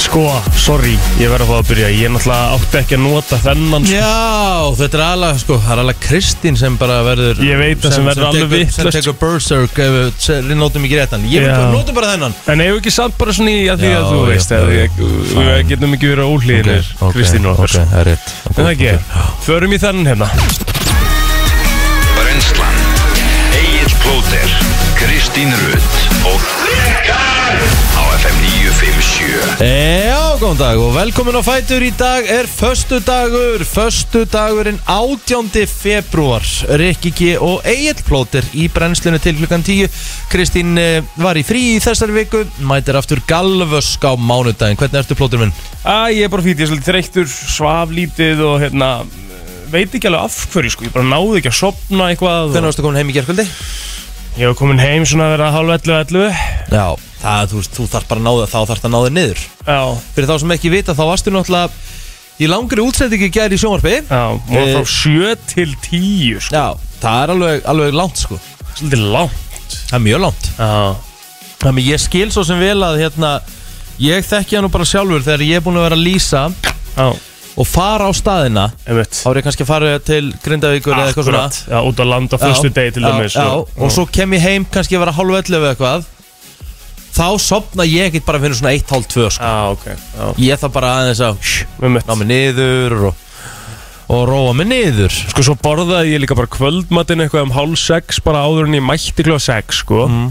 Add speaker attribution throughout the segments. Speaker 1: Sko, sorry, ég verði að fá að byrja Ég náttúrulega átti ekki að nota þennan sko.
Speaker 2: Já, þetta er alveg, sko, það er alveg Kristín sem bara verður
Speaker 1: Ég veit það sem verður alveg
Speaker 2: tekur-
Speaker 1: vitlaust.
Speaker 2: Sem tekur Berserk ef við se- notum ekki réttan Ég vil
Speaker 1: Já.
Speaker 2: bara nota bara þennan
Speaker 1: En eigum við ekki samt bara svona í að því
Speaker 2: Já,
Speaker 1: að þú
Speaker 2: já,
Speaker 1: veist
Speaker 2: já,
Speaker 1: að
Speaker 2: já.
Speaker 1: ég- Við getum ekki verið óhlýðinir Kristín og
Speaker 2: Ok,
Speaker 1: okkar
Speaker 2: það er rétt
Speaker 1: En það ekki, förum í þennan hérna
Speaker 3: Brenslan Egil Plóter Kristín Rutt og á FM 957
Speaker 2: Já, góðan dag og velkomin á Fætur Í dag er föstu dagur Föstu dagurinn 18. februar Rikki G og Egil Plóter í brennslunni til klukkan 10 Kristín eh, var í frí í þessari viku Mætir aftur galvösk á mánudaginn Hvernig ertu Plóter minn?
Speaker 1: Æ, ég er bara fýtt, ég er svolítið þreyttur, svaf lítið og hérna, veit ekki alveg af hverju sko, ég bara náði ekki að sopna eitthvað
Speaker 2: Hvernig varstu komin heim í gerkvöldi?
Speaker 1: og ég var komin heim svona að vera hálf 11 11
Speaker 2: Já, það, þú, veist, þú þarf bara að náða þá þarf það að náða niður
Speaker 1: Já,
Speaker 2: Fyrir þá sem ekki vita þá varstu náttúrulega í langri útsendingi gæri í sjónvarpi
Speaker 1: já, og
Speaker 2: Eh.
Speaker 1: frá 7 til 10 sko,
Speaker 2: Já, það er alveg, alveg langt sko
Speaker 1: svolítið langt
Speaker 2: Það er mjög langt
Speaker 1: Já,
Speaker 2: Þannig ég skil svo sem vel að hérna, ég þekki hann nú bara sjálfur þegar ég er búin að vera að lýsa
Speaker 1: já,
Speaker 2: og fara á staðina
Speaker 1: einmitt
Speaker 2: þá er ég kannski að fara til Grindavíkur eða eitthvað svona
Speaker 1: já, út á land á fyrstu degi til
Speaker 2: Já,
Speaker 1: dæmis
Speaker 2: já, og svo kem ég heim kannski að vera hálf ellefu eða eitthvað þá sopna ég ekkert bara fyrir svona 1, hálf 2 sko.
Speaker 1: Já, Ah, ok, já,
Speaker 2: ég þarf bara aðeins að
Speaker 1: einmitt
Speaker 2: ná mig niður og, og róa mig niður
Speaker 1: Sko, svo borðaði ég líka bara kvöldmatinn eitthvað um hálf sex bara áður en ég mætti kljóða sex, sko
Speaker 2: Mm.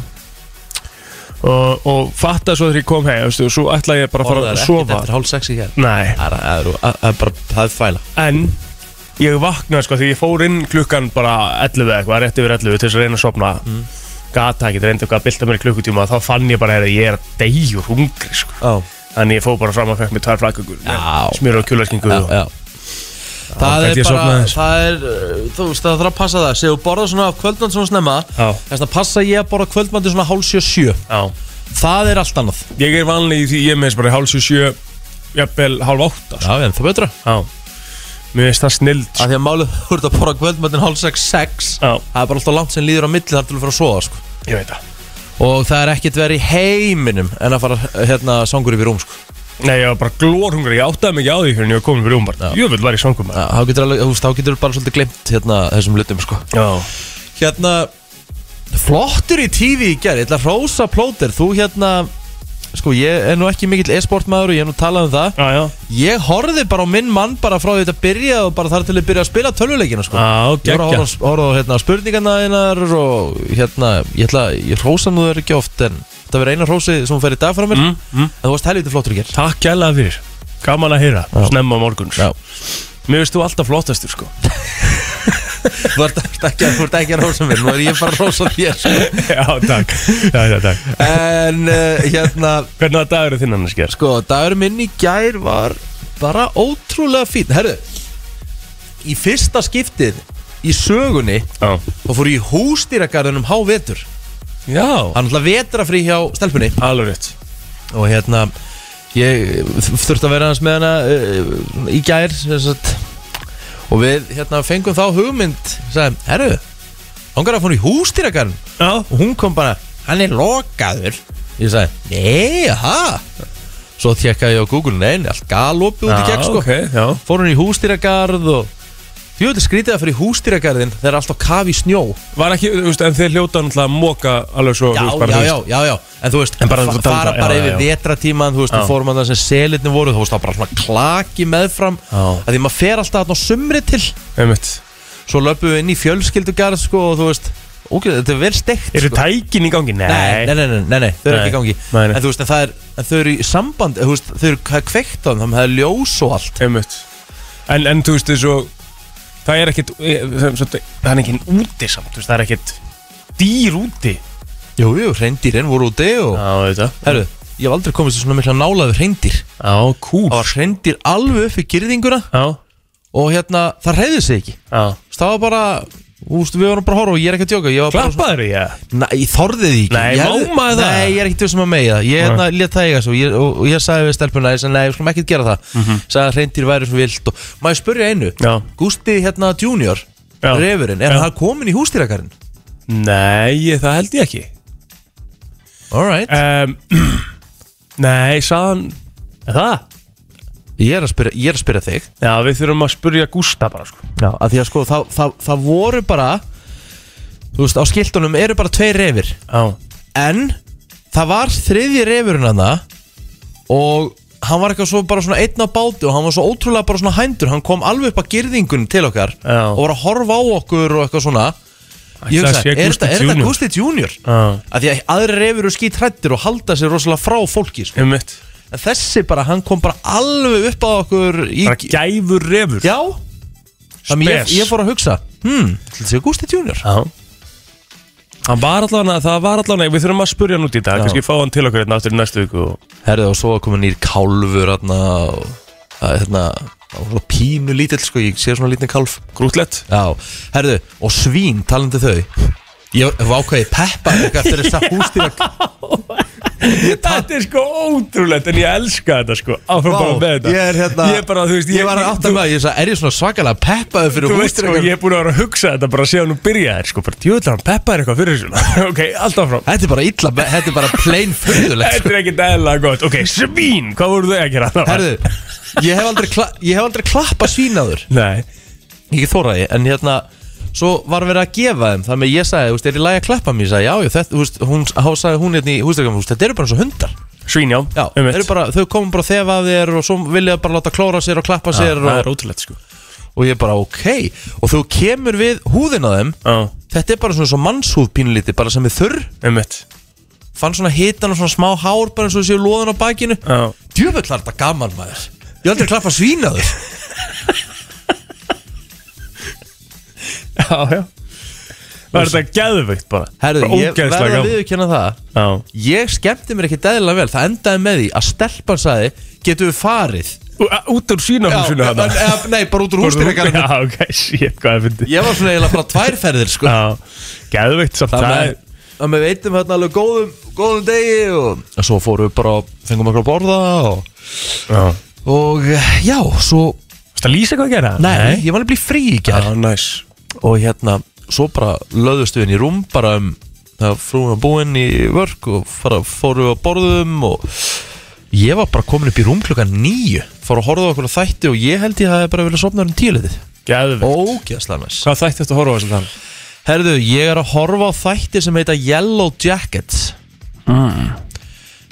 Speaker 1: og, og fattaði svo þegar ég kom heim, veistu, og svo ætlaði ég bara að fara
Speaker 2: Borðaðir
Speaker 1: að
Speaker 2: ekkert
Speaker 1: sofa
Speaker 2: eftir hálf 6 í hér
Speaker 1: Nei,
Speaker 2: það er- það er- það er bara það er fæla
Speaker 1: en ég vaknaði sko því ég fór inn klukkan bara 11 eða eitthvað, rétt yfir 11 til þess að reyna að sopna mm. gata ekki, reyndi eitthvað að bylta mér í klukkutíma þá fann ég bara að ég er að deyjur hungri sko.
Speaker 2: oh.
Speaker 1: þannig ég fór bara fram og fekk mér tvær flakugur
Speaker 2: Já.
Speaker 1: smjör og kjúlarskingu
Speaker 2: já,
Speaker 1: og
Speaker 2: já. Það
Speaker 1: gæti
Speaker 2: er
Speaker 1: ég sofnað
Speaker 2: bara,
Speaker 1: aðeins.
Speaker 2: það er, uh, þú veist, það þarf að passa það Sér þú borðar svona kvöldmann svona snemma
Speaker 1: Já.
Speaker 2: Þess að passa ég að borða kvöldmann til svona hálsjö sjö
Speaker 1: Já.
Speaker 2: Það er allt annað
Speaker 1: ég er vanlega í því ég meðist bara hálf 7 jafnvel hálf 8
Speaker 2: Já, en það betra
Speaker 1: Já. mér veist það snild
Speaker 2: Af því að málið þú ert að borða kvöldmann til hálf sex, sex
Speaker 1: Já.
Speaker 2: Það er bara alltaf langt sem líður á milli þar til að fara að sofa sko.
Speaker 1: ég veit það
Speaker 2: Og það er ekkert verið í heiminum En að fara, uh, hérna, sangur upp í rúm sko.
Speaker 1: Nei, ég var bara glórhungri, ég áttaði mig ekki á því fyrir en ég var komin fyrir umbar Jöfull var ég svangur maður
Speaker 2: Já, Þá getur alveg, þú veist, þá getur bara svolítið glimt hérna, þessum hlutum sko.
Speaker 1: Já,
Speaker 2: Hérna Flottur í TV í gerð Ég ætla að rosa plóter Þú hérna Sko ég er nú ekki mikill e-sport maður og Ég er nú talað um það
Speaker 1: já, já,
Speaker 2: Ég horfði bara á minn mann Bara frá því þetta byrja Og bara þar til að byrja að spila tölvuleikina sko
Speaker 1: Já,
Speaker 2: Ég voru að
Speaker 1: geggjað.
Speaker 2: horfa- horfa á hérna spurningarna einar Og hérna Ég ætla Ég rosa nú þér ekki oft En þetta verður eina rosi Sem hún fer í dag frá mér
Speaker 1: Mm, mm.
Speaker 2: En þú varst helviti flottur í gerð
Speaker 1: Takk gælega fyrir Gaman að heyra,
Speaker 2: Já.
Speaker 1: snemma morguns
Speaker 2: Já.
Speaker 1: Mér veist þú alltaf flottastur sko
Speaker 2: Þú ert þú ert ekki, þú ert ekki að rosa mér Nú er ég bara að rosa þér sko
Speaker 1: Já, takk, já, já, takk.
Speaker 2: En uh, hérna
Speaker 1: Hvernig að dagur er þinn annars gerð?
Speaker 2: Sko, dagur minn í gær var bara ótrúlega fín Herðu, í fyrsta skiptið í sögunni
Speaker 1: Já
Speaker 2: þá fór ég í hústýragarðunum hávetur
Speaker 1: Já
Speaker 2: Hann ætla vetrafrí hjá stelpunni
Speaker 1: Alveg rétt
Speaker 2: Og hérna, ég þurfti að vera hans með hana uh, í gær sem sagt. Og við hérna fengum þá hugmynd Sæðum, herru, hann gara að fór í hústýragarðun
Speaker 1: Já
Speaker 2: og hún kom bara hann er lokaður ég sagði, nei, ha svo tjekkaði ég á Google, nei, nei, allt galopið út í gegn sko,
Speaker 1: ok, já
Speaker 2: fór hún í hústýragarð og því veitir skrítið að fyrir hústýragarðin þeir eru alltaf kafi í snjó
Speaker 1: Var ekki, þú veist, en þeir hljóta náttúrulega að móka alveg svo þú
Speaker 2: já,
Speaker 1: veist, bara,
Speaker 2: já,
Speaker 1: þú
Speaker 2: já,
Speaker 1: veist,
Speaker 2: já, já, en þú veist
Speaker 1: En bara-
Speaker 2: fa-
Speaker 1: þú-
Speaker 2: fara
Speaker 1: já, um já,
Speaker 2: bara yfir
Speaker 1: já.
Speaker 2: vetratíman þú veist,
Speaker 1: Já.
Speaker 2: við fórum að þessi selitni voru þú veist, þá bara svona klaki meðfram
Speaker 1: Já.
Speaker 2: að því maður fer alltaf þarna á sumri til
Speaker 1: Einmitt
Speaker 2: svo löpum við inn í fjölskyldugarð sko, og þú veist, ok, þetta er vel steikt
Speaker 1: Eru
Speaker 2: sko.
Speaker 1: tækin í gangi? Nei
Speaker 2: Nei, nei, nei, nei, nei, nei, þau eru
Speaker 1: Nei.
Speaker 2: ekki í gangi
Speaker 1: Nei, nei.
Speaker 2: En þú veist, en það er, en þau eru í samband Þú veist, þau eru það er kveikt á þeim, það er ljós og allt
Speaker 1: Einmitt En, en þú veist, þessu Það er ekkit eh, sem sagt, Það er ekkit úti samt, þú veist, það er ekkit Dýr úti
Speaker 2: Jú, jú, hreindýrin voru úti og
Speaker 1: þetta
Speaker 2: Herru, ég hef aldrei komist í svona mikla nálaðu hreindýr
Speaker 1: Já, kúl
Speaker 2: Það var hreindýr alveg upp í girðinguna
Speaker 1: Já,
Speaker 2: Og hérna, það hreiði sig ekki
Speaker 1: já
Speaker 2: Þú veist, Það var bara, þú veist, við vorum bara að horfa og ég er ekki að djóka Ég var bara svona,
Speaker 1: Klappaður ég
Speaker 2: næ, ég þorði því ekki
Speaker 1: Nei,
Speaker 2: Ég hefði-
Speaker 1: má maður það?
Speaker 2: Nei, ég er ekki þessum að megi það Ég hérna, lét það eiga svo ég, og, og ég sagði við stelpuna, ég sagði, nei, við skulum ekki gera það mm Sagði að hreindir væri svo vilt og maður spurja einu
Speaker 1: Mhm. Já.
Speaker 2: Gústi hérna junior
Speaker 1: Já.
Speaker 2: refurinn, er
Speaker 1: Já.
Speaker 2: hann komin í hústýrakarinn?
Speaker 1: Nei, ég- það held ég ekki
Speaker 2: Alright,
Speaker 1: um, Nei, sagðan Er það?
Speaker 2: Ég er að spyrja, ég er að spyrja þig
Speaker 1: Já, við þurfum að spurja Gústa bara sko
Speaker 2: Já, að því að sko það, það, það voru bara Þú veist, á skiltunum eru bara tveir reyfir
Speaker 1: Já,
Speaker 2: En það var þriðji reyfurinn hann Og hann var eitthvað svo bara svona einn á báti Og hann var svo ótrúlega bara svona hændur Hann kom alveg upp að girðingun til okkar
Speaker 1: Já.
Speaker 2: Og var að horfa á okkur og eitthvað svona Ég
Speaker 1: Ætli það
Speaker 2: hugsa,
Speaker 1: sé
Speaker 2: er
Speaker 1: Gústi
Speaker 2: þetta- er þetta
Speaker 1: Junior?
Speaker 2: Gusti Junior?
Speaker 1: Já.
Speaker 2: Af því að aðri reyfur eru skýt og halda sér rosalega frá fólki sko.
Speaker 1: um mitt
Speaker 2: En þessi bara, hann kom bara alveg upp að okkur í...
Speaker 1: Bara gæfur refur
Speaker 2: Já Þannig ég,
Speaker 1: Spes.
Speaker 2: ég fór að hugsa Hmm, þetta er Gusti Junior
Speaker 1: Já Hann var allavega, það var allavega, við þurfum að spurja hann út í dag,
Speaker 2: Já.
Speaker 1: kannski fá hann til okkur hérna aftur í næstu viku og...
Speaker 2: Herðu og svo að koma nýr kálfur hérna og að, hérna og svona pínu lítill sko, ég sé svona lítinn kálf
Speaker 1: Grútlegt
Speaker 2: Já, herðu, og svín talandi þau Ég hef ákveðið peppa ykkur eftir þess að hústýra
Speaker 1: Þetta er sko ótrúlegt en ég elska þetta sko Áfram bara með þetta
Speaker 2: ég er hérna
Speaker 1: Ég er bara, þú veist,
Speaker 2: Ég var að átta með, ég sagði, er ég svona svakalega peppaði fyrir hérna.
Speaker 1: Þú veist sko,
Speaker 2: hústýra
Speaker 1: ég er búin að vera að hugsa þetta bara síðan hún byrjaði sko, bara djúðlega hann peppaði eitthvað fyrir sko. þessu Ok, alltaf frá
Speaker 2: Þetta er bara illa, þetta er bara plain fyrðulegt
Speaker 1: Þetta
Speaker 2: sko.
Speaker 1: er ekkert eðlilega gott Ok, svín, hvað voru þau að gera það?
Speaker 2: Herðu, ég hef aldrei, kla ég hef aldrei klappa svínaður
Speaker 1: Nei,
Speaker 2: ekki þóraði, en hérna svo var verið að gefa þeim, þannig að ég sagði þú veist, er í lagi að klappa mér, ég sagði, já, já, þetta þú veist, hún, hún sagði hún hérna í hústakam, þetta eru bara eins og hundar
Speaker 1: svín já,
Speaker 2: já,
Speaker 1: um
Speaker 2: eru bara, þau komum bara þefa af þér og svo vilja bara láta klóra sér og klappa sér
Speaker 1: Það er
Speaker 2: og,
Speaker 1: ótrúlegt sko
Speaker 2: og ég bara, ok og þú kemur við húðina þeim
Speaker 1: Já,
Speaker 2: þetta er bara svona svo mannshúð pínlítið, bara sem er þurr
Speaker 1: um
Speaker 2: fann svona hitan og svona smá hár bara eins og séu loðan á bakinu
Speaker 1: Já
Speaker 2: djöfull var þetta gaman maður ég hef aldrei klappa svínaður
Speaker 1: Já, já Var þetta geðveikt bara
Speaker 2: herðu,
Speaker 1: Bara
Speaker 2: ég
Speaker 1: ógeðslega
Speaker 2: verða
Speaker 1: gaman.
Speaker 2: að viðurkenna það
Speaker 1: Já,
Speaker 2: Ég skemmti mér ekki dæðilega vel Það endaði með því að stelpan sagði Getum við farið
Speaker 1: Ú- a- út úr sínahúsinu
Speaker 2: Já,
Speaker 1: hana
Speaker 2: en- eða- Nei, bara út úr hústýragarðinu
Speaker 1: Já, ok, shit, hvað er fyndið
Speaker 2: Ég var svona eiginlega bara tværferðir sko.
Speaker 1: Já, geðveikt samt
Speaker 2: Það
Speaker 1: Það
Speaker 2: með
Speaker 1: er
Speaker 2: Það með veitum hérna alveg góðum, góðum degi og... og Svo fórum við bara og Fengum okkur að borða og...
Speaker 1: Já.
Speaker 2: og eh, já, svo
Speaker 1: Varstu að lýsa hvað að gera?
Speaker 2: Nei, ég var alveg frí í
Speaker 1: Já,
Speaker 2: gær
Speaker 1: næs
Speaker 2: Og hérna, svo bara löðustu inn í rúm Bara um Það frúin að búin í vörk Og fara, fórum við að borðum og Ég var bara komin upp í rúm klukkan nýju Fór að horfa á okkur á þætti og ég held ég að það er bara vilja sofna um tíulitið
Speaker 1: Geðveikt
Speaker 2: Ógæðslega næs
Speaker 1: Hvað þætti þetta að horfa á þessum þann?
Speaker 2: Herðu, ég er að horfa á þætti sem heita Yellow Jackets mm.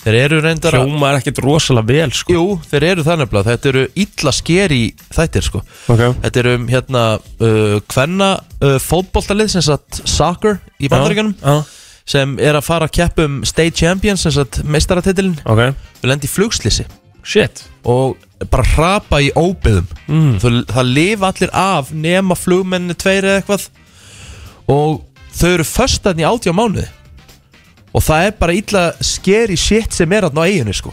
Speaker 2: Þeir eru reyndar að
Speaker 1: Hljóma er ekkert rosalega vel, sko
Speaker 2: Jú, þeir eru það nefnilega Þetta eru illa skeri þættir sko
Speaker 1: Ok.
Speaker 2: Þetta eru um hérna uh, Hvenna uh, fótboltalið sem sagt soccer í bandaríkanum
Speaker 1: Já,
Speaker 2: sem er að fara að keppa um State Champions sem sagt meistaratitilin
Speaker 1: já, ok
Speaker 2: Við lendi í flugslýsi
Speaker 1: Shit
Speaker 2: og bara hrapa í óbyðum mm. það, það lifa allir af nema flugmenni tveir eða eitthvað og þau eru föstan í átjá mánuði og það er bara illa skeri shit sem er hann á eiginu sko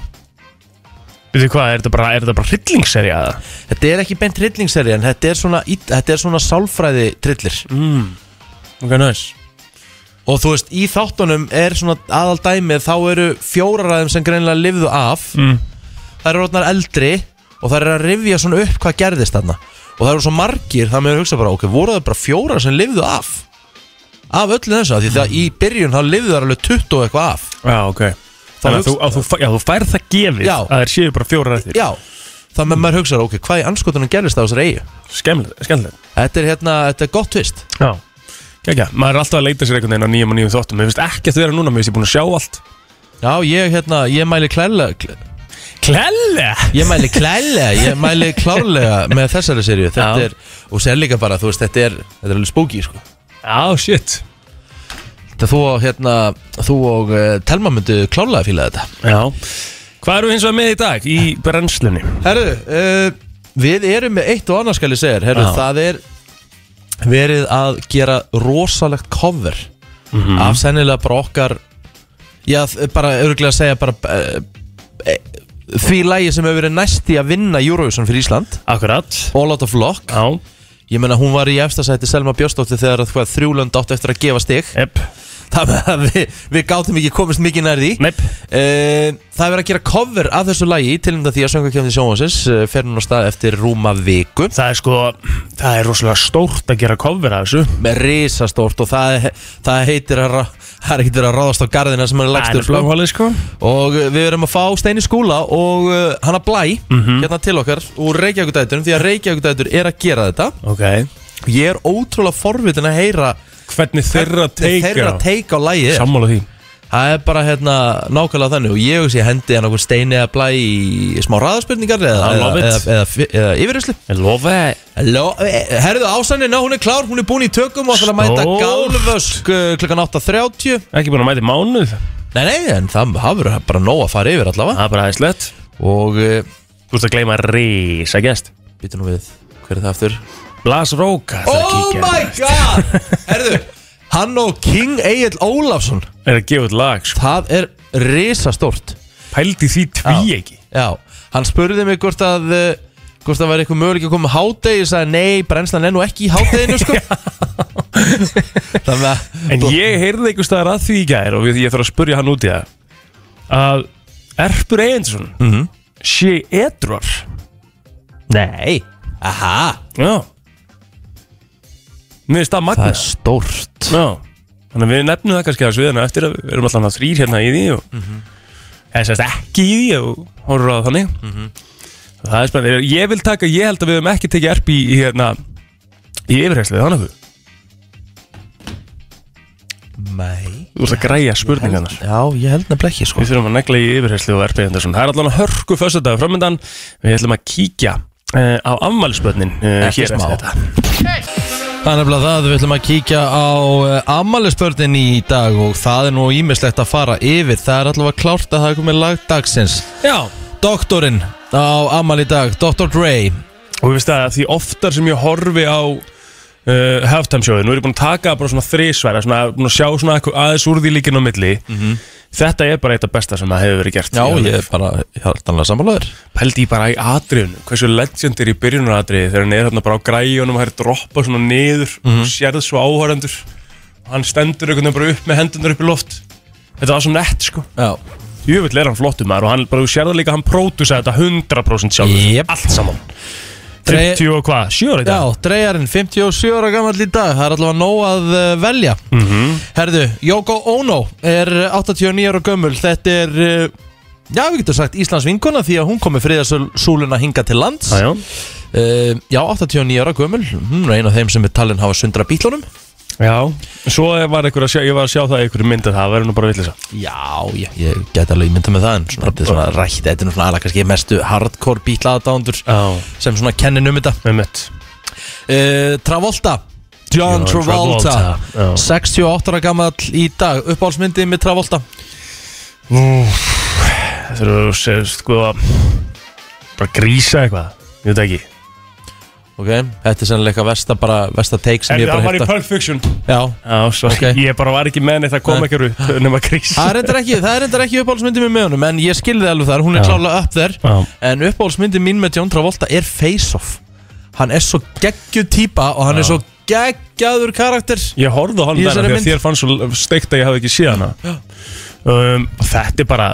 Speaker 1: Veitu hvað, er þetta bara, er þetta bara hryllingsserja eða?
Speaker 2: þetta er ekki beint trillingseri en þetta er svona, ill- þetta er svona sálfræði trillir
Speaker 1: Mm. Ok, næs
Speaker 2: og þú veist í þáttunum er svona aðal dæmið þá eru fjóraræðum sem greinlega lifðu af
Speaker 1: Mm.
Speaker 2: það eru orðnar eldri og það eru að rifja svona upp hvað gerðist þarna og það eru svo margir, það meður hugsa bara ok, voru það bara fjórar sem lifðu af af öllu þessu, af því það í byrjun þá lifðu það alveg 20 og eitthvað af
Speaker 1: Já, ok Þannig að þú, að þú, fæ- já, þú færð það gefið
Speaker 2: Já.
Speaker 1: að þeir séu bara fjórar eftir
Speaker 2: já, það með maður hugsa ok, hvað í anskotunum gerðist það á þessari eigu
Speaker 1: Skemmlega, skemmlega
Speaker 2: þetta er hérna, þetta er gott tvist
Speaker 1: Já Kækja, maður er alltaf að leita sér einhvern veginn á nýjum og nýjum þóttum Mér finnst ekkert vera núna, mér finnst ég búin að sjá allt
Speaker 2: já, ég hérna, ég mæli klæðlega
Speaker 1: Klelle!
Speaker 2: Ég mæli klælega, ég mæli klárlega með þessari serju Þetta
Speaker 1: Já.
Speaker 2: er, og sér líka bara, þú veist, þetta er, þetta er alveg spooky, sko
Speaker 1: Já, shit
Speaker 2: Þetta þú og, hérna, þú og uh, Telma myndu klárlega fíla þetta
Speaker 1: Já Hvað eru hins vegar með í dag í brennslunni?
Speaker 2: Herru, uh, við erum með eitt og annars skal ég segja þér. Herru,
Speaker 1: Já.
Speaker 2: það er verið að gera rosalegt cover
Speaker 1: Mhm.
Speaker 2: af sennilega bara okkar Já, þ- bara örgulega að segja bara uh, því lægi sem hefur verið næst í að vinna Eurovision fyrir Ísland
Speaker 1: Akkurat
Speaker 2: All Out of Luck
Speaker 1: Já,
Speaker 2: Ég meina hún var í efstasæti Selma Björnsdóttir þegar að hvað þrjúlönd átt eftir að gefa stig
Speaker 1: epp
Speaker 2: Það með að við, við gátum ekki komist mikið nær því
Speaker 1: Neip
Speaker 2: Eh, Það er verið að gera cover af þessu lagi til um það því að söngakefni sjónvansins fer núna á stað eftir rúma viku
Speaker 1: Það er sko, það er rosalega stórt að gera cover af þessu
Speaker 2: með risastórt og það, það heitir að ra- Það er ekkert verið að ráðast á garðina sem hann er
Speaker 1: Það
Speaker 2: lagstur
Speaker 1: er bláhólið sko
Speaker 2: Og uh, við erum að fá Steini Skúla og uh, hana Blæ
Speaker 1: Mhm.
Speaker 2: hérna til okkar úr Reykjavíkudæturum því að Reykjavíkudætur er að gera þetta
Speaker 1: Ok
Speaker 2: og ég er ótrúlega forvitin að heyra
Speaker 1: Hvernig þeirra teikja
Speaker 2: þeirra teika á lægi
Speaker 1: Sammála því
Speaker 2: Það er bara hérna nákvæmlega þannig og ég hugsi ég hendi hann okkur steini eða blæ í smá ræðaspurningar eða,
Speaker 1: I
Speaker 2: eða,
Speaker 1: love it.
Speaker 2: eða, eða, eða yfirherslu
Speaker 1: Ég lofa
Speaker 2: Halló, eh, Herðu ásannin, hún er klár, hún er búin í tökum og ætlar að mæta
Speaker 1: Stórt.
Speaker 2: gálvösk eh, klukkan 8.30
Speaker 1: Ekki búin að mæta í mánuð Það
Speaker 2: Nei, nei, en það það verður bara nóg að fara yfir allavega
Speaker 1: er bara aðeinslegt
Speaker 2: Og, eh,
Speaker 1: Þú ert að gleyma risa gest
Speaker 2: býtu nú við, hver er það aftur?
Speaker 1: Blas Róka ætlar að
Speaker 2: Oh
Speaker 1: kíkja. hérna.
Speaker 2: my god, herðu, hann og King Egil Ólafsson
Speaker 1: Er að gefa út lag sko.
Speaker 2: Það er risastórt
Speaker 1: Pældi því tví ekki
Speaker 2: Já, hann spurði mig hvort að uh, hvort það væri eitthvað möguleik að koma á hádegi ég sagði nei, brennslan er nú ekki í hádeginu sko þannig að
Speaker 1: En ég heyrði einhver staðar að því í gær og við- ég þarf að spurja hann út í það að Erpur Einsson
Speaker 2: Mhm.
Speaker 1: sé edruar
Speaker 2: Nei, aha
Speaker 1: Já Mér finnst það
Speaker 2: Það er
Speaker 1: magnast
Speaker 2: stórt
Speaker 1: Já Þannig að við nefnum það kannski að sviðana eftir að við erum alltaf þrýr hérna í því og eða sérst ekki í því og horfur á það þannig
Speaker 2: Mm.
Speaker 1: Það er spennandi Ég vil taka, ég held að við höfum ekki tekið erp í, í hérna í yfirherslu, þannig að þú
Speaker 2: Nei
Speaker 1: Þú ert að græja spurningarnar
Speaker 2: Já, ég held nefnilega ekki sko
Speaker 1: Við þurfum að negla í yfirherslu og erpið Andersson. Það er allan að hörku föstudag framöndan Við ætlum að kíkja uh, á afmælisbönnin uh,
Speaker 2: Ekki
Speaker 1: hér
Speaker 2: smá.
Speaker 1: eftir þetta
Speaker 2: Það er nefnilega það, við ætlum að kíkja á ammalispörnin í dag og það er nú ímislegt að fara yfir það er allavega klárt að það er komið lag dagsins
Speaker 1: Já,
Speaker 2: Doktorinn á ammal í dag, Dr. Dre
Speaker 1: Og við veist að því oftar sem ég horfi á uh, halftime sjóði, nú er ég búin að taka það bara svona þrísværa, svona búin að sjá svona eitthvað aðeins úr því líkinn á milli þetta er bara eitt af besta sem það hefur verið gert
Speaker 2: Mhm. Já, ég er bara, ég held annað sammálaður
Speaker 1: Pældi ég bara í atriðinu, hversu legend er í byrjunaratriði þegar hann er hérna bara á græjunum og hann er droppa svona niður
Speaker 2: Mhm.
Speaker 1: og sérð svo áhörendur og hann stendur einhvern veginn bara upp með hendunar upp í loft Þetta var svo nett sko
Speaker 2: Já
Speaker 1: Jöfull er hann flottum maður og hann bara, þú sér það líka að hann pródusa þetta 100% sjálfur
Speaker 2: Jep.
Speaker 1: Allt saman
Speaker 2: Dre-
Speaker 1: 50 og hvað, 7 ára í dag
Speaker 2: Já, dreyjarinn, 57 ára gammal í dag Það er allavega nóg að uh, velja
Speaker 4: Mm-hmm.
Speaker 2: Herðu, Yoko Ono er 89 ára gömul Þetta er, uh, já við getum sagt Íslands vinkona Því að hún komi friðasúluna hinga til lands
Speaker 1: Já, já.
Speaker 2: uh, Já, 89 ára gömul Hún er ein af þeim sem er talin hafa sundra bílunum
Speaker 1: Já, svo var einhver að sjá, ég var að sjá það í einhverju mynd að það verður nú bara villisa
Speaker 2: Já, ég, ég geti alveg myndað með það En svona, þetta er svona rætt, þetta er nú svona aðlega kannski mestu hardcore bílaðadándur
Speaker 1: Já,
Speaker 2: Sem svona kennin um þetta
Speaker 1: með mitt
Speaker 2: uh, Travolta John
Speaker 1: John Travolta,
Speaker 2: Travolta,
Speaker 1: já.
Speaker 2: 68 ára gammal í dag uppáhalsmyndið með Travolta
Speaker 1: Þegar þú segir sko að bara grísa eitthvað, ég veit ekki
Speaker 2: ok, þetta er sennilega eitthvað versta bara versta take sem
Speaker 1: En
Speaker 2: ég
Speaker 1: það
Speaker 2: bara
Speaker 1: var í
Speaker 2: hefta
Speaker 1: Pulp Fiction
Speaker 2: já,
Speaker 1: Já, svo
Speaker 2: Ok.
Speaker 1: ég bara var ekki með neitt að koma
Speaker 2: Nei.
Speaker 1: ekki upp nema grísa
Speaker 2: það er reyndar ekki, það er reyndar ekki uppáhalsmyndið með honum en ég skilði alveg þar, hún er
Speaker 1: Já.
Speaker 2: klálega upp þær
Speaker 1: Já,
Speaker 2: en uppáhalsmyndið mín með John Travolta er Face Off hann er svo geggjuð típa og hann er svo geggjaður karakter
Speaker 1: Ég horfði á hann
Speaker 2: Í
Speaker 1: þennan því
Speaker 2: þessari
Speaker 1: að
Speaker 2: mynd.
Speaker 1: þér fannst svo steikt að ég hafði ekki séð hana um, og Þetta er bara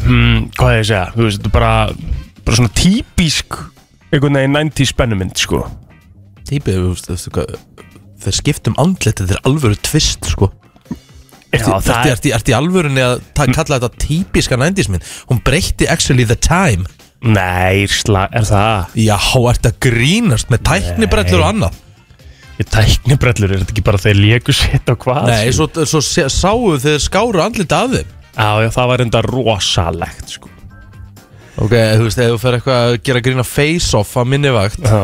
Speaker 1: hmm, hvað ég að segja þú veist, þetta er bara, bara svona típisk einhvern veginn 90s spennumynd sko.
Speaker 2: típið, þú veist, þú veist hvað, þeir skiptum andlit, þetta er alvöru tvist sko
Speaker 1: Já,
Speaker 2: Ertu er... Hm. ert, í- ert í alvörunni að ta- kalla þetta típiska nændismin? Hún breytti actually the time
Speaker 1: Nei, sla, er það?
Speaker 2: Já, ertu að grínast með tæknibrellur og annað
Speaker 1: Ég tækni brellur, er þetta ekki bara þeir léku sitt á hvað?
Speaker 2: Nei, svo, svo sé- sáu þeir skáru andlit af þeim
Speaker 1: Já, já, það var enda rosalegt, sko.
Speaker 2: Ok, þú veist, ef þú fer eitthvað að gera grína face-off að minni vakt
Speaker 1: Já.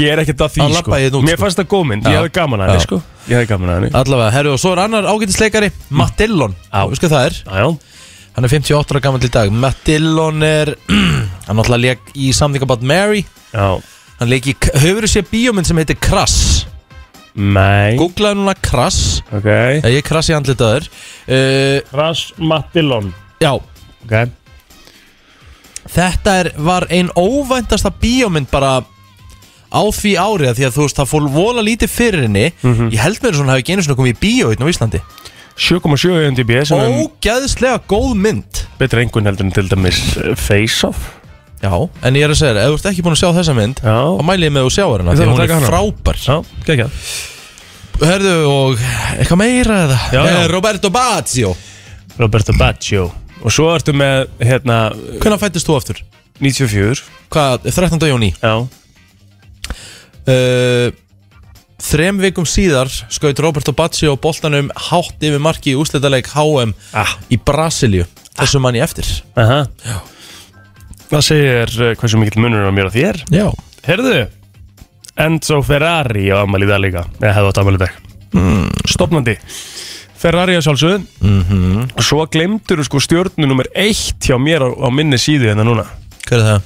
Speaker 1: Ég er ekkert að því,
Speaker 2: Það
Speaker 1: sko.
Speaker 2: labbaði ég nú,
Speaker 1: Mér
Speaker 2: sko.
Speaker 1: fannst það góð mynd,
Speaker 2: Já.
Speaker 1: ég hafði gaman að henni,
Speaker 2: Já.
Speaker 1: sko. Ég hafði gaman að henni.
Speaker 2: Allavega, herru, og svo er annar ágætisleikari Matt Dillon,
Speaker 1: Já.
Speaker 2: þú veist hvað það er
Speaker 1: Já, já.
Speaker 2: Hann er 58 ára gammal í dag Matt Dillon er, hann náttúrulega leik í Something About Mary
Speaker 1: Já.
Speaker 2: Hann leik í, hefur þú séð bíómynd sem heitir Crass
Speaker 1: Nei.
Speaker 2: Googlaðu núna Crass
Speaker 1: Ok.
Speaker 2: Já, ég krasi andlit að þér uh,
Speaker 1: Ras Matilon.
Speaker 2: Já,
Speaker 1: Ok.
Speaker 2: þetta er, var ein óvæntasta bíómynd bara á því árið af Því að þú veist, það fór vola lítið fyrir henni
Speaker 1: Mhm.
Speaker 2: Ég held mér að svona hafi ekki einu svona komið í bíó hérna á Íslandi
Speaker 1: 7,7 MDB sem er
Speaker 2: Ógæðslega góð mynd
Speaker 1: betra engun heldur en til dæmis eh, Face Off.
Speaker 2: Já, en ég er að segja þér, ef þú ert ekki búin að sjá þessa mynd
Speaker 1: Já.
Speaker 2: Þá mæli ég með að þú sjáar hana,
Speaker 1: Ég
Speaker 2: því
Speaker 1: þarf að
Speaker 2: að hún er
Speaker 1: taka hana.
Speaker 2: frábær
Speaker 1: Já, geggjað.
Speaker 2: herðu, og eitthvað meira eða?
Speaker 1: Já, já.
Speaker 2: Eh, Roberto Baggio
Speaker 1: Roberto Baggio Og svo ertu með, hérna,
Speaker 2: Hvernig fættist þú aftur?
Speaker 1: 94
Speaker 2: Hvað, 13. júni?
Speaker 1: Já,
Speaker 2: Uh, þrem vikum síðar skaut Roberto Baggio boltanum hátt yfir marki í úrslitaleik HM
Speaker 1: ah,
Speaker 2: í Brasilíu þessu mann ég eftir
Speaker 1: aha Það segir eh, hversu mikill munur er á mér og þér
Speaker 2: Já,
Speaker 1: Herðu, Enzo Ferrari á afmæli í dag líka Eða hefði átt afmæli í dag mm. Stopnandi Ferrari að sjálfsögðu
Speaker 2: Mhm.
Speaker 1: -hmm. Svo glemdur sko stjórnu nummer eitt hjá mér á, á minni síðu hérna núna
Speaker 2: hver er það?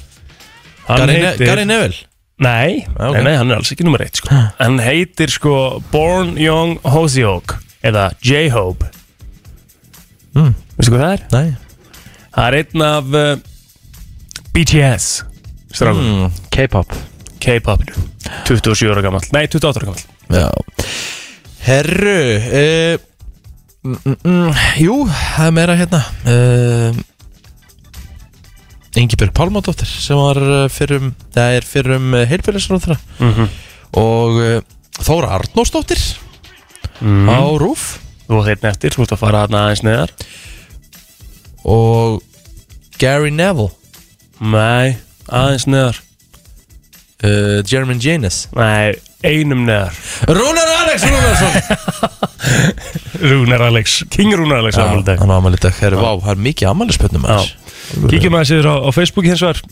Speaker 1: Hann
Speaker 2: Gary, ne Gary Neville
Speaker 1: Nei,
Speaker 2: Ah, ok.
Speaker 1: nei, nei, hann er alls ekki nummer eitt sko. Hann heitir sko Born Young Hosiok Eða J-Hope
Speaker 2: Mm.
Speaker 1: Veistu hvað það er?
Speaker 2: Nei
Speaker 1: Það er einn af eh, uh, BTS Strákum,
Speaker 2: Mm, K-pop
Speaker 1: K-popinu 27 ára gamall, nei 28 ára gamall
Speaker 2: Já Herru uh, mm, mm, mm, Jú, það er meira hérna uh, Ingibjörg Pálmádóttir sem var eh, fyrrum það er fyrrum heilbjörðisráðra
Speaker 1: mm -hmm.
Speaker 2: og uh, Þóra Arnósdóttir
Speaker 1: mm.
Speaker 2: á Rúf
Speaker 1: Þú átt einn eftir, þú ert að fara aðna aðeins neðar
Speaker 2: og Gary Neville
Speaker 1: Nei, aðeins neðar
Speaker 2: uh, Jeremy Janus
Speaker 1: Nei, einum neðar
Speaker 2: Rúnar Alex Rúnarsson
Speaker 1: Rúnar Alex, King Rúnar Alex afmæli í dag.
Speaker 2: hann á amalið dag Herru, vá, það er mikið amalið spönnum
Speaker 1: Kíkjum aðeins yfir á, á Facebooki hins vegar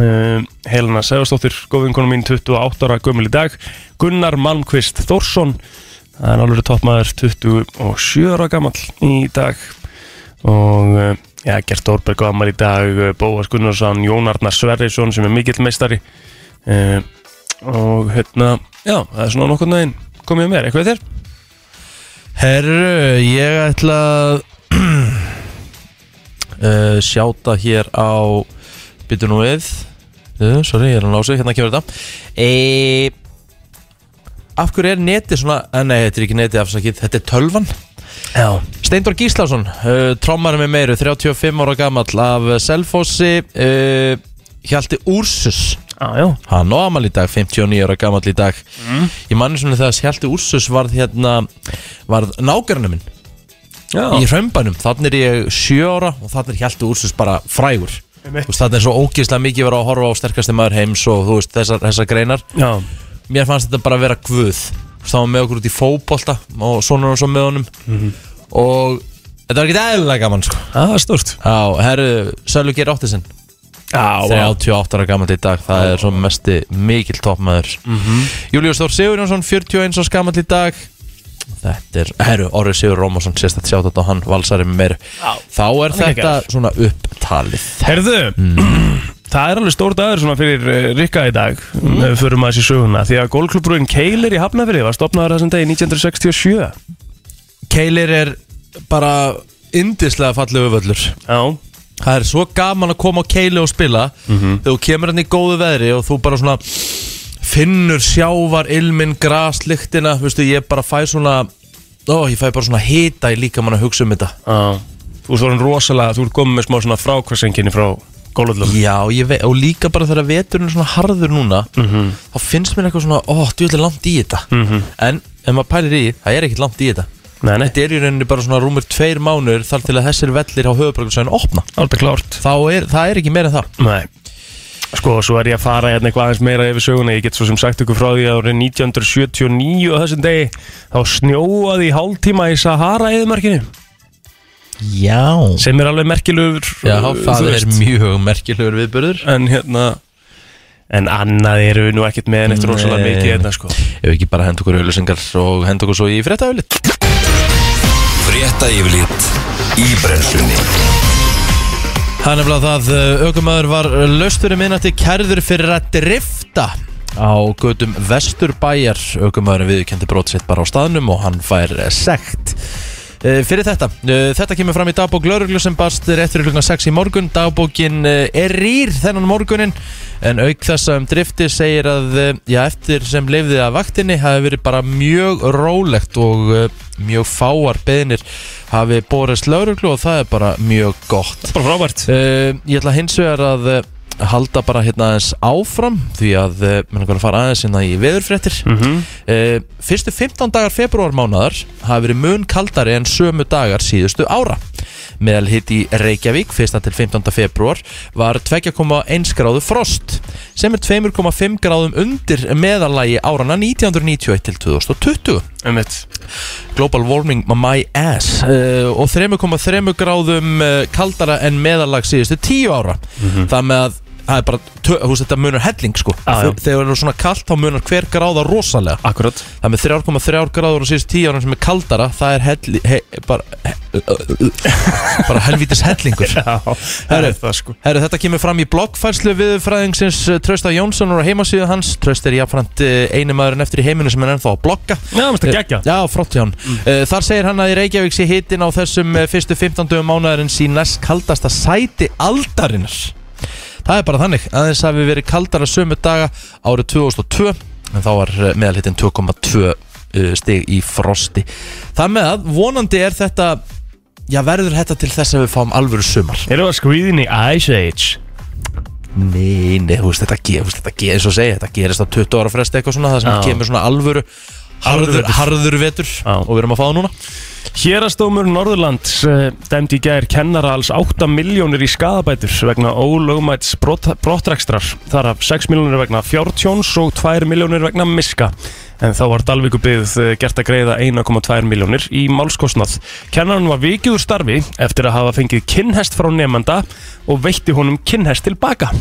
Speaker 1: uh, Helena Sæðarsdóttir, góðvinkonu mín 28 ára gömul í dag Gunnar Malmqvist Þórsson Það er alveg toppmaður 27 ára gamall í dag og uh, já, Gert Orberg á ammar í dag uh, Bóas Gunnarsson, Jón Arnar Sverrisson sem er mikill meistari uh, og hérna já, það er svona nokkur neginn komið með eitthvað þér?
Speaker 2: Herru, ég ætla að uh, sjáta hér á bitur nú við uh, sorry, ég er að lása, hérna kemur þetta e af hverju er netið svona eh, nei, þetta er ekki netið afsakið, þetta er tölvan
Speaker 1: Já
Speaker 2: Steindor Gíslason, uh, trommarum með meiru, 35 ára gamall af Selfossi, uh, Hjalti Úrsus,
Speaker 1: Já, já,
Speaker 2: hann á amal í dag, 59 ára gamall í dag. Ég manni svona þegar Hjalti Úrsus varð hérna, varð nágrannum minn í
Speaker 1: já.
Speaker 2: hrömbanum, þannig er ég 7 ára og þannig er Hjalti Úrsus bara frægur.
Speaker 1: Einmitt.
Speaker 2: Þú veist, Þannig er svo ógeðslega mikið verið að horfa á sterkasti maður heims og þú veist þessar, þessar greinar
Speaker 1: já.
Speaker 2: mér fannst þetta bara að vera guð Þú veist, það var með okkur út í fótbolta og svona og svo með honum
Speaker 1: Mhm.
Speaker 2: og þetta var ekki eðlilega gaman sko
Speaker 1: Það er stórt
Speaker 2: Já, herru, Eh, Sölvi Geir Óttisen
Speaker 1: Já, já.
Speaker 2: 38 ára gaman í dag, það er svo mesti mikil toppmaður mm
Speaker 1: Mhm.
Speaker 2: -hmm. Július Þór Sigurjónsson, 41 ára gaman í dag Þetta er, herru, Orri Sigur Rómarsson sérst að sjá þetta á hann, valsari með mér
Speaker 1: Já.
Speaker 2: Þá er
Speaker 1: Hann er
Speaker 2: þetta svona upptalið
Speaker 1: Herðu,
Speaker 2: Mm.
Speaker 1: það er alveg stór dagur svona fyrir eh, Rikka í dag mm. fyrir maður sér söguna því að golfklubbrúin Keilir í Hafnafyrði var stopnaður þessum degi 1967
Speaker 2: Keilir er bara indislega fallegu völlur
Speaker 1: Já,
Speaker 2: Það er svo gaman að koma á keili og spila Þegar þú kemur hann í góðu veðri Og þú bara svona Finnur sjávar, ilminn, graslyktina Veistu, ég bara fæ svona Ó, ég fæ bara svona hita í líka mann að hugsa um þetta
Speaker 1: já Þú ert orðin rosalega, þú ert komið með smá svona frákvæsenginni frá golflum
Speaker 2: Já, ég veit, og líka bara þegar veturinn er svona harður núna
Speaker 1: Mhm.
Speaker 2: Þá finnst mér eitthvað svona Ó, þú er langt í þetta -hmm. En, ef maður pælir í, það er ekkert langt í þetta
Speaker 1: Nei, nei,
Speaker 2: Þetta er í rauninni bara svona rúmur tveir mánur Þar til að þessir vellir á höfubrakursæðinu opna
Speaker 1: alveg klárt
Speaker 2: Þá er, það er ekki meira en það
Speaker 1: Nei Sko, svo er ég að fara hérna eitthvað aðeins meira yfir söguna Ég get svo sem sagt ykkur frá því að árið 1979 á þessum degi þá snjóaði í hálftíma í Sahara-eðumarkinu
Speaker 2: Já
Speaker 1: sem er alveg merkilegur
Speaker 2: Já,
Speaker 1: uh,
Speaker 2: það
Speaker 1: þú
Speaker 2: er
Speaker 1: veist.
Speaker 2: mjög merkilegur viðbörður
Speaker 1: en hérna en annað eru við nú ekkert með en eitt rosalega
Speaker 2: Nei.
Speaker 1: mikið hérna sko
Speaker 2: Ef ekki bara hend okkur auðlýsingar og hend okkur svo í fréttaöflit
Speaker 3: Frétta yfirlit í brennslunni
Speaker 2: Það er nefnilega
Speaker 1: eh,
Speaker 2: það aukumæður var löst fyrir minnati kærður fyrir að drifta á gödum Vesturbæjar aukumæður viðkendi brot sitt bara á staðnum og hann fær eh, sekt Eh, Fyrir þetta, eh, þetta kemur fram í dagbók Lörglu sem barst rétt fyrir klukkan 6 í morgun Dagbókin eh, er rýr þennan morgunin En auk þess að um drifti segir að eh, Já, eftir sem lifði að vaktinni hafi verið bara mjög rólegt Og eh, mjög fáar beðinir hafi borist Lörglu Og það er bara mjög gott
Speaker 1: bara frábært
Speaker 2: Eh, Ég ætla hins vegar að eh, halda bara hérna aðeins áfram því að eh, mér langar að fara aðeins hérna í veðurfréttir Eh, Fyrstu 15 dagar februarmánaðar hafa verið mun kaldari en sömu dagar síðustu ára Meðal hitt í Reykjavík 1. til 15. februar var 2,1 gráðu frost sem er 2,5 gráðum undir meðalagi árana 1991 til 2020
Speaker 1: Einmitt.
Speaker 2: Global warming my ass uh, og 3,3 gráðum uh, kaldara en meðalag síðustu 10 ára það með að það er bara, tö- þú veist þetta munar helling sko
Speaker 1: Mhm. Ah, Já, já.
Speaker 2: þegar það er svona kalt þá munar hver gráða rosalega
Speaker 1: Akkurat
Speaker 2: það er með 3,3 gráður og síðust 10 ára sem er kaldara það er helli, he, bara, he, bara helvítis hellingur
Speaker 1: Já, það er það sko
Speaker 2: Herru, þetta kemur fram í bloggfærslu viðfræðingsins Trösta Jónssonar á heimasíðu hans Tröst er jáfnframt einu maðurinn eftir í heiminu sem er ennþá að blogga Eh,
Speaker 1: Já, mér finnst það Mm. geggja
Speaker 2: Já, frótti hann Eh, Þar segir hann að í Reykjavík sé hittin á þessum eh, fyrstu 15 dögum mánuðarinn sín næst kaldasta sæti aldarinnar Það er bara þannig, aðeins hafi verið kaldara sömu daga árið 2002 en þá var eh, meðalhittin 2,2 eh, stig í frosti Það með að vonandi er þetta Já, verður þetta til þess að við fáum alvöru sumar
Speaker 1: Erum við að skrýðin í Ice Age?
Speaker 2: Nei, nei, þú veist, þetta gerist, þetta gerist, svo segja, þetta gerist á 20 ára fresti eitthvað svona, það sem
Speaker 1: Já.
Speaker 2: kemur svona alvöru
Speaker 1: Harður
Speaker 2: harður,
Speaker 1: vetur.
Speaker 2: harður vetur
Speaker 1: Já.
Speaker 2: og við erum að fá það núna
Speaker 1: Hérastómur Norðurlands eh, dæmdi í gær kennara alls 8 miljónir í skadabætur vegna ólögumæts brot, brottrekstrar þar af 6 miljónir vegna fjártjóns og 2 miljónir vegna miska en þá var Dalvíkubyggð eh, gert að greiða 1,2 miljónir í málskosnað Kennaran var vikið úr starfi eftir að hafa fengið kinnhest frá nefnanda og veitti honum kinnhest tilbaka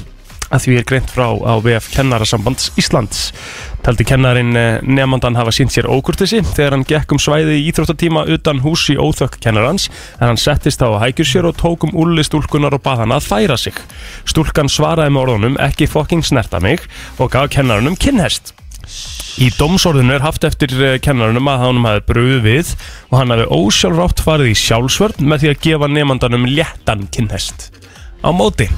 Speaker 1: að því er greint frá á VF Kennarasambands Íslands. Taldi kennarin nefnandan hafa sínt sér ókurtisi þegar hann gekk um svæði í íþróttatíma utan hús í óþökk kennarans en hann settist þá að hækjur sér og tók um úlli stúlkunar og bað hann að færa sig. Stúlkan svaraði með orðunum ekki fokking snerta mig og gaf kennaranum kinnhest. Í domsorðinu er haft eftir eh, kennarunum að hann hafi brúið við og hann hafi ósjálfrátt farið í sjálfsvörn með því að gefa nefnandanum léttan kinnhest á móti.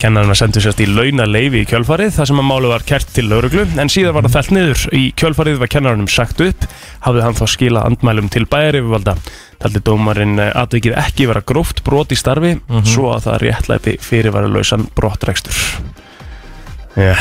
Speaker 1: Kennarinn var sendur sérst í launaleifi í kjölfarið þar sem að málu var kert til lauruglu en síðan var það fellt niður. Í kjölfarið var kennarinnum sagt upp, hafði hann þá skila andmælum til bæjaryfirvalda. Taldi dómarinn eh, atvikið ekki vera gróft brot í starfi svo að það réttlæti fyrirvaralausan brottrekstur. Já,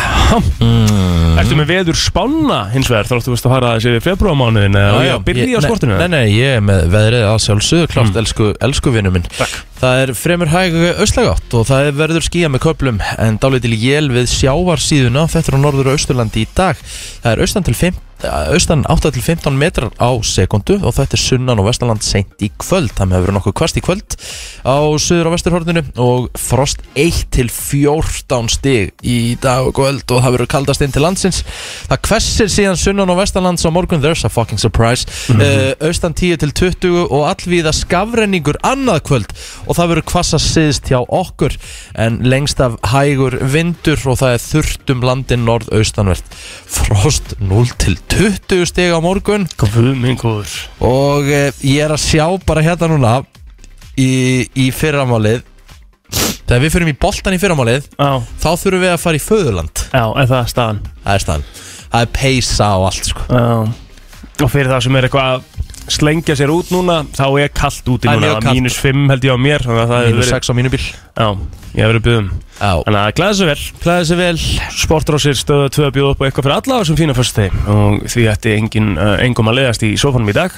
Speaker 2: Mm.
Speaker 1: ertu með veður spána hins vegar þáttu veist að fara þessi við februarmánuðin eða á ég að byrja á
Speaker 2: Ég-
Speaker 1: sportinu? Mm.
Speaker 2: Nei, nei, ég er með veðrið að sjálfsögðu klárt, elsku, elsku vinnu minn
Speaker 1: Takk.
Speaker 2: Það er fremur hæg austagátt og það er verður skýja með köplum en dálítil jél við sjávarsíðuna þetta er á norður og austurlandi í dag Það er austan, til fimm, eh, austan 8-15 metrar á sekundu og þetta er sunnan og vestanland seint í kvöld það með að vera nokkuð kvast í kvöld á suður og vesturhorninu og frost 1-14 stig í dag og kvöld og það verður kaldast inn til landsins það kvessir síðan sunnan og vestanlands á morgun there's a fucking surprise
Speaker 1: Mhm.
Speaker 2: mm austan 10-20 og allvíða skafrenningur annað kvöld og það verður kvassa síðst hjá okkur en lengst af hægur vindur og það er þurrt um landin norðaustanvert frost 0-20 stig á morgun
Speaker 1: Guð minn góður.
Speaker 2: og eh, ég er að sjá bara hérna núna í, í fyrramálið þegar við fyrir í boltan í fyrramálið
Speaker 1: Já,
Speaker 2: þá þurfum við að fara í föðurland
Speaker 1: já, er það staðan?
Speaker 2: það er staðan það er peysa og allt sko
Speaker 1: Já. Og fyrir það sem er eitthvað að slengja sér út núna Þá er kallt úti
Speaker 2: Það er
Speaker 1: núna
Speaker 2: mjög
Speaker 1: Það er
Speaker 2: kalt.
Speaker 1: mínus 5 held ég á mér Þannig að það hefur
Speaker 2: mínus
Speaker 1: verið
Speaker 2: 6 á mínu bíl
Speaker 1: Já, ég hefur verið byggðum
Speaker 2: já
Speaker 1: Þannig að glæða sér vel
Speaker 2: klæði sig vel
Speaker 1: Sportrósir stöða tvö að bjóða upp á eitthvað fyrir alla á þessum fína fyrstu og því ætti engin, uh, engum að leiðast í sofanum í dag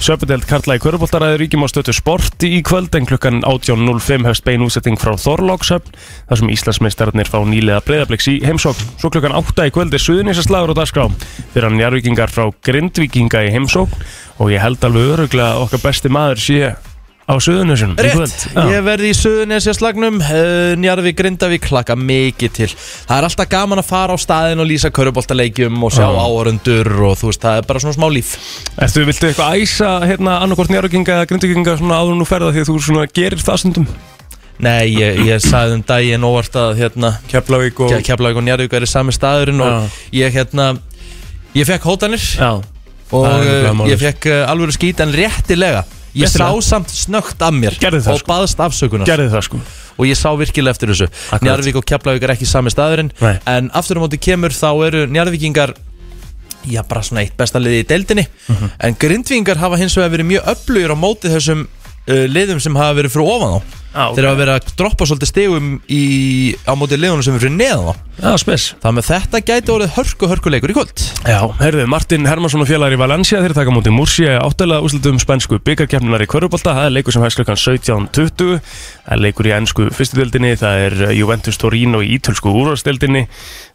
Speaker 1: Söpudeld Karla í Köruboltaræði ríkjum á stötu sport í kvöld en klukkan 18.05 hefst bein útsetting frá Þorlókshöfn þar sem Íslandsmeistararnir fá nýlega breyðabliks í heimsókn Svo klukkan 8 í kvöld er suðunisaslagur á dagskrá fyrir hann jarvíkingar frá Grindvíkinga í heimsókn og ég held alveg öruglega að okkar besti maður sé á suðunisun
Speaker 2: Rétt, ég verði í Suðunesja slagnum Njarvi Grindavík klaka mikið til Það er alltaf gaman að fara á staðin og lýsa köruboltaleikjum og sjá
Speaker 1: Já.
Speaker 2: áhörundur og þú veist, það er bara svona smá líf
Speaker 1: Ertu, viltu eitthvað æsa hérna annarkort njárvíkinga eða grindvíkinga svona áður en þú ferða því að þú svona gerir það stundum?
Speaker 2: Nei, ég, ég sagði um daginn óvart að hérna,
Speaker 1: Keflavík og...
Speaker 2: Keflavík og Njarðvík er í sami staðurinn og ég hérna ég fekk hótanir
Speaker 1: Já,
Speaker 2: og
Speaker 1: það er nefnilega
Speaker 2: uh,
Speaker 1: málið.
Speaker 2: ég fekk uh, alvöru skít en réttilega ég sá
Speaker 1: Réttilega?
Speaker 2: samt snögt af mér
Speaker 1: Gerðu það,
Speaker 2: og
Speaker 1: sko.
Speaker 2: baðst afsökunar
Speaker 1: gerði það sko.
Speaker 2: og ég sá virkilega eftir þessu
Speaker 1: Akkurat.
Speaker 2: Njarðvík og Keflavík er ekki í sami staðurinn
Speaker 1: Nei.
Speaker 2: en aftur á móti kemur þá eru Njarðvíkingar já bara svona eitt besta liði í deildinni
Speaker 1: Mhm.
Speaker 2: en Grindvíkingar hafa hins vegar verið mjög öflugir á móti þessum uh, liðum sem hafa verið frá ofan á
Speaker 1: Á,
Speaker 2: Þeir hafa verið að droppa svolítið stigum í, á móti liðunum sem er fyrir neðan þá.
Speaker 1: Já, spes
Speaker 2: Þannig að þetta gæti orðið hörku hörku leikur í kvöld
Speaker 1: Já, herðu, Martin Hermansson og félagar í Valencia þeir taka á móti Múrsia áttalega úslutum spænsku byggarkeppnunar í Körubolta, það er leikur sem hefst klukkan 17.20, það er leikur í ennsku fyrstudeldinni, það er Juventus Torino í ítölsku úrvarsdeldinni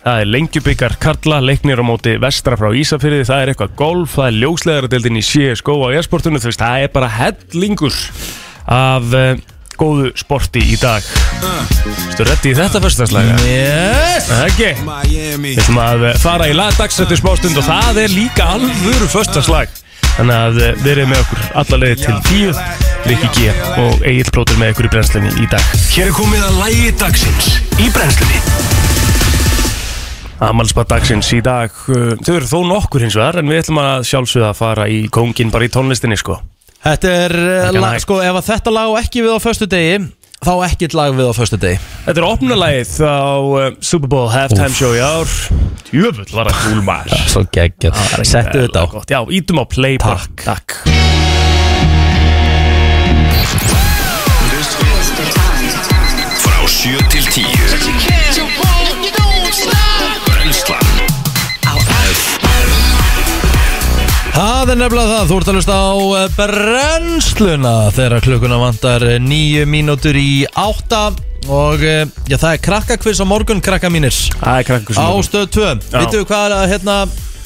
Speaker 1: það er lengjubyggar Karla, leiknir á móti vestra frá Ísafyrði, það er eitthvað golf, það er ljósleðaradeldin í CSGO á e-sportunum, þú veist, það er bara hellingur af uh, góðu sporti í dag Stu reddi í þetta fyrstaslaga?
Speaker 2: Yes
Speaker 1: Ekki
Speaker 5: Miami.
Speaker 1: Við ætlum að eh, fara í lagdagsrættu smástund og það er líka alvöru föstaslag Þannig að eh, verið með okkur alla leið til 10 Rikki G og Egil Plótur með ykkur í brennslunni í dag
Speaker 3: Hér er komið að lægi dagsins í brennslunni
Speaker 1: Amalspa dagsins í dag eh, Þau eru þó nokkur hins vegar en við ætlum að sjálfsögða að fara í kóngin bara í tónlistinni sko
Speaker 2: Þetta er, uh,
Speaker 1: Ekki
Speaker 2: lag,
Speaker 1: lag.
Speaker 2: sko, ef að þetta lag á ekki við á föstu degi Þá ekkert lag við á föstu degi
Speaker 1: Þetta er opnulagið á eh, Super Bowl halftime show í ár Ah, Jöfull var að kúlmar
Speaker 2: Svo geggjart Settu þetta á
Speaker 1: Já, ítum á play bara. Takk
Speaker 3: frá 7 til 10 Brennslan
Speaker 2: Það er nefnilega það, þú ert að hlusta á eh, brennsluna þegar klukkuna vantar nýju mínútur í átta og eh, já, það er krakkakviss á morgun, krakka mínir
Speaker 1: Það er krakkur sem
Speaker 2: á stöð 2
Speaker 1: Já.
Speaker 2: Vittu hvað, er að, hérna,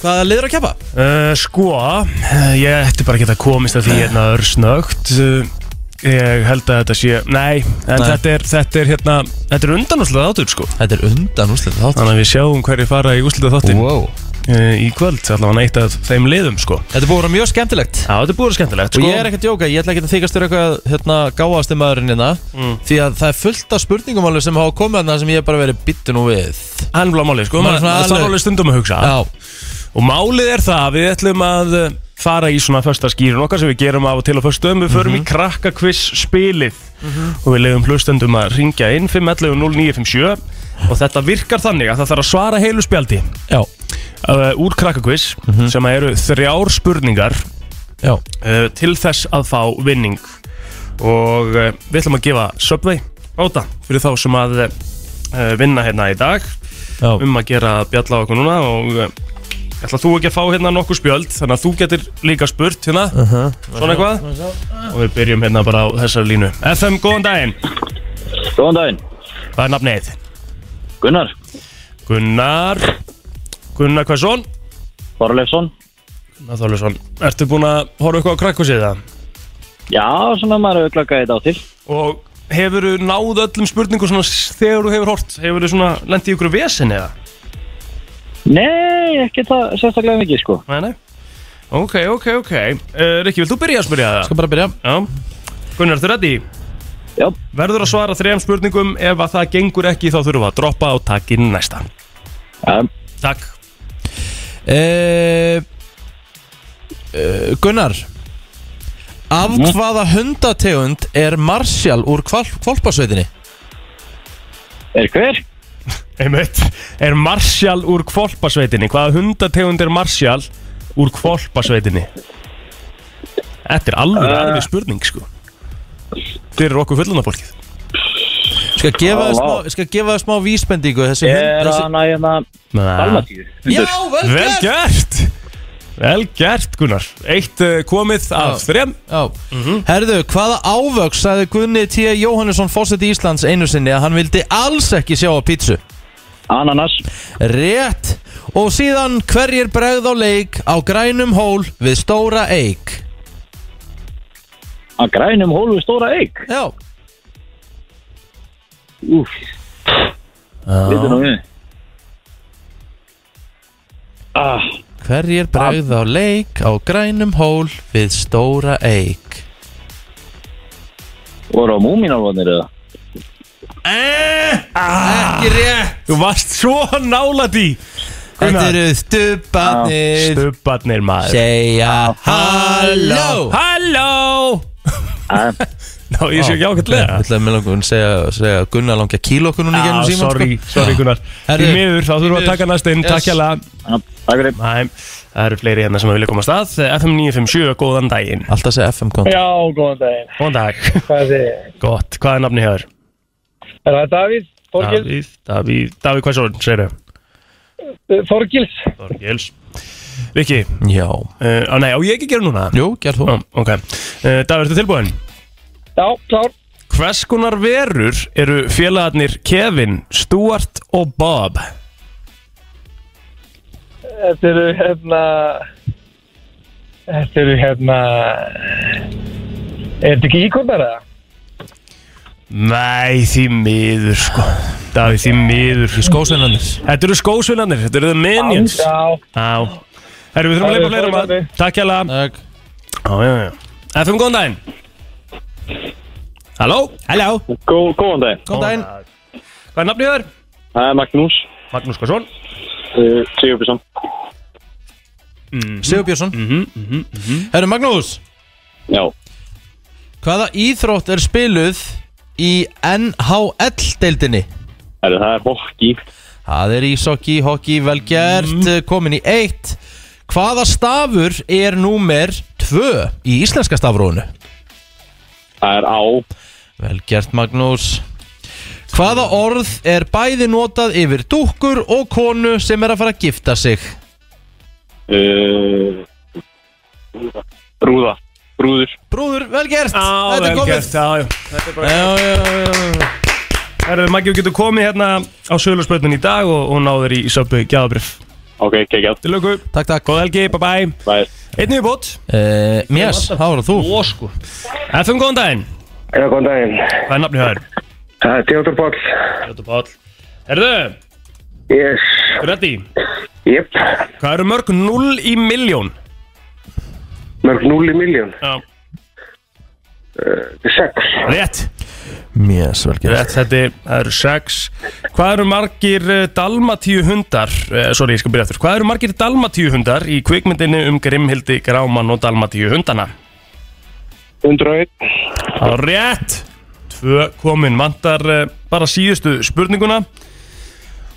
Speaker 2: hvað liður að keppa?
Speaker 1: Uh, sko, eh, ég ætti bara að geta komist að því hérna örsnögt uh, Ég held að þetta sé, nei, en
Speaker 2: Nei.
Speaker 1: Þetta, er, þetta er hérna, þetta er undanúslega þáttur sko
Speaker 2: Þetta er undan úrslit þátt
Speaker 1: Þannig að við sjáum hverju fara í úslita þáttin uh,
Speaker 2: wow.
Speaker 1: í kvöld Allavega neitt af þeim liðum sko Já,
Speaker 2: Þetta er búið að vera mjög skemmtilegt
Speaker 1: þetta er búið skemmtilegt
Speaker 2: Og
Speaker 1: sko
Speaker 2: ég er ekki að djóka, ég ætla ekki að þykast þér eitthvað hérna, gáast í maðurinn hérna
Speaker 1: Mm.
Speaker 2: Því að það er fullt af spurningum alveg sem hafa komið hérna sem ég hef bara verið bittu nú við
Speaker 1: Hann blá máli sko, maður
Speaker 2: Maður er svona
Speaker 1: það þarf
Speaker 2: alveg-
Speaker 1: alveg stundum að hugsa
Speaker 2: Já,
Speaker 1: Og málið er það, að við ætlum að eh, fara í svona föstaskýrun okkar sem við gerum af og til á föstum Við
Speaker 2: Mhm.
Speaker 1: förum í krakkakviss spilið og við leiðum hlustendum að ringja inn 511 0957 og þetta virkar þannig að það þarf að svara heilu spjaldi
Speaker 2: já, Mhm.
Speaker 1: uh, úr krakkakviss sem eru þrjár spurningar
Speaker 2: já,
Speaker 1: uh, til þess að fá vinning og uh, við ætlum að gefa Subway bóta fyrir þá sem að uh, vinna hérna í dag
Speaker 2: já.
Speaker 1: um að gera bjalla á okkur núna og uh, ætla þú ekki að fá hérna nokkuð spjöld þannig að þú getur líka spurt hérna svona eitthvað og við byrjum hérna bara á þessari línu FM, góðan daginn,
Speaker 6: Góðan daginn,
Speaker 1: hvað er nafnið?
Speaker 6: Gunnar
Speaker 1: Gunnar Gunnar Hversson
Speaker 6: Þorleifsson
Speaker 1: Gunnar Þorlesson, ertu búin að horfa eitthvað á krakkusið það?
Speaker 6: Já, svona maður hefur glakkað þetta á til
Speaker 1: Og hefurðu náð öllum spurningum svona s- þegar þú hefur hort hefurðu svona lendið í ykkur vesen eða?
Speaker 6: Nei, ekki það sérstaklega mikið sko
Speaker 1: Nei, nei Ok, ok, ok uh, Rikki, vilt þú byrja að spyrja það?
Speaker 2: Skal bara byrja
Speaker 1: Já Gunnar, ertu reddi?
Speaker 6: Já,
Speaker 1: Verður að svara þrejum spurningum ef að það gengur ekki þá þurfum við að droppa og taka inn næsta
Speaker 6: ja,
Speaker 1: Takk
Speaker 2: Eh, eh, Gunnar Af
Speaker 6: Mhm.
Speaker 2: hvaða hundategund er Marshall úr kval kvalpasveitinni?
Speaker 6: er hver?
Speaker 1: Einmitt Er Marshall úr kvolpasveitinni? Hvaða hundategund er Marshall úr kvolpasveitinni? Þetta er alveg
Speaker 6: Eh.
Speaker 1: uh. alveg spurning sko Fyrir okkur fullunarfólkið
Speaker 2: Skal gefa
Speaker 6: Ó,
Speaker 2: þér
Speaker 6: vá.
Speaker 2: smá, skal gefa þér smá vísbendingu þessi
Speaker 6: Er
Speaker 2: þessi...
Speaker 6: hann að hérna Dalmatíu
Speaker 2: Já, vel
Speaker 1: Vel
Speaker 2: gert
Speaker 1: gert Vel gert Gunnar Eitt uh, komið af þrem Mhm.
Speaker 2: Já. Herðu, hvaða ávöks sagði Gunni T. Jóhannesson fórseti Íslands einu sinni að hann vildi alls ekki sjá á pítsu
Speaker 6: Ananas
Speaker 2: Rétt Og síðan hverjir bregð á leik á grænum hól við stóra eik
Speaker 6: Að grænum hólu stóra eik
Speaker 2: Já,
Speaker 6: Úf Lítur nú við ah,
Speaker 2: Hverjir bregð á leik á grænum hól við stóra eik?
Speaker 6: Voru á múminálvanir eða?
Speaker 2: Ekki rétt!
Speaker 1: Þú varst svo nála því
Speaker 2: Þetta eru stupanir
Speaker 1: Stubbarnir maður
Speaker 2: Segja halló
Speaker 1: Halló
Speaker 6: Ah,
Speaker 1: Ná, ég sé ekki ákveðlega
Speaker 2: Ég ætlaði að mér langar að segja, segja að Gunnar langi að kíla okkur núna í gegnum
Speaker 1: Já,
Speaker 2: síman
Speaker 1: sorry, sorry Gunnar Því
Speaker 2: Herðu,
Speaker 1: miður, þá þurfum við
Speaker 2: því
Speaker 1: að taka
Speaker 2: miður.
Speaker 1: næst inn,
Speaker 2: Yes.
Speaker 1: takk hérlega
Speaker 6: Já, Takk fyrir
Speaker 1: Næ, það eru fleiri hérna sem vilja koma að stað FM 957, góðan daginn
Speaker 2: Alltaf segja FM kom
Speaker 5: Já, góðan daginn.
Speaker 1: Góðan dag,
Speaker 5: Hvað segir ég?
Speaker 1: gott, hvað er nafni hér?
Speaker 5: Er það Davíð? Þorgils?
Speaker 1: Davíð, Davíð, Davíð, hvað svo, segir þau?
Speaker 5: Eh, Þorgils?
Speaker 1: Þorgils Viki,
Speaker 2: Já
Speaker 1: uh, á nei, á ég ekki að gera núna?
Speaker 2: Jú, gerð þú
Speaker 1: Ó, ok, uh, Davíð, ertu tilbúin?
Speaker 5: Já, klár.
Speaker 1: Hvers konar verur eru félagarnir Kevin, Stuart og Bob?
Speaker 5: Þetta eru hérna... Þetta eru hérna... Er þetta ekki íkvöndar eða?
Speaker 1: Nei, því miður, sko Davíð, því miður sko.
Speaker 2: Skósveinarnir
Speaker 1: Þetta eru skósvinnarnir, þetta eru The Minions Já,
Speaker 5: Já,
Speaker 1: Herru, við þurfum að
Speaker 5: Herru,
Speaker 1: leipa fleira
Speaker 5: sorry,
Speaker 1: maður
Speaker 5: Bjarni.
Speaker 1: Takk hérlega
Speaker 2: Takk
Speaker 1: Já, já, já. FM, góðan daginn Halló Halló
Speaker 6: Gó, Góðan dag
Speaker 2: Góðan daginn
Speaker 1: Hvað er nafnið þér?
Speaker 6: Það er Magnús
Speaker 1: Magnús Kvarsson
Speaker 6: uh, Sigurbjörnsson
Speaker 2: Sigur Björnsson Herru Magnús
Speaker 6: Já
Speaker 2: Hvaða íþrótt er spiluð í NHL-deildinni?
Speaker 6: Herru, það er hokki
Speaker 2: Það er ísokki, hokki, vel gert, eh, komin í eitt. Hvaða stafur er númer tvö í íslenska stafrónu?
Speaker 6: Það er á
Speaker 2: Vel gert, Magnús. Hvaða orð er bæði notað yfir dúkkur og konu sem er að fara að gifta sig?
Speaker 6: uh, Brúða Brúður
Speaker 2: Brúður, vel gert!
Speaker 1: Á,
Speaker 2: Þetta er
Speaker 1: vel
Speaker 2: komið.
Speaker 1: gert Já, já
Speaker 2: Já, já, já.
Speaker 1: Herru, Maggi, við getum komið hérna á sögurspötnin í dag og, og náður í söpbu gjáðabrif
Speaker 6: Ok, kekjað
Speaker 1: Til lögu
Speaker 2: Takk, takk.
Speaker 1: Góð helgi, bye bye
Speaker 6: Bæði
Speaker 1: Einn viðbót
Speaker 2: Uh, yes, það voru þú.
Speaker 1: Ó, sko FM, góðan daginn
Speaker 7: Já, góðan daginn.
Speaker 1: Hvað er nafnið þér?
Speaker 7: Það er Theodor Páll.
Speaker 1: Jóta Páll Herru,
Speaker 7: Yes.
Speaker 1: ready
Speaker 7: Jep.
Speaker 1: Hvað eru mörg 0 í miljón?
Speaker 7: Mörg 0 í Eh, miljón.
Speaker 1: Já
Speaker 7: 6.
Speaker 1: Rétt
Speaker 2: Yes, vel gert.
Speaker 1: Rétt, þetta er- það eru sex Hvað eru margir eh, dalmatíu hundar uh, Sorry, ég skal byrja aftur Hvað eru margir dalmatíu hundar í kvikmyndinni um Grimhildi, Gráman og dalmatíu hundana?
Speaker 7: 101.
Speaker 1: Það er rétt Tvö komin vantar uh, bara síðustu spurninguna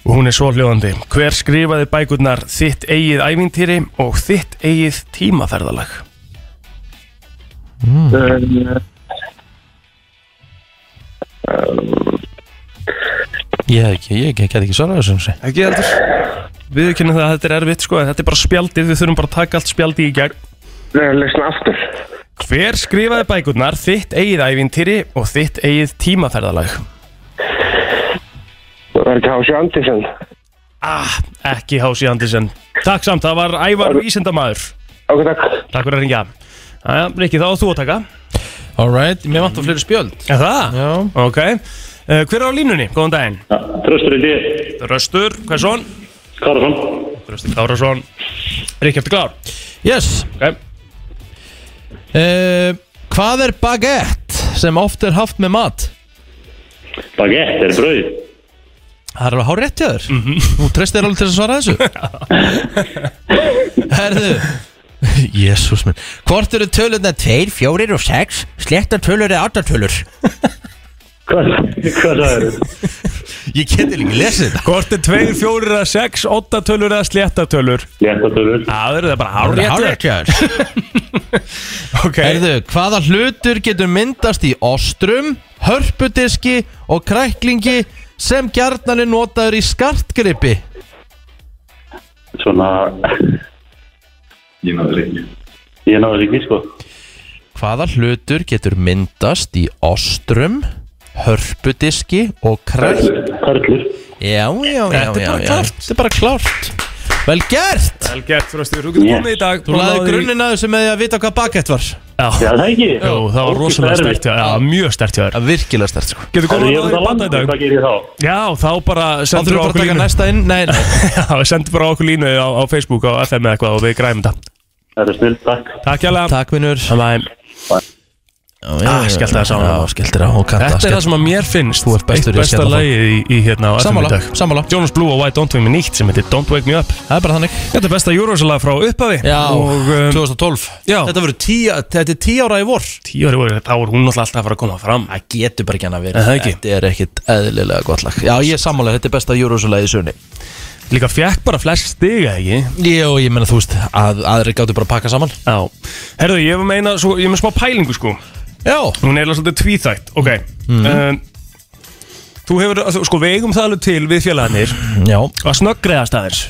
Speaker 1: Og hún er svo hljóðandi Hver skrifaði bækurnar þitt eigið ævintýri og þitt eigið tímaferðalag?
Speaker 7: eh,
Speaker 2: Ég hef ekki, ég get ekki svarað þessu. eins og ég.
Speaker 1: Ekki heldur Við kynna það að þetta er erfitt sko en Þetta er bara spjaldið, við þurfum bara að taka allt spjaldið í gegn
Speaker 7: Lesna aftur.
Speaker 1: Hver skrifaði bækurnar þitt eigið ævintýri og þitt eigið tímaferðalag?
Speaker 7: Það er ekki Hási Andersen.
Speaker 1: Ah, ekki Hási Andersen. Takk samt, það var Ævar Vísindamaður.
Speaker 7: Ok, takk.
Speaker 1: Takk fyrir að ringja. Jæja, Rikki, þá átt þú að taka.
Speaker 2: All right, mér vantar fleiri spjöld.
Speaker 1: Er það?
Speaker 2: Já.
Speaker 1: Ok. Uh, hver er á línunni? Góðan daginn.
Speaker 6: Tröstur í því
Speaker 1: Röstur, hvað er svon?
Speaker 6: Karason
Speaker 1: Röstur Klárason. Rikki, eftir klár.
Speaker 2: Yes.
Speaker 1: Ok.
Speaker 2: Uh, hvað er baguette sem oft er haft með mat?
Speaker 6: Baguette er brauð
Speaker 2: Það er alveg hár rétt hjá þér
Speaker 1: Mhm.
Speaker 2: Þú treystir alveg til að svara þessu Herðu Jésús minn Hvort eru tölurna 2, 4 og 6 Slekta tölur eða 8 tölur
Speaker 6: Hvað, hvað það eru?
Speaker 2: Ég geti líka lesið þetta
Speaker 1: Hvort er 2, 4 eða 6, 8 tölur eða slétta tölur?
Speaker 6: Léttatölur
Speaker 1: Það eru það bara
Speaker 2: Það er
Speaker 1: hárrétt.
Speaker 2: hár rétt hjá þér
Speaker 1: Ok.
Speaker 2: Herðu, hvaða hlutur getur myndast í ostrum Hörpudiski og kræklingi Sem gjarnan er notaður í skartgripi
Speaker 6: Svona Ég náður ekki Ég náður ekki sko
Speaker 2: Hvaða hlutur getur myndast í ostrum Hörpudiski og kræklingi
Speaker 6: Karlur
Speaker 2: Já, já, já,
Speaker 1: Þetta er
Speaker 2: já,
Speaker 1: bara
Speaker 2: já.
Speaker 1: klárt.
Speaker 2: Þetta er bara klárt Vel gert
Speaker 1: Vel gert, Röstur. Þú getur
Speaker 6: Yeah.
Speaker 1: komið í dag.
Speaker 2: Þú
Speaker 1: og
Speaker 2: laði
Speaker 1: náð í-
Speaker 2: grunninn að þessu með því að vita hvað bakett var
Speaker 6: Já
Speaker 1: Já.
Speaker 6: það ekki
Speaker 1: Jú, það var rosalega stert hjá þér, já, mjög stert hjá þér
Speaker 2: Það er virkilega stert sko
Speaker 1: Getur
Speaker 6: Herri,
Speaker 1: komið
Speaker 6: Ég er
Speaker 1: að
Speaker 6: þetta
Speaker 1: náður banda í
Speaker 6: langt
Speaker 1: dag
Speaker 6: Hvað gerir ég þá?
Speaker 1: Já, þá bara
Speaker 2: Þá þurfum
Speaker 1: sendur á
Speaker 2: við bara að
Speaker 1: okkur
Speaker 2: taka
Speaker 1: línu
Speaker 2: næsta inn Nei, nei
Speaker 1: Já, sendur bara á okkur línu á, á Facebook á FM eða eitthvað og við græmum þetta
Speaker 6: Það er snill, takk
Speaker 1: Takk hjá
Speaker 2: Takk vinnur
Speaker 1: Bye Ah, skellti það saman.
Speaker 2: Já, skellti það á kalla
Speaker 1: Þetta er það sem að mér finnst
Speaker 2: Þú ert bestur
Speaker 1: Eitt
Speaker 2: í að
Speaker 1: besta
Speaker 2: skella fólk.
Speaker 1: lagið í, í hérna á FM í
Speaker 2: Sammála,
Speaker 1: dag
Speaker 2: sammála
Speaker 1: Jonas Blue og Why Don't We Me nýtt sem heitir Don't Wake Me Up
Speaker 2: Það er bara þannig
Speaker 1: Þetta er besta júrósalag frá upphafi
Speaker 2: Já,
Speaker 1: Og um,
Speaker 2: 2012
Speaker 1: já.
Speaker 2: Þetta verður tíu, þetta er tíu ára í vor
Speaker 1: tíu ári voru þá er hún náttúrulega alltaf að fara að koma fram
Speaker 2: Það getur bara ekki hann að vera
Speaker 1: Er það ekki?
Speaker 2: Þetta er ekkit eðlilega gott lag Já, ég er sammála, þetta er besta Eurosulæði sunni
Speaker 1: Líka fjekk bara flest stiga ekki
Speaker 2: Jó, ég menna þú veist að aðri gáttu bara að pakka saman
Speaker 1: Já Herðu, ég var meina, svo, ég er með smá pælingu sko
Speaker 2: Já Mhm.
Speaker 1: Hún er eiginlega svolítið tvíþægt Ok um, Þú hefur, þú- sko við eigum það alveg til við félagarnir
Speaker 2: Já,
Speaker 1: Að snöggreðast aðeins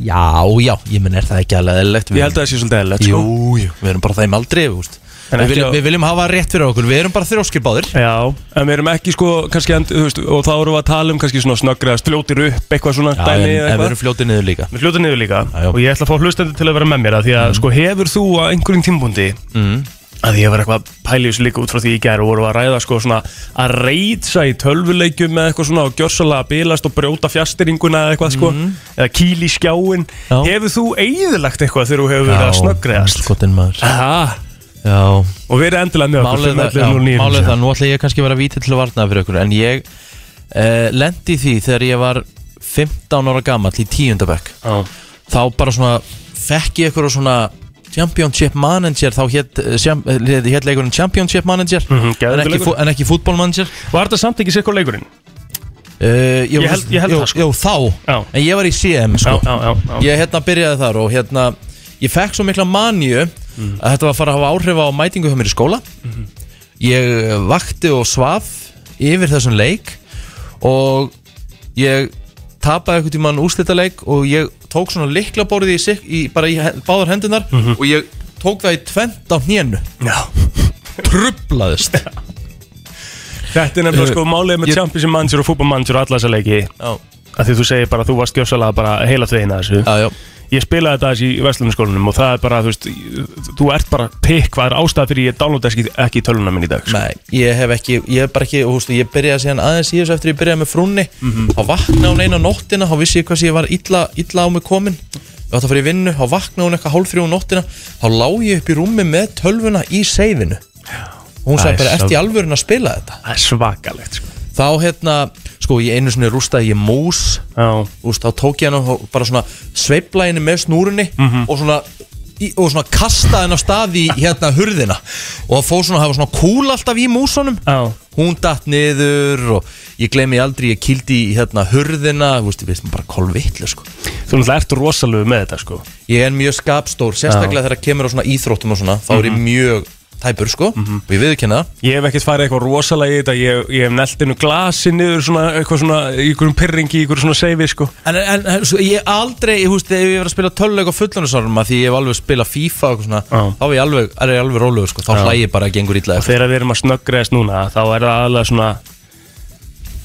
Speaker 2: já, já, ég menna er það ekki alveg eðlilegt
Speaker 1: Ég held að það sé svolítið eðlilegt
Speaker 2: Jú,
Speaker 1: sko
Speaker 2: jú, við erum bara þeim aldrei þú veist.
Speaker 1: En
Speaker 2: við
Speaker 1: ekki
Speaker 2: viljum,
Speaker 1: á-
Speaker 2: við viljum hafa rétt fyrir okkur Við erum bara þrjóskir báðir
Speaker 1: Já, en við erum ekki sko, kannski, and, þú veist, og þá erum við að tala um kannski svona snöggreðast, fljótir upp, eitthvað svona
Speaker 2: Já, en,
Speaker 1: dæmi eða
Speaker 2: en við
Speaker 1: eitthvað.
Speaker 2: erum fljótið niður líka
Speaker 1: Við fljóta niður líka
Speaker 2: Já, já.
Speaker 1: og ég ætla að fá hlustandi til að vera með mér að því að sko hefur þú á einhverjum tímbúndi
Speaker 2: mm.
Speaker 1: að ég var eitthvað pælið þessu líka út frá því í gær og voru að ræða sko svona að reytsa í tölvuleikjum með eitthvað svona og gjörsalega að bilast og brjóta fjastiringuna eða eitthvað sko eða kýl í skjáin
Speaker 2: Mm. Já.
Speaker 1: hefur þú eigðilagt eitthvað þegar þú hefur verið að snöggreðast
Speaker 2: skotin maður
Speaker 1: ah,
Speaker 2: Já,
Speaker 1: og verið endilega með okkur
Speaker 2: málið það, já,
Speaker 1: 511 09.
Speaker 2: málið það, nú ætla ég kannski að vera vítið til að varna fyrir okkur En ég uh, lendi í því þegar ég var 15 ára gamall í tíundabæk
Speaker 1: Já.
Speaker 2: Þá bara svona fekk ég eitthvað svona Championship Manager Þá hétt hét leikurinn Championship Manager
Speaker 1: Mhm, geðveikur
Speaker 2: en, ekki,
Speaker 1: leikur.
Speaker 2: fú- en ekki Football Manager
Speaker 1: var þetta samt ekki sikkur leikurinn?
Speaker 2: uh,
Speaker 1: Ég held- ég held
Speaker 2: jú,
Speaker 1: það, sko.
Speaker 2: Jú, þá
Speaker 1: Já.
Speaker 2: En ég var í CM sko
Speaker 1: Já, já, já, já.
Speaker 2: Ég hérna byrjaði þar og hérna Ég fekk svo mikla manju
Speaker 1: Mhm.
Speaker 2: að þetta var að fara að hafa áhrif á mætingu hjá mér í skóla Ég eh, vakti og svaf yfir þessum leik og ég tapaði einhvern tímann úrslitaleik og ég tók svona likla í, sikk- í, bara í he- báðar hendunar og ég tók það í tvent á hnénu
Speaker 1: Mhm. Já.
Speaker 2: Trublaðist
Speaker 1: Þetta er nefnilega
Speaker 2: Uh,
Speaker 1: sko málið með
Speaker 2: ég-
Speaker 1: Champions Manager og Fútbol Manager og alla þessa leiki
Speaker 2: Já,
Speaker 1: að því þú segir bara að þú varst gjössalega bara heila þveina þessu
Speaker 2: já, já,
Speaker 1: ég spilaði þetta aðeins í Vestlunarskólanum og það er bara, þú veist, þú ert bara pikk, hvað er ástæð fyrir ég downloada ekki, ekki töluna minn í dag sko.
Speaker 2: nei, ég hef ekki, ég hef bara ekki, og hústu, ég byrjaði síðan aðeins í þessu eftir ég byrjaði með frúnni þá vaknaði hún eina nóttina, þá vissi ég hvað sem ég var illa, illa á mig komin við ætti að fara í vinnu, þá vaknaði hún eitthvað hálf þrjú um nóttina þá lá ég upp í rúmi með tölvuna í seifinu og
Speaker 1: Æ,
Speaker 2: hún sagði bara,
Speaker 1: sá-
Speaker 2: ert í alvörun að spila þetta
Speaker 1: það er svakalegt sko.
Speaker 2: þá hérna, sko, ég einu sinni rústaði ég mús
Speaker 1: Já.
Speaker 2: úst, þá tók ég hann og bara svona sveifla henni með snúrunni
Speaker 1: Mhm.
Speaker 2: og svona í, og svona kasta henni á stað í hérna hurðina og það fór svona að hafa svona kúl alltaf í músunum
Speaker 1: Já.
Speaker 2: hún datt niður og ég gleymi aldrei, ég kildi í hérna hurðina þú veist, ég veist maður bara kolvitlu sko
Speaker 1: þú náttúrulega ert rosalegu með þetta sko.
Speaker 2: ég er mjög skapstór, sérstaklega þegar það kemur á svona íþróttum og svona, þá er ég
Speaker 1: Mhm.
Speaker 2: mjög tæpur sko, og ég viðurkenna það
Speaker 1: ég hef ekkert farið eitthvað rosalega í þetta ég, ég hef nelt innu glasi niður svona, eitthvað svona, í einhverjum pyrringi, í einhverjum svona seifi sko.
Speaker 2: En, en, en svo, ég aldrei, ég húst, ef ég verið að spila töluleik á fullunarsárum að því ég hef alveg að spila FIFA og eitthvað svona,
Speaker 1: Já.
Speaker 2: þá er ég alveg, er ég alveg rólegur, sko, þá hlæ ég bara að gengur illa
Speaker 1: og þegar við erum að snöggreðast núna þá er það aðalega svona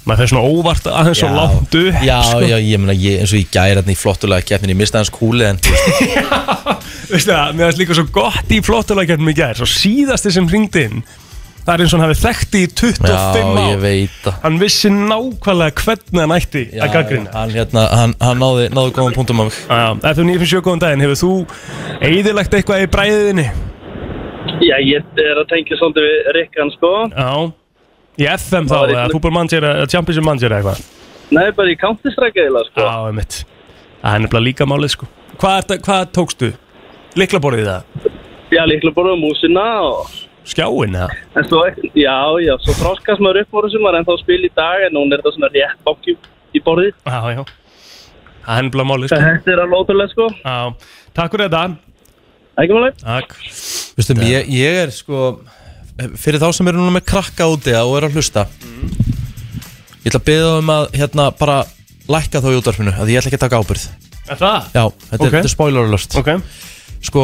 Speaker 1: maður fyrir svona óvart aðeins og láttu
Speaker 2: Já,
Speaker 1: sko.
Speaker 2: já, ég meina, ég, eins og ég gæri hérna í flottulega keppin, ég misti hans kúli en
Speaker 1: Veistu það, mér finnst líka svo gott í flottuleikjarnum í gær Svo síðasti sem hringdi inn Það er eins og hann hafi þekkti í 25 ár
Speaker 2: ég veit það.
Speaker 1: Hann vissi nákvæmlega hvernig hann ætti
Speaker 2: Já,
Speaker 1: að gaggrina
Speaker 2: Hann, hérna, hann, hann náði, náði góðan punktum af mig
Speaker 1: FM 957 góðan daginn, hefur þú eigðilegt eitthvað í bræðinni?
Speaker 8: Já, ég er að tengja svolítið við Rikkan, sko.
Speaker 1: Já Í FM þá,
Speaker 8: Það var
Speaker 1: eða
Speaker 8: eitthvað-
Speaker 1: fútbol manager eða championship manager eða eitthvað
Speaker 8: Nei, bara í Counter-Strike eða, sko.
Speaker 1: Já, einmitt Það er nefnilega líka málið sko Hvað, ertu- hvað tókstu? Liklaborðið það?
Speaker 8: Já, líklega bara á músina og...
Speaker 1: Skjáin það?
Speaker 8: En svo, já, já, svo þroskast maður upp voru sem maður ennþá spil í dag en hún er þetta svona rétt bók í, í borðið.
Speaker 1: Já, já Það er nefnilega málið sko
Speaker 8: Þetta er alveg ótrúlega, sko.
Speaker 1: Já, takk fyrir þetta
Speaker 8: Ekki máli?
Speaker 1: Takk
Speaker 2: Vistum, ég, ég er sko fyrir þá sem eru núna með krakka úti og eru að hlusta ég ætla að beða um að hérna bara lækka þá í útvarfinu, að ég ætla ekki að taka ábyrð
Speaker 1: Er það?
Speaker 2: Já,
Speaker 1: Ok.
Speaker 2: þetta, er, þetta er spoiler alert
Speaker 1: Ok
Speaker 2: Sko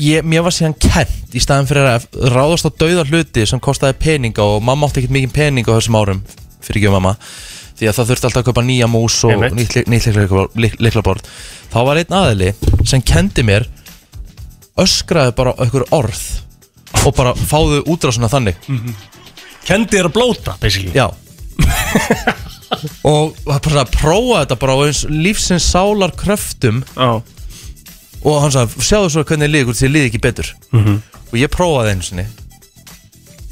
Speaker 2: ég, Mér var síðan kent í staðan fyrir að ráðast á dauða hluti sem kostaði peninga og mamma átti ekkert mikið peninga á þessum árum fyrir ekki mamma því að það þurfti alltaf að kaupa nýja mús og
Speaker 1: Einmitt.
Speaker 2: nýtt, ly- nýtt lyklaborð- lyk- lyklaborð þá var einn aðili sem kendi mér öskraði bara einhver orð og bara fáðu útrásuna þannig
Speaker 1: Kendi er að blóta, basically
Speaker 2: Já og var bara að prófa þetta bara á eins lífsins sálar kröftum
Speaker 1: Já Mhm.
Speaker 2: og hann sagði, sjáðu svo hvernig liði ykkur því liði ekki betur og ég prófaði einu sinni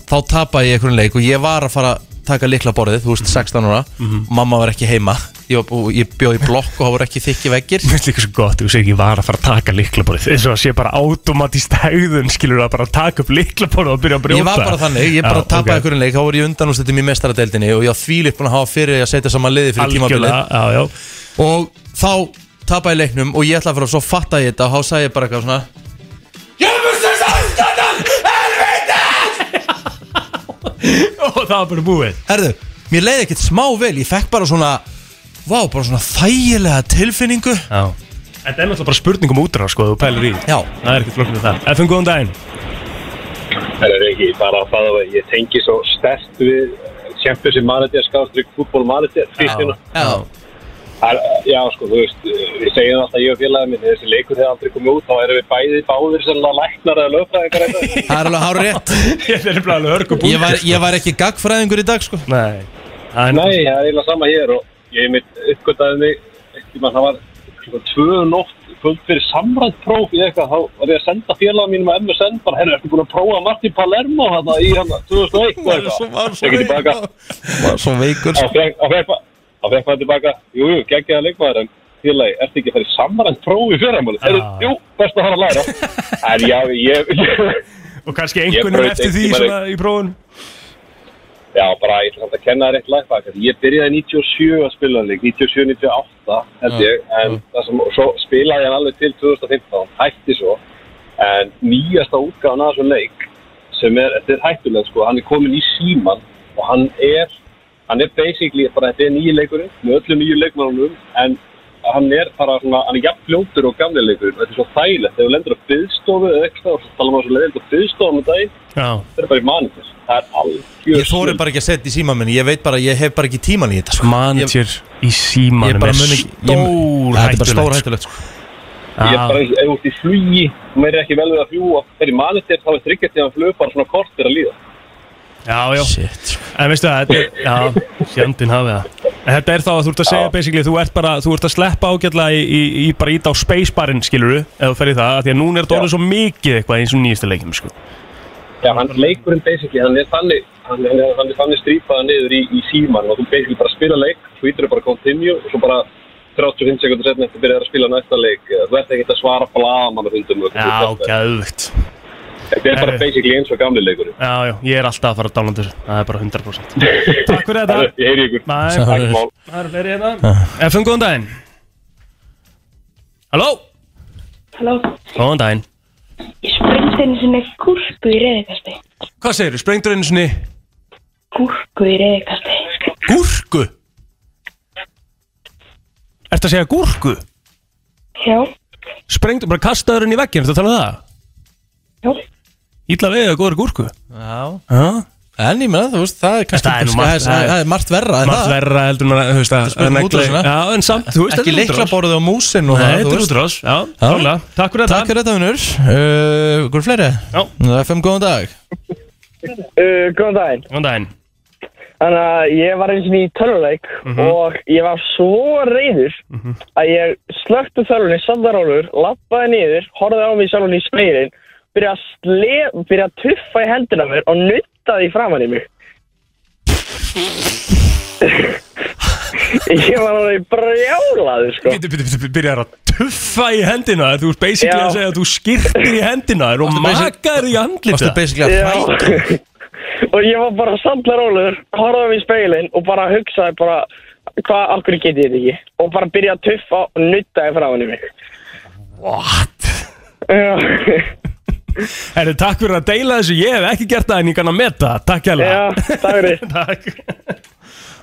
Speaker 2: þá tapaði ég einhvern leik og ég var að fara að taka likla borðið, þú
Speaker 1: Mhm.
Speaker 2: veist, 16 ára mamma var ekki heima ég, var- og ég bjóð í blokk og það voru ekki þykki veggir
Speaker 1: Mér finnst líka svo gott, þú segir ekki var að fara að taka liklaborðið eins og það sé bara automatist hegðun skilur að bara taka upp liklaborðið og byrja að brjóta
Speaker 2: ég var bara þannig, ég bara tapaði okay. einhvern leik þá voru ég undan úr í mestaradeldinni og ég var þvílitt búin að hafa fyrir að setja saman liði fyrir tímabilið
Speaker 1: Algjörlega, já, já
Speaker 2: og þá tapaði ég leiknum og ég ætlaði að fara svo fatta ég þetta og þá sagði ég bara eitthvað svona
Speaker 1: Og það var bara búið
Speaker 2: Herðu, mér leiði ekkert smá vel Ég fekk bara svona Vá, bara svona þægilega tilfinningu
Speaker 1: Já Þetta er náttúrulega bara spurning um útrá sko, þú pælir í
Speaker 2: Já.
Speaker 1: Það er ekkert flokknir það FM, góðan daginn
Speaker 6: Það er ekki bara það að ég tengi svo stert við Champions Manager, skástrík, fútból Manager fyrstuna.
Speaker 2: Já,
Speaker 6: Það er- Já, sko, þú veist, við segjum alltaf ég og félagið minn, þessi leikur þegar aldrei komið út, þá erum við bæði báðir sennilega læknar eða lögfræðingar eitthvað.
Speaker 2: það er alveg hár rétt
Speaker 1: Þetta er bara alveg hörg og
Speaker 2: ég var, ég var ekki gagfræðingur í dag sko
Speaker 1: Nei Það er
Speaker 6: Nei, það er eiginlega sama hér og ég mitt uppgötaði mig, ekki mann, það var klukkan tvö um nótt, kvöld fyrir samrætt próf í eitthvað, þá var ég að senda félagið mínum að MSN, bara, herru, ertu búin að prófa Martin Palermo hann í hann 2001 og eitthvað? Ég get tilbaka.
Speaker 2: var svo veikur
Speaker 1: sko.
Speaker 6: Á fekk maður tilbaka, jú, jú, geggjaða leikmaður en félagi, ertu ekki að fara í samrænt próf í fyrramáli? Ah. Jú, best að fara að læra. en já, ég, ég,
Speaker 1: Og kannski einhvern
Speaker 6: braut
Speaker 1: eftir
Speaker 6: eitt
Speaker 1: því
Speaker 6: tímabil.
Speaker 1: svona í prófun
Speaker 6: já, bara ég ætla samt að kenna þér eitt lagfakar. Ég byrjaði 97 að spila hann leik, 97-98 held ég, en það sem, svo spilaði ég hann alveg til 2015, hætti svo. En nýjasta útgáðan að þessum leik, sem er, þetta er hættulegt sko, hann er komin í síman og hann er, hann er basically bara, þetta er nýju leikurinn, með öllum nýju leikmannunum, en hann er bara svona, hann er jafn fljótur og gamli leikurinn, og þetta er svo þægilegt, þegar þú lendur á byðstofu eða eitthvað, og svo tala maður svo leiðild á byðstofum og daginn,
Speaker 1: Já
Speaker 6: þetta er bara í manitir, það er algjör
Speaker 2: Ég þóri bara ekki að setja í síma minni Ég veit bara, ég hef bara ekki tíman í þetta sko
Speaker 1: Manager í
Speaker 2: Ég
Speaker 1: símanum
Speaker 2: bara
Speaker 1: er
Speaker 2: mun ekki ég-
Speaker 1: stór
Speaker 2: Þetta er bara stór
Speaker 1: hættulegt
Speaker 2: hættulegt sko
Speaker 6: Ég
Speaker 1: Ah.
Speaker 6: er bara, ef þú ert í flugi, þú meiri ekki vel við að fljúa, þegar í manitir þá er þryggjast þegar hann flug bara svona kort er að líða.
Speaker 1: Já, já
Speaker 2: Shit
Speaker 1: En veistu það, þetta er, já, sjandinn hafið það En þetta er þá að þú ert að segja basically Þú ert bara, þú ert að sleppa ágætlega í, í, í bara ít á spacebarinn, skiluru Ef þú ferð í það, af því að núna er þetta orðið svo mikið eitthvað eins og nýjastu leikjum, sko
Speaker 6: Já, hann leikurinn basically, hann er þannig, hann er, hann er þannig strýpaða niður í, í síman og þú basically bara spila leik, svo ítur bara continue og svo bara 35 sekundur setna eftir byrjar að spila næsta leik, þú ert ekki að svara blagamannafundum og
Speaker 1: Já,
Speaker 6: eitthvað.
Speaker 1: gæðvögt
Speaker 6: Þetta er bara
Speaker 1: Herri.
Speaker 6: basically eins og gamli leikurinn.
Speaker 1: Já, já, ég er alltaf að fara að dálanda þessu Það er bara 100% Takk fyrir þetta
Speaker 6: Ég heyri ykkur.
Speaker 1: Næ,
Speaker 2: Sá-
Speaker 1: það
Speaker 6: Takk, Mál.
Speaker 1: eru fleiri hérna FM, góðan daginn Halló
Speaker 9: Halló,
Speaker 1: Góðan daginn
Speaker 9: ég sprengdi einu sinni gúrku í reyðikasti.
Speaker 1: Hvað segirðu, sprengdur einu sinni
Speaker 9: Gúrku í reyðikasti.
Speaker 1: gúrku? Ertu að segja gúrku?
Speaker 9: Já,
Speaker 1: Sprengdur, bara kastaður inn í vegginn, ertu að tala um það?
Speaker 9: já,
Speaker 1: Ítla vegið að góður gúrku
Speaker 2: Já
Speaker 1: Já
Speaker 2: En ég meina, þú veist, það er kannski
Speaker 1: Það er nú
Speaker 2: kannski-
Speaker 1: margt-
Speaker 2: það er- það er margt verra en
Speaker 1: Margt
Speaker 2: það.
Speaker 1: verra heldur maður að, þú veist að
Speaker 2: spurning
Speaker 1: að negla-
Speaker 2: útrásina.
Speaker 1: Já, en samt, þú veist, þetta
Speaker 2: Ekki
Speaker 1: er útrás.
Speaker 2: leiklaborðið á músin og
Speaker 1: Nei,
Speaker 2: það,
Speaker 1: þetta
Speaker 2: þú
Speaker 1: er
Speaker 2: veist
Speaker 1: útrás, já, klálega Takk fyrir
Speaker 2: Takk
Speaker 1: þetta
Speaker 2: fyrir þetta, vinnur uh, Hvor fleiri?
Speaker 1: Já.
Speaker 2: Það er fimm góðan dag
Speaker 5: Uh, góðan daginn.
Speaker 1: Góðan daginn
Speaker 5: Þannig að ég var eins og í töluleik
Speaker 1: Mhm.
Speaker 5: og ég var svo reyður að ég slökti tölunni sandarólur, lappaði niður, horfði á mig sjálf í speilin, byrjaði að, sle- byrjaði að tuffa í hendina á mér og nuttaði framan í mig. ég var alveg brjálaður sko.
Speaker 1: Býttu, býttu, býttu, byrjar að tuffa í hendina þér Þú ert basically
Speaker 5: Já.
Speaker 1: að segja að þú skirtir í hendina þér og
Speaker 2: Varstu basic-
Speaker 1: makar í
Speaker 2: Varstu
Speaker 1: andlita
Speaker 2: basically að
Speaker 5: Já.
Speaker 2: hræta
Speaker 5: og ég var bara sandarólur, horfði á mig í speilin og bara hugsaði bara hvað, okkur geti ég þetta ekki? Og bara byrjaði að tuffa og nuttaði framan í mig.
Speaker 1: What?
Speaker 5: Já.
Speaker 1: Herri, takk fyrir að deila þessu Ég hef ekki gert það en ég kann að meta það. Takk hérlega
Speaker 5: Já, takk fyrir.
Speaker 1: Takk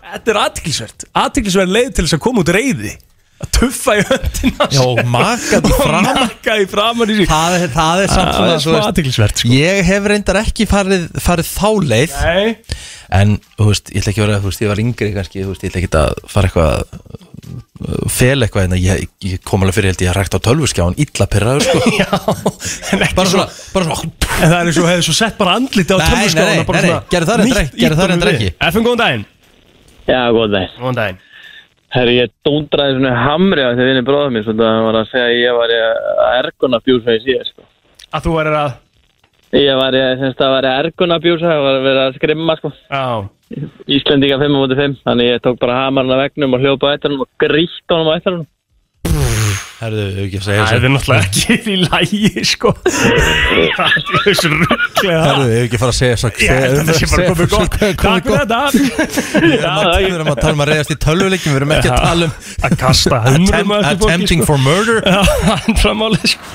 Speaker 1: Þetta er athyglisvert Athyglisvert leið til þess að koma út reyði Að tuffa í höndina
Speaker 2: Já, og maka því fram
Speaker 1: Makka í framan í sig
Speaker 2: það, er- Ah, það er samt
Speaker 1: Það er
Speaker 2: svona þú
Speaker 1: smá
Speaker 2: veist,
Speaker 1: athyglisvert sko.
Speaker 2: Ég hef reyndar ekki farið, farið þá leið
Speaker 1: Nei
Speaker 2: En, þú veist, ég ætla ekki að vera, þú veist, ég var yngri kannski Þú veist, ég ætla ekki að fara eitthvað uh, Fel eitthvað, en ég, ég kom alveg fyrir held ég að rækta á tölvuskjáin Illa pyrraður, sko
Speaker 1: Já En ekki
Speaker 2: Bara
Speaker 1: svona
Speaker 2: svona, bara svona
Speaker 1: En það er eins og hefði svo sett bara andliti á
Speaker 2: Nei, nei, nei,
Speaker 1: tölvurskjána
Speaker 2: nei, nei, gerðu það reyndar ekki, gerðu það reyndar ekki.
Speaker 1: FM góðan daginn
Speaker 8: Já, góð dag.
Speaker 1: Góðan daginn
Speaker 8: Herri, ég dóndraði svona hamri á því vinni bróðum minn, svona að hann var að segja að ég var að erguna bjúsa í síðan, sko.
Speaker 1: Að þú værir að
Speaker 8: Ég var, ég finnst það að vera ergunabjúsa, það var að vera að skrimma sko.
Speaker 1: Já,
Speaker 8: Íslendinga 5 á móti 5, þannig ég tók bara hamarinn af vegnum og hljópa á eftir hann og grítt honum á eftir hann.
Speaker 2: Herðu, hefur ekki að segja
Speaker 1: það
Speaker 2: þessu
Speaker 1: er náttúrulega ekki í lægi sko Það er svo rugglega
Speaker 2: Herðu, hefur ekki að fara að segja um þessu
Speaker 1: Ég held að þetta sé bara komið gott Takk fyrir þetta Já,
Speaker 2: Við erum að tala um að reyðast í tölvuleikjum Við erum ekki að tala um
Speaker 1: Að kasta hundrum
Speaker 2: attempt-
Speaker 1: sko.
Speaker 2: attempting for murder
Speaker 1: Framáli sko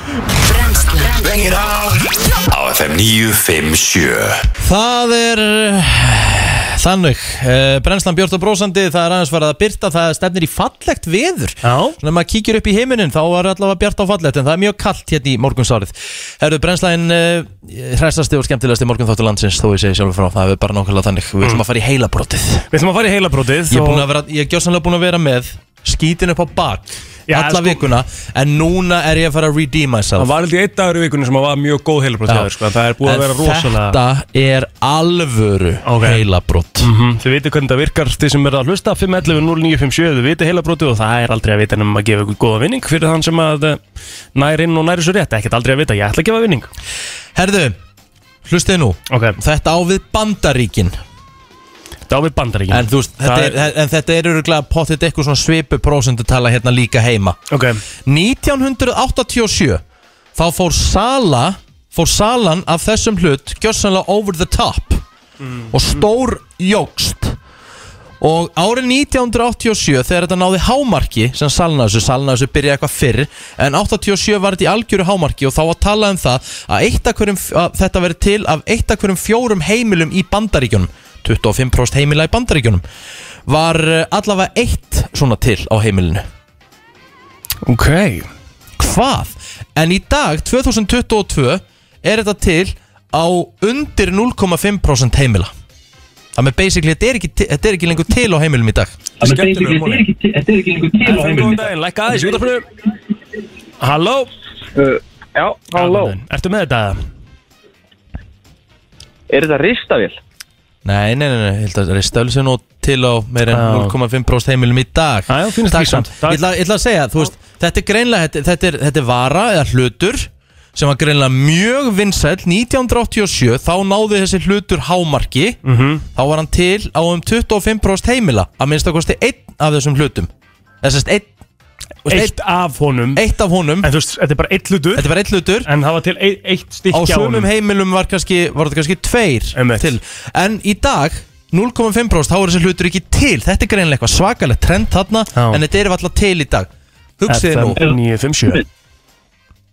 Speaker 10: Brennslan
Speaker 3: Bengir á Á FM 957
Speaker 2: Það er eh, þannig uh, Brennslan Björn og Brósandi Það er aðeins farið að byrta Það stefnir í fallegt veður
Speaker 1: Já.
Speaker 2: Svona maður kíkir upp í heiminin Þá er allavega bjart á fallegt En það er mjög kallt hérna í morgunsárið Herðu Brennslan uh, Hressasti og skemmtilegasti morgun þáttu landsins Þó ég segi sjálfur frá Það er bara nákvæmlega þannig Við
Speaker 1: Mm.
Speaker 2: ætlum að fara í heilabrótið
Speaker 1: Við ætlum að fara í heilabrótið
Speaker 2: Ég er búin að vera Ég er gjóðsannlega búin að vera með Skítin upp á bak
Speaker 1: Já,
Speaker 2: Alla
Speaker 1: sko-
Speaker 2: vikuna En núna er ég að fara að redeem myself
Speaker 1: Það var aldrei einn dagur í vikunni sem var mjög góð heilabrótið hjá
Speaker 2: Já.
Speaker 1: þér, sko. en Það er búið að
Speaker 2: En
Speaker 1: vera rosalega
Speaker 2: Þetta er alvöru
Speaker 1: Ok.
Speaker 2: heilabrótt
Speaker 1: Mhm, Þið viti hvernig það virkar þið sem er að hlusta 511 0957, þið viti heilabrótið og það er aldrei að vita nema að gefa ykkur góða vinning fyrir þann sem að eh, nær inn og nær þessu rétt ekkert aldrei að vita, ég ætla að gefa vinning
Speaker 2: Herðu, hlustið nú
Speaker 1: Ok,
Speaker 2: Þetta á við bandaríkin
Speaker 1: þetta á við bandaríkin
Speaker 2: En, þú veist, þetta,
Speaker 1: Það
Speaker 2: er, en þetta er öruglega potið eitthvað svona svipu prósendutala hérna líka heima
Speaker 1: Ok,
Speaker 2: 1987 þá fór Sala fór Salan af þessum hlut gjössanlega over the top
Speaker 1: Mm.
Speaker 2: og stór jógst og árið 1987 þegar þetta náði hámarki sem Salna þessu, Salna þessu byrjaði eitthvað fyrr en 87 var þetta í algjöru hámarki og þá var talað um það að, eitt af hverjum, að þetta verið til af eitt af hverjum fjórum heimilum í bandaríkjunum 25% heimila í bandaríkjunum var eh, allavega eitt svona til á heimilinu
Speaker 1: ok
Speaker 2: hvað? En í dag, 2022, er þetta til á undir 0,5% heimila. Það með basically, þetta er, ekki, til- þetta er ekki lengur til á heimilum í dag.
Speaker 1: Skemmtilegur móli. FM, góðan daginn, lækka aðeins í útvarpinu. Halló
Speaker 5: Uh, Já, halló.
Speaker 1: Ertu með þetta?
Speaker 5: Er þetta ristavél?
Speaker 2: Nei, nei, nei, nei, ég held að það er stölu sem nú til á meira
Speaker 1: Já.
Speaker 2: en 0,5% heimilum í dag.
Speaker 1: Já, já, fínast
Speaker 2: Takk
Speaker 1: því
Speaker 2: samt.
Speaker 1: samt. Takk.
Speaker 2: Ég ætla, ég ætla að segja, þú veist, þetta er greinlega, þetta, þetta, er, þetta er vara eða hlutur sem var greinlega mjög vinsæll 1987, þá náði þessi hlutur hámarki, -hmm.
Speaker 1: Mhm.
Speaker 2: þá var hann til á um 25% heimila, að minnst að kosti einn af þessum hlutum. Þessast einn, þú veist,
Speaker 1: Eitt af honum
Speaker 2: einn, eitt af honum,
Speaker 1: En þú veist, þetta er bara eitt hlutur
Speaker 2: þetta var einn hlutur,
Speaker 1: En það var til eitt, eitt
Speaker 2: á
Speaker 1: stykki á
Speaker 2: sumum
Speaker 1: honum
Speaker 2: heimilum var, kannski, var þetta kannski tveir
Speaker 1: Einmitt.
Speaker 2: til en í dag 0,5% þá er þessi hlutur ekki til þetta er greinlega eitthvað svakalegt trend þarna
Speaker 1: Já.
Speaker 2: en þetta er alltaf til í dag hugsið þið
Speaker 1: FM
Speaker 2: nú,
Speaker 1: 957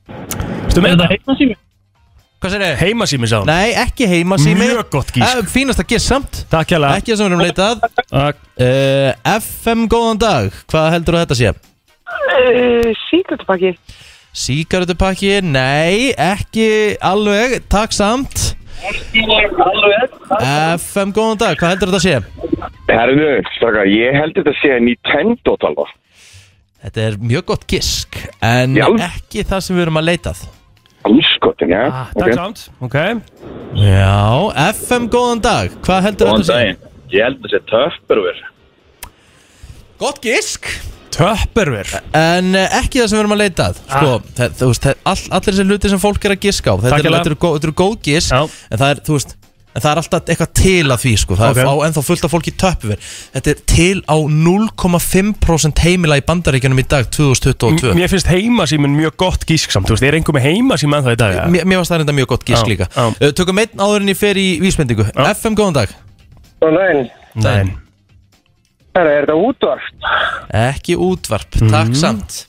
Speaker 1: Ertu með þetta?
Speaker 2: hvað sér þið?
Speaker 1: Heimasými sá
Speaker 2: Nei, ekki heima sími
Speaker 1: Mjög gott gísk.
Speaker 2: Fínast að gera samt
Speaker 1: Takk hérlega
Speaker 2: Ekki það sem við erum leitað
Speaker 1: Takk.
Speaker 2: uh, FM góðan dag, hvað heldur þetta sé?
Speaker 10: Eh,
Speaker 9: Sýkvöldpakki.
Speaker 2: Síkarutupakki, nei, ekki alveg, takk samt FM góðan dag, hvað heldur þetta sé?
Speaker 7: Herðu, straka, ég held þetta sé Nintendo-talva.
Speaker 2: Þetta er mjög gott gisk En
Speaker 7: Já.
Speaker 2: ekki það sem við erum að leitað
Speaker 7: Úskotin, já.
Speaker 1: Ah, Takk samt Ok
Speaker 2: Já, FM góðan dag Hvað heldur
Speaker 6: Góðan
Speaker 2: þetta að segja?
Speaker 6: daginn. Ég held að það sé töfberver.
Speaker 2: Gott gisk
Speaker 1: Töpperver Ah.
Speaker 2: En eh, ekki það sem við erum að leitað Sko, það, þú veist, það, all, allir þessi hluti sem fólk er að giska á Þetta
Speaker 1: Takk
Speaker 2: er-
Speaker 1: hérlega.
Speaker 2: þetta eru góð, þetta eru góð gisk
Speaker 1: Já.
Speaker 2: En það er, þú veist En það er alltaf eitthvað til að því sko Það
Speaker 1: Ok.
Speaker 2: er á ennþá fullt af fólki töpver Þetta er til á 0,5% heimila í bandaríkjunum í dag 2022
Speaker 1: Mér finnst heimasýmin mjög gott gísk samt Þú veist, er einhver með heimasýma ennþá í dag eða?
Speaker 2: Eh, Mér, mér varst það reynda mjög gott gísk
Speaker 1: Já,
Speaker 2: líka
Speaker 1: já.
Speaker 2: uh, Tökum einn áður en ég fer í vísbendingu FM, góðan dag
Speaker 5: Góðan daginn.
Speaker 1: Nei
Speaker 5: Herra, er þetta útvarp?
Speaker 2: Ekki útvarp, takk samt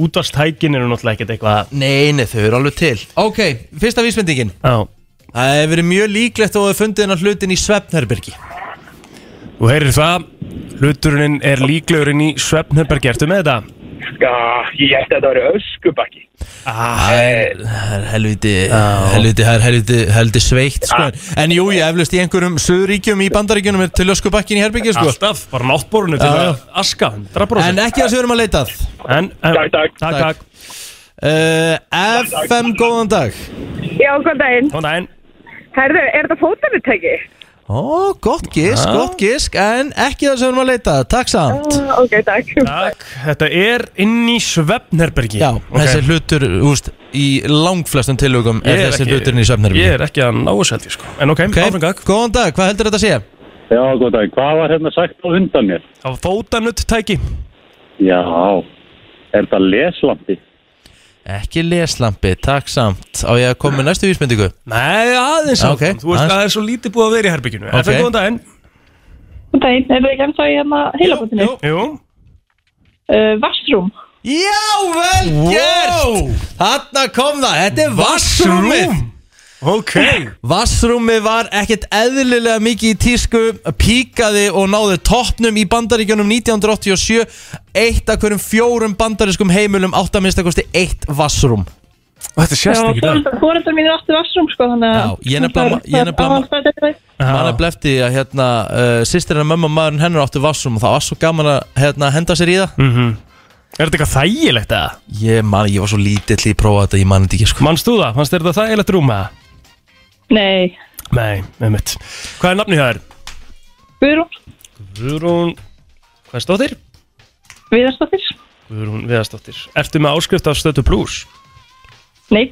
Speaker 1: Útvarstækin Mhm. eru náttúrulega ekkert eitthvað
Speaker 2: Nei, nei, þau eru alveg til Ok, fyrsta vísmyndingin
Speaker 1: Já
Speaker 2: Það hefur verið mjög líklegt og hefur fundið hennar hlutin í Svefnherbergi
Speaker 1: Þú heyrir það Hluturinn er líklegurinn í Svefnherberg Ertu með þetta?
Speaker 5: Já, ég held að þetta verið öskubakki.
Speaker 2: Það er það er helviti, helviti, það er helviti, helviti sveikt sko. En jú, ég eflust í einhverjum söðuríkjum í bandaríkjunum er til öskubakkin í herbergi sko.
Speaker 1: Ah,
Speaker 2: Ah.
Speaker 1: Alltaf Bara náttborunni til
Speaker 2: Já.
Speaker 1: að aska 100%
Speaker 2: En ekki það sem við erum að leitað
Speaker 1: en, en, Takk, takk Takk,
Speaker 2: Takk.
Speaker 1: takk
Speaker 2: uh, FM, góðan dag
Speaker 9: Já, góðan daginn.
Speaker 1: Góðan daginn
Speaker 9: Herðu, er þetta fótarnutæki?
Speaker 2: Ó, gott gisk,
Speaker 1: Já.
Speaker 2: gott gisk En ekki það sem við erum að leita, takk samt
Speaker 10: Eh, Ok, takk.
Speaker 1: Takk, þetta er inn í svefnherbergi
Speaker 2: Já,
Speaker 1: Ok.
Speaker 2: þessi hlutur, úst, í langflestum tilugum
Speaker 1: Ég
Speaker 2: er þessi
Speaker 1: ekki-
Speaker 2: hluturinn í söfnherfi
Speaker 1: Ég er ekki að ná þessu held ég sko En ok, okay. áfram gag
Speaker 2: Góðan dag, hvað heldur þetta að sé?
Speaker 6: Já, góð dag. Hvað var hérna sagt á undan mér?
Speaker 1: Það var fótanutt tæki
Speaker 6: Já, er þetta leslampi?
Speaker 2: Ekki leslampi, takk samt Á ég að koma með næstu vísmyndingu
Speaker 1: Nei, aðeins
Speaker 2: Já,
Speaker 1: áfram.
Speaker 2: ok,
Speaker 1: Þú veist
Speaker 2: aðeins.
Speaker 1: að það er svo lítið búið að vera í herbygginu okay.
Speaker 2: Ok.
Speaker 1: Er það góðan daginn?
Speaker 10: Góðan daginn, er það ekki ennþá í hérna heilabotinu?
Speaker 1: Jú
Speaker 10: Uh, Vassrúm.
Speaker 2: Já, vel gert Þarna kom það, þetta er vassrúmið
Speaker 1: Ok
Speaker 2: Vassrúmi var ekkert eðlilega mikið í tísku, píkaði og náði toppnum í bandaríkjunum 1987, eitt af hverjum fjórum bandarískum heimilum átt að minnstakosti eitt vassrúm.
Speaker 1: Og þetta
Speaker 10: Já,
Speaker 1: sést ekki það
Speaker 10: fóreldar mínir áttu vassrúm, sko, þannig
Speaker 2: Já, ég nefnilega- ég nefnilega-
Speaker 10: nefnilega...
Speaker 2: Man er blefti að hérna, uh, sýstirinn að mömmu og maðurinn hennar áttu vassrúm og það var svo gaman að hérna, henda sér í það.
Speaker 1: Mhm. Er þetta eitthvað þægilegt eða?
Speaker 2: Ég man, ég var svo lítill í prófa þetta, ég man þetta ekki sko.
Speaker 1: Manst þú það? Manst þér þetta þægilegt rúm eða?
Speaker 10: Nei,
Speaker 1: Nei, með mitt Hvað er nafnið það er?
Speaker 10: Guðrún,
Speaker 1: Guðrún Hvað stóttir?
Speaker 10: Viðarstóttir.
Speaker 1: Guðrún Viðarstóttir Ertu með áskrift af stötu plus?
Speaker 10: Nei,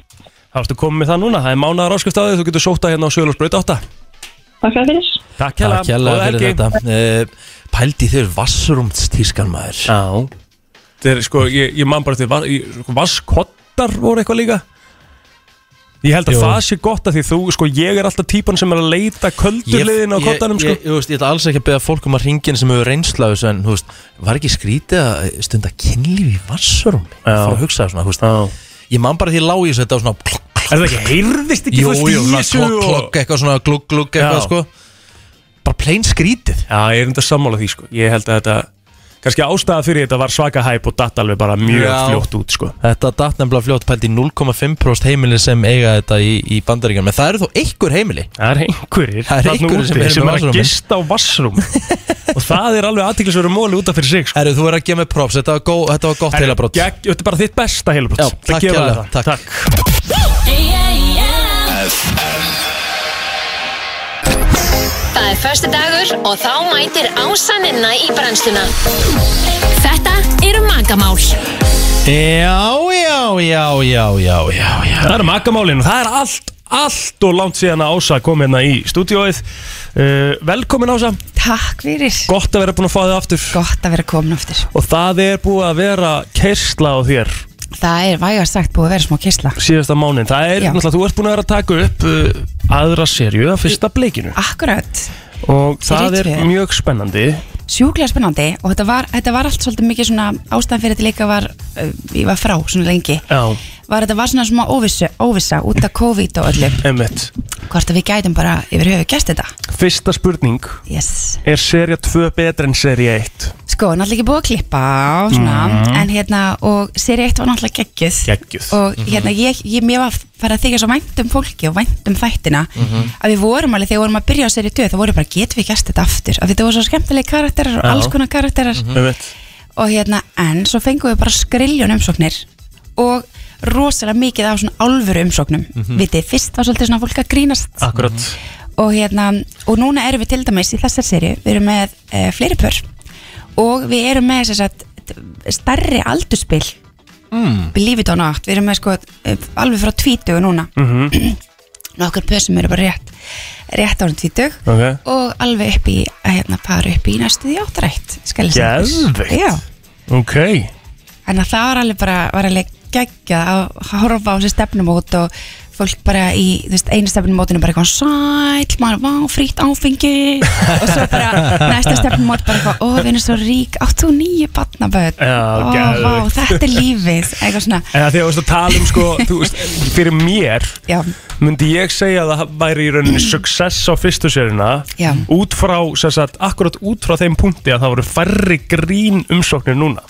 Speaker 1: Þá ertu komið með það núna Það er mánaðar áskrift á því Þú getur sótt að hérna á Söðlósbraut 8
Speaker 10: takk fyrir þess.
Speaker 1: Takk
Speaker 2: Takk kjærlega
Speaker 1: Góða
Speaker 2: fyrir
Speaker 1: helgi.
Speaker 2: þetta. Uh, pældi þau vassrúmstískan maður.
Speaker 1: Já Þetta er sko, ég, ég man bara til var, í- sko, Vaskottar voru eitthvað líka Ég held að
Speaker 2: Jú.
Speaker 1: það sé gott að því þú, sko, ég er alltaf típan sem er að leita köldurliðin á
Speaker 2: Ég-
Speaker 1: kottanum, sko
Speaker 2: ég, ég, ég, veist, ég ætla alls ekki að beða fólk um að ringin sem hefur reynslaðu þessu en þú veist, var ekki skrítið að stunda kynlíf í vassarum
Speaker 1: Já.
Speaker 2: fór að hugsa það svona, þú veist
Speaker 1: Já.
Speaker 2: ég man bara því lág í þessu þetta var svona klokk,
Speaker 1: Er það ekki, heyrðist ekki
Speaker 2: jú,
Speaker 1: þú
Speaker 2: jú, svona
Speaker 1: stísu
Speaker 2: klokk, klokk, eitthvað svona glugg, glugg, eitthvað
Speaker 1: Já.
Speaker 2: sko bara plain skrítið
Speaker 1: Já, ég er enda sammála því, sko Ég held að þetta, kannski ástæða fyrir þetta var svaka hæp og datt alveg bara mjög
Speaker 2: Já.
Speaker 1: fljótt út, sko
Speaker 2: þetta datt nefnilega fljótt pælt í 0,5% heimili sem eiga þetta í, í bandaríkjum en það eru þó einhver heimili
Speaker 1: Það er einhverjir
Speaker 2: Það eru
Speaker 1: þarna
Speaker 2: einhverjir
Speaker 1: úti
Speaker 2: sem eru
Speaker 1: er að
Speaker 2: með vatnsrúmin.
Speaker 1: gista á vassrúm Og það er alveg aðtiklisverður móli út af fyrir sig, sko
Speaker 2: Herru, þú er að gefa mig props, þetta var, gó, þetta var gott heilabrótt
Speaker 1: Gegg- Þetta er bara þitt besta heilabrót
Speaker 2: Já, takk kjærlega, takk.
Speaker 11: Það er förstu dagur og þá mætir ásaninna í brennsluna. Þetta eru magamál.
Speaker 2: Já, já, já, já, já, já, já
Speaker 1: Það eru makamálin og það er allt, allt og langt síðan að Ása kom hérna í stúdióið uh, Velkomin Ása,
Speaker 12: Takk fyrir
Speaker 1: gott að vera búin að fá þig aftur
Speaker 12: Gott að vera komin aftur
Speaker 1: Og það er búið að vera kersla á þér
Speaker 12: Það er vægast sagt búið að vera smá kisla
Speaker 1: síðasta mánin Það er,
Speaker 12: Já.
Speaker 1: náttúrulega, þú ert búin að vera að taka upp uh, aðra serju að fyrsta bleikinu
Speaker 12: Ah, Akkurat,
Speaker 1: Og það er
Speaker 12: Ritvél.
Speaker 1: mjög spennandi
Speaker 12: sjúklega spennandi og þetta var, þetta var allt svolítið mikið svona ástæðan fyrir þetta líka var, uh, ég var frá svona lengi
Speaker 1: Já,
Speaker 12: var þetta var svona smá óvissu, óvissa út af COVID og öllu,
Speaker 1: emmitt
Speaker 12: hvort að við gætum bara yfir höfu gæst þetta
Speaker 1: Fyrsta spurning
Speaker 12: yes.
Speaker 1: Er serja 2 betra en serja 1?
Speaker 12: Sko, náttúrulega ekki búið að klippa og svona, en hérna, og seri 1 var náttúrulega geggjuð
Speaker 1: Geggjuð.
Speaker 12: og hérna, ég, ég, mér var farið að þykja svo vænt um fólki og vænt um þættina
Speaker 13: Mhm.
Speaker 12: að við vorum alveg, þegar við vorum að byrja á seri 2 þá vorum við bara, getum við gæst þetta aftur af því þetta voru svo skemmtilegi karakterar og
Speaker 1: Já.
Speaker 12: alls konar karakterar
Speaker 13: Mhm.
Speaker 1: Emmitt
Speaker 12: og hérna, en svo fengum við bara skriljón umsóknir og rosalega mikið af svona alvöru umsóknum vitið, fyrst var svolítið svona fólk að grínast
Speaker 1: Akkurat
Speaker 12: og hérna, og núna erum við til dæmis í þessar serju, við erum með uh, fleiri pör og við erum með sem sagt, starri aldurspil mm. believe it or not við erum með sko, eh, alveg frá tvítugu núna mm -hmm.
Speaker 1: Mhm.
Speaker 12: nokkur pör sem eru bara rétt rétt árum tvítug
Speaker 1: Ok.
Speaker 12: og alveg upp í, eh, hérna, fara upp í næstu því áttrætt, skal ég segja þér.
Speaker 1: Geðveikt.
Speaker 12: Já,
Speaker 1: Ok
Speaker 12: þannig að það var alveg bara, var alveg geggjað að horfa á þessi stefnumót og fólk bara í, þú veist, einu stefnumótinu bara eitthvað sæl, maður, vá, frýtt áfengi og svo bara næsta stefnumót bara eitthvað, ó, við erum svo rík 89 barnaböð,
Speaker 1: Já,
Speaker 12: ó, vá,
Speaker 1: geðveikt.
Speaker 12: þetta er lífið eitthvað svona,
Speaker 1: En það því að þú veist að tala um sko, þú veist, fyrir mér
Speaker 12: já,
Speaker 1: myndi ég segja að það væri í rauninni success á fyrstu sérina
Speaker 12: Já.
Speaker 1: út frá, sem sagt, akkurat út frá þeim punkti að það voru færri grín umsóknir núna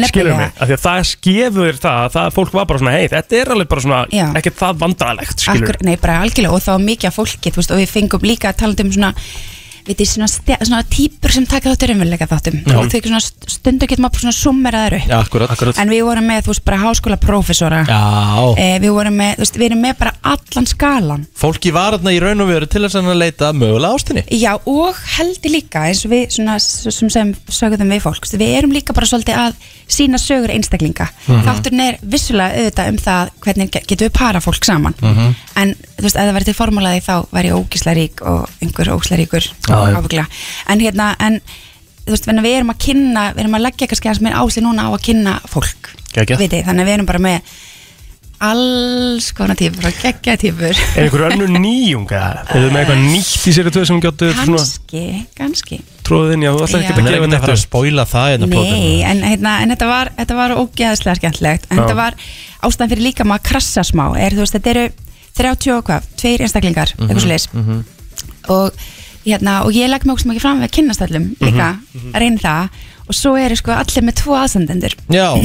Speaker 1: skilur mig, af því að það skefur það að það fólk var bara svona, hei, þetta er alveg bara svona
Speaker 12: Já.
Speaker 1: ekkert það vandræðlegt, skilur
Speaker 12: Akkur, nei, bara algjörlega og það var mikið af fólki þú veist, og við fengum líka að tala um svona við veit ég, svona, stja- svona típur sem taka þáttur umveruleika þáttum
Speaker 2: Já.
Speaker 12: og þau svona st- stundu getur maður bara svona summeraður upp
Speaker 2: Já, akkurat. Akkurat.
Speaker 12: en við vorum með, þú veist, bara háskólaprofessora
Speaker 2: Já.
Speaker 12: eh, við vorum með, þú veist, við erum með bara allan skalan
Speaker 2: Fólki var þarna í raun og veru til þess að leita að mögulega ástinni
Speaker 12: Já, og heldur líka eins og við svona, s- sem, sem sögðum við fólk við erum líka bara svolítið að sína sögur einstaklinga
Speaker 4: Mhm.
Speaker 12: þátturinn er vissulega auðvitað um það hvernig ge- getum við para fólk saman
Speaker 4: Mhm.
Speaker 12: en þú veist, ef það væri til formúlaði þá væri ég ógislega rík og einhver ógislega ríkur
Speaker 4: Já, já.
Speaker 12: ábyggla en hérna, en þú veist, þannig að við erum að kynna, við erum að leggja kannski aðeins mér ásli núna á að kynna fólk Vitið, þannig að við erum bara með alls konar típur og geggja típur
Speaker 1: Er einhver önnur nýjung eða? Er það með eitthvað nýtt í sér að tvö sem gjóttu svona
Speaker 12: kannski, kannski
Speaker 1: tróðið inn? Já, þú ætlar
Speaker 12: Já.
Speaker 1: ekki
Speaker 12: Hún
Speaker 1: að
Speaker 12: er
Speaker 1: gefa
Speaker 2: ekkert að fara að spóila það hérna
Speaker 12: Nei, en, hérna, en þetta var, þetta var ógeðslega skemmtilegt en
Speaker 2: Já.
Speaker 12: þetta var ástæðan fyrir líka maður að krassa smá er, þú veist, þetta eru 30 og hvað, tveir einstaklingar, eitthvað svo
Speaker 2: -hmm.
Speaker 12: og, hérna, og ég legg mig ógst mikið fram við að kynnast allum líka, mm
Speaker 2: Mhm.
Speaker 12: reyni það og svo eru sko allir með tvo aðsendendur
Speaker 2: Já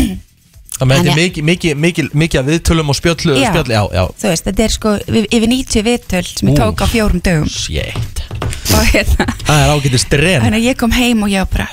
Speaker 2: Það með þetta
Speaker 12: Þannig-
Speaker 2: er mikið mikið- mikið- mikið að viðtölum og spjöllu
Speaker 12: Já.
Speaker 2: spjöllu, Já, já
Speaker 12: þú veist, þetta er sko yfir yfir 90 viðtöl sem ég
Speaker 2: Úff.
Speaker 12: tók á fjórum dögum
Speaker 2: Shit
Speaker 12: og hérna,
Speaker 2: Það er ágætið stren
Speaker 12: þannig að ég kom heim og ég var bara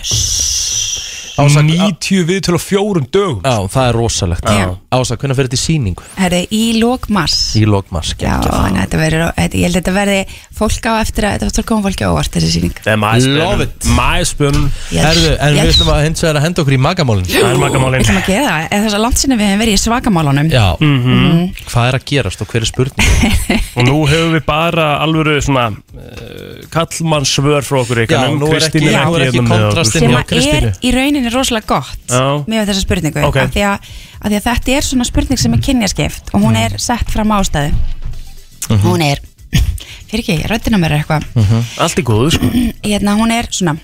Speaker 2: Ása, 90 viðtöl og fjórum dögum Já, það er rosalegt
Speaker 12: Já.
Speaker 2: Ása, hvernig fyrir þetta í sýningu?
Speaker 12: herri, í lók mars
Speaker 2: Í lokmars
Speaker 12: Já, þannig að þetta verður, þetta- ég held að þetta verði fólk á eftir að þetta var koma fólki á óvart þessi síning
Speaker 1: Það er maðurspjörn.
Speaker 2: Love it
Speaker 1: Maðurspjörn
Speaker 12: Yes.
Speaker 2: Herðu, en
Speaker 12: Yes.
Speaker 2: við ætlum að hins vegar að henda okkur í magamálin
Speaker 1: Það er magamálin
Speaker 12: Við ætlum að gera það, eða þess að landsinni við hefum verið í svakamálunum
Speaker 2: Já,
Speaker 12: Mhm.
Speaker 2: hvað er að gerast og hver er spurning?
Speaker 1: Og nú hefur við bara alvöru svona uh, kallmann svör frá okkur
Speaker 2: Já,
Speaker 1: ykkur
Speaker 2: nú er ekki- já, nú er ekki kontrastinn
Speaker 12: sem að er í rauninni rosalega gott
Speaker 1: Já.
Speaker 12: með þessa spurningu
Speaker 1: Ok.
Speaker 12: af, því að, af því að þetta er svona spurning sem er kynjaskipt og hún er sett fram ástæðu
Speaker 1: Mhm.
Speaker 12: hún er fyrir ekki, röddina mér er eitthvað
Speaker 1: Allt í góðu sko
Speaker 12: hérna, hún er svona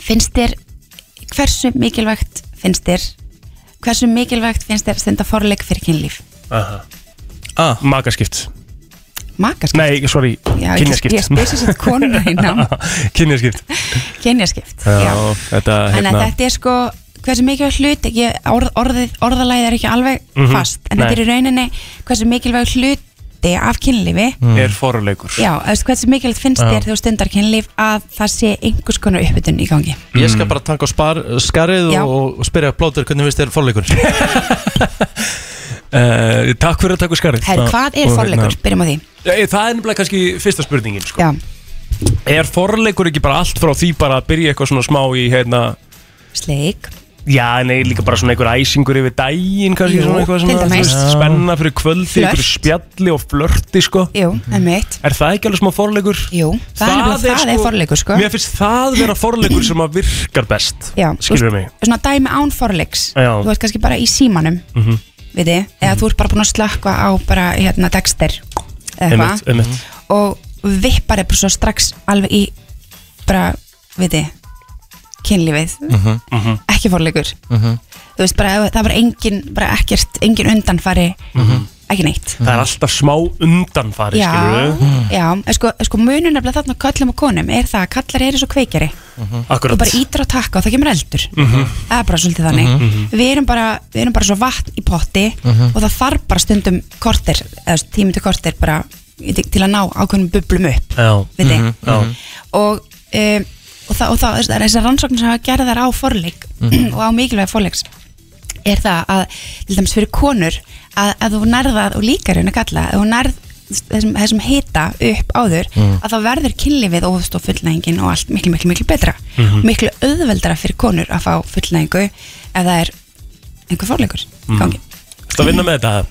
Speaker 12: finnst þér hversu mikilvægt finnst þér hversu mikilvægt finnst þér að stenda forleik fyrir kynlíf
Speaker 1: ah. Magaskipt
Speaker 12: Magaskipt?
Speaker 1: Nei, sorry,
Speaker 12: Já, ég-
Speaker 1: kynjaskipt
Speaker 12: ég spysi sitt konuna í nám.
Speaker 1: Kynjaskipt
Speaker 12: hérna. kynjaskipt
Speaker 1: Já, þetta
Speaker 12: Þannig
Speaker 1: hérna
Speaker 12: að þetta er sko hversu mikilvæg hlut, ég, orð, orðið, orðalæði er ekki alveg
Speaker 1: Mhm.
Speaker 12: fast, en
Speaker 1: Nei.
Speaker 12: þetta er í rauninni hversu mikilvæg hluti af kynlífi
Speaker 2: Mm.
Speaker 1: Er foruleikur
Speaker 12: Já, þú veist, hversu mikilvægt finnst
Speaker 2: Já.
Speaker 12: þér þú stundar kynlíf að það sé einhvers konar uppbytun í gangi
Speaker 2: Ég skal bara taka á spar, skarið
Speaker 12: Já.
Speaker 2: og, og spyrja plótur hvernig finnst þér forleikur
Speaker 1: uh, Takk fyrir að taka skarið
Speaker 12: Herr, hvað er forleikur? Byrjum á því
Speaker 1: hérna- Já, ég- það er nefnilega kannski fyrsta spurningin sko.
Speaker 12: Já,
Speaker 1: Er forleikur ekki bara allt frá því bara að byrja eitthvað svona smá í hérna
Speaker 12: sleik
Speaker 1: Já, nei, líka bara svona einhver æsingur yfir daginn kannski
Speaker 12: Jú,
Speaker 1: svona eitthvað
Speaker 12: til
Speaker 1: svona þú
Speaker 12: dæmis.
Speaker 1: veist, Spenna fyrir kvöldi,
Speaker 12: Flört.
Speaker 1: einhver spjalli og flörti sko
Speaker 12: Jú, emmitt
Speaker 1: Er það ekki alveg smá forleikur?
Speaker 12: Jú, það er nefnilega- það er forleikur, sko.
Speaker 1: Mér finnst það vera forleikur sem að virkar best
Speaker 12: Já, þú veist,
Speaker 1: Skilur mig
Speaker 12: Svona dæmi án forleiks
Speaker 1: Já.
Speaker 12: Þú ert kannski bara í símanum,
Speaker 1: mm -hmm.
Speaker 12: við þið eða þú ert bara búin að slökka á bara hérna Dexter eða eitthvað og vippar er bara svo strax alveg í bara, við þið kynlífið,
Speaker 1: Mhm.
Speaker 12: ekki forleikur þú veist bara, það var engin bara ekkert, engin undanfari ekki neitt
Speaker 1: Mhm. Það er alltaf smá undanfari,
Speaker 12: Já,
Speaker 1: skilur við
Speaker 12: já, en sko, en sko munur nefnilega þarna á köllum og konum er það að kallar eru svo kveikjari
Speaker 1: Akkurat
Speaker 12: Mhm. og bara ítir á takka og það kemur eldur
Speaker 1: Mhm.
Speaker 12: það er bara svolítið þannig
Speaker 1: Mhm, mhm.
Speaker 12: við, erum bara, við erum bara svo vatn í potti
Speaker 1: Mhm.
Speaker 12: og það þarf bara stundum korter, eða tími til korter bara í- til að ná ákveðnum bublum upp
Speaker 1: Já,
Speaker 12: Við þig.
Speaker 1: Mhm, já.
Speaker 12: og, um, og, það, og það, það er þessar rannsóknir sem hafa gerðar á forleik
Speaker 4: Mhm.
Speaker 12: og á mikilvæg forleiks er það að, til dæmis fyrir konur að, að þú nærðað og líka reyna kalla að þú nærð þessum, þessum hita upp áður
Speaker 4: Mhm.
Speaker 12: að þá verður kynlífið óvist og fullnægingin og allt miklu, miklu, miklu betra
Speaker 4: Mhm.
Speaker 12: miklu auðveldara fyrir konur að fá fullnægingu ef það er einhver forleikur í
Speaker 2: Mhm.
Speaker 12: gangi
Speaker 1: Þetta vinna með þetta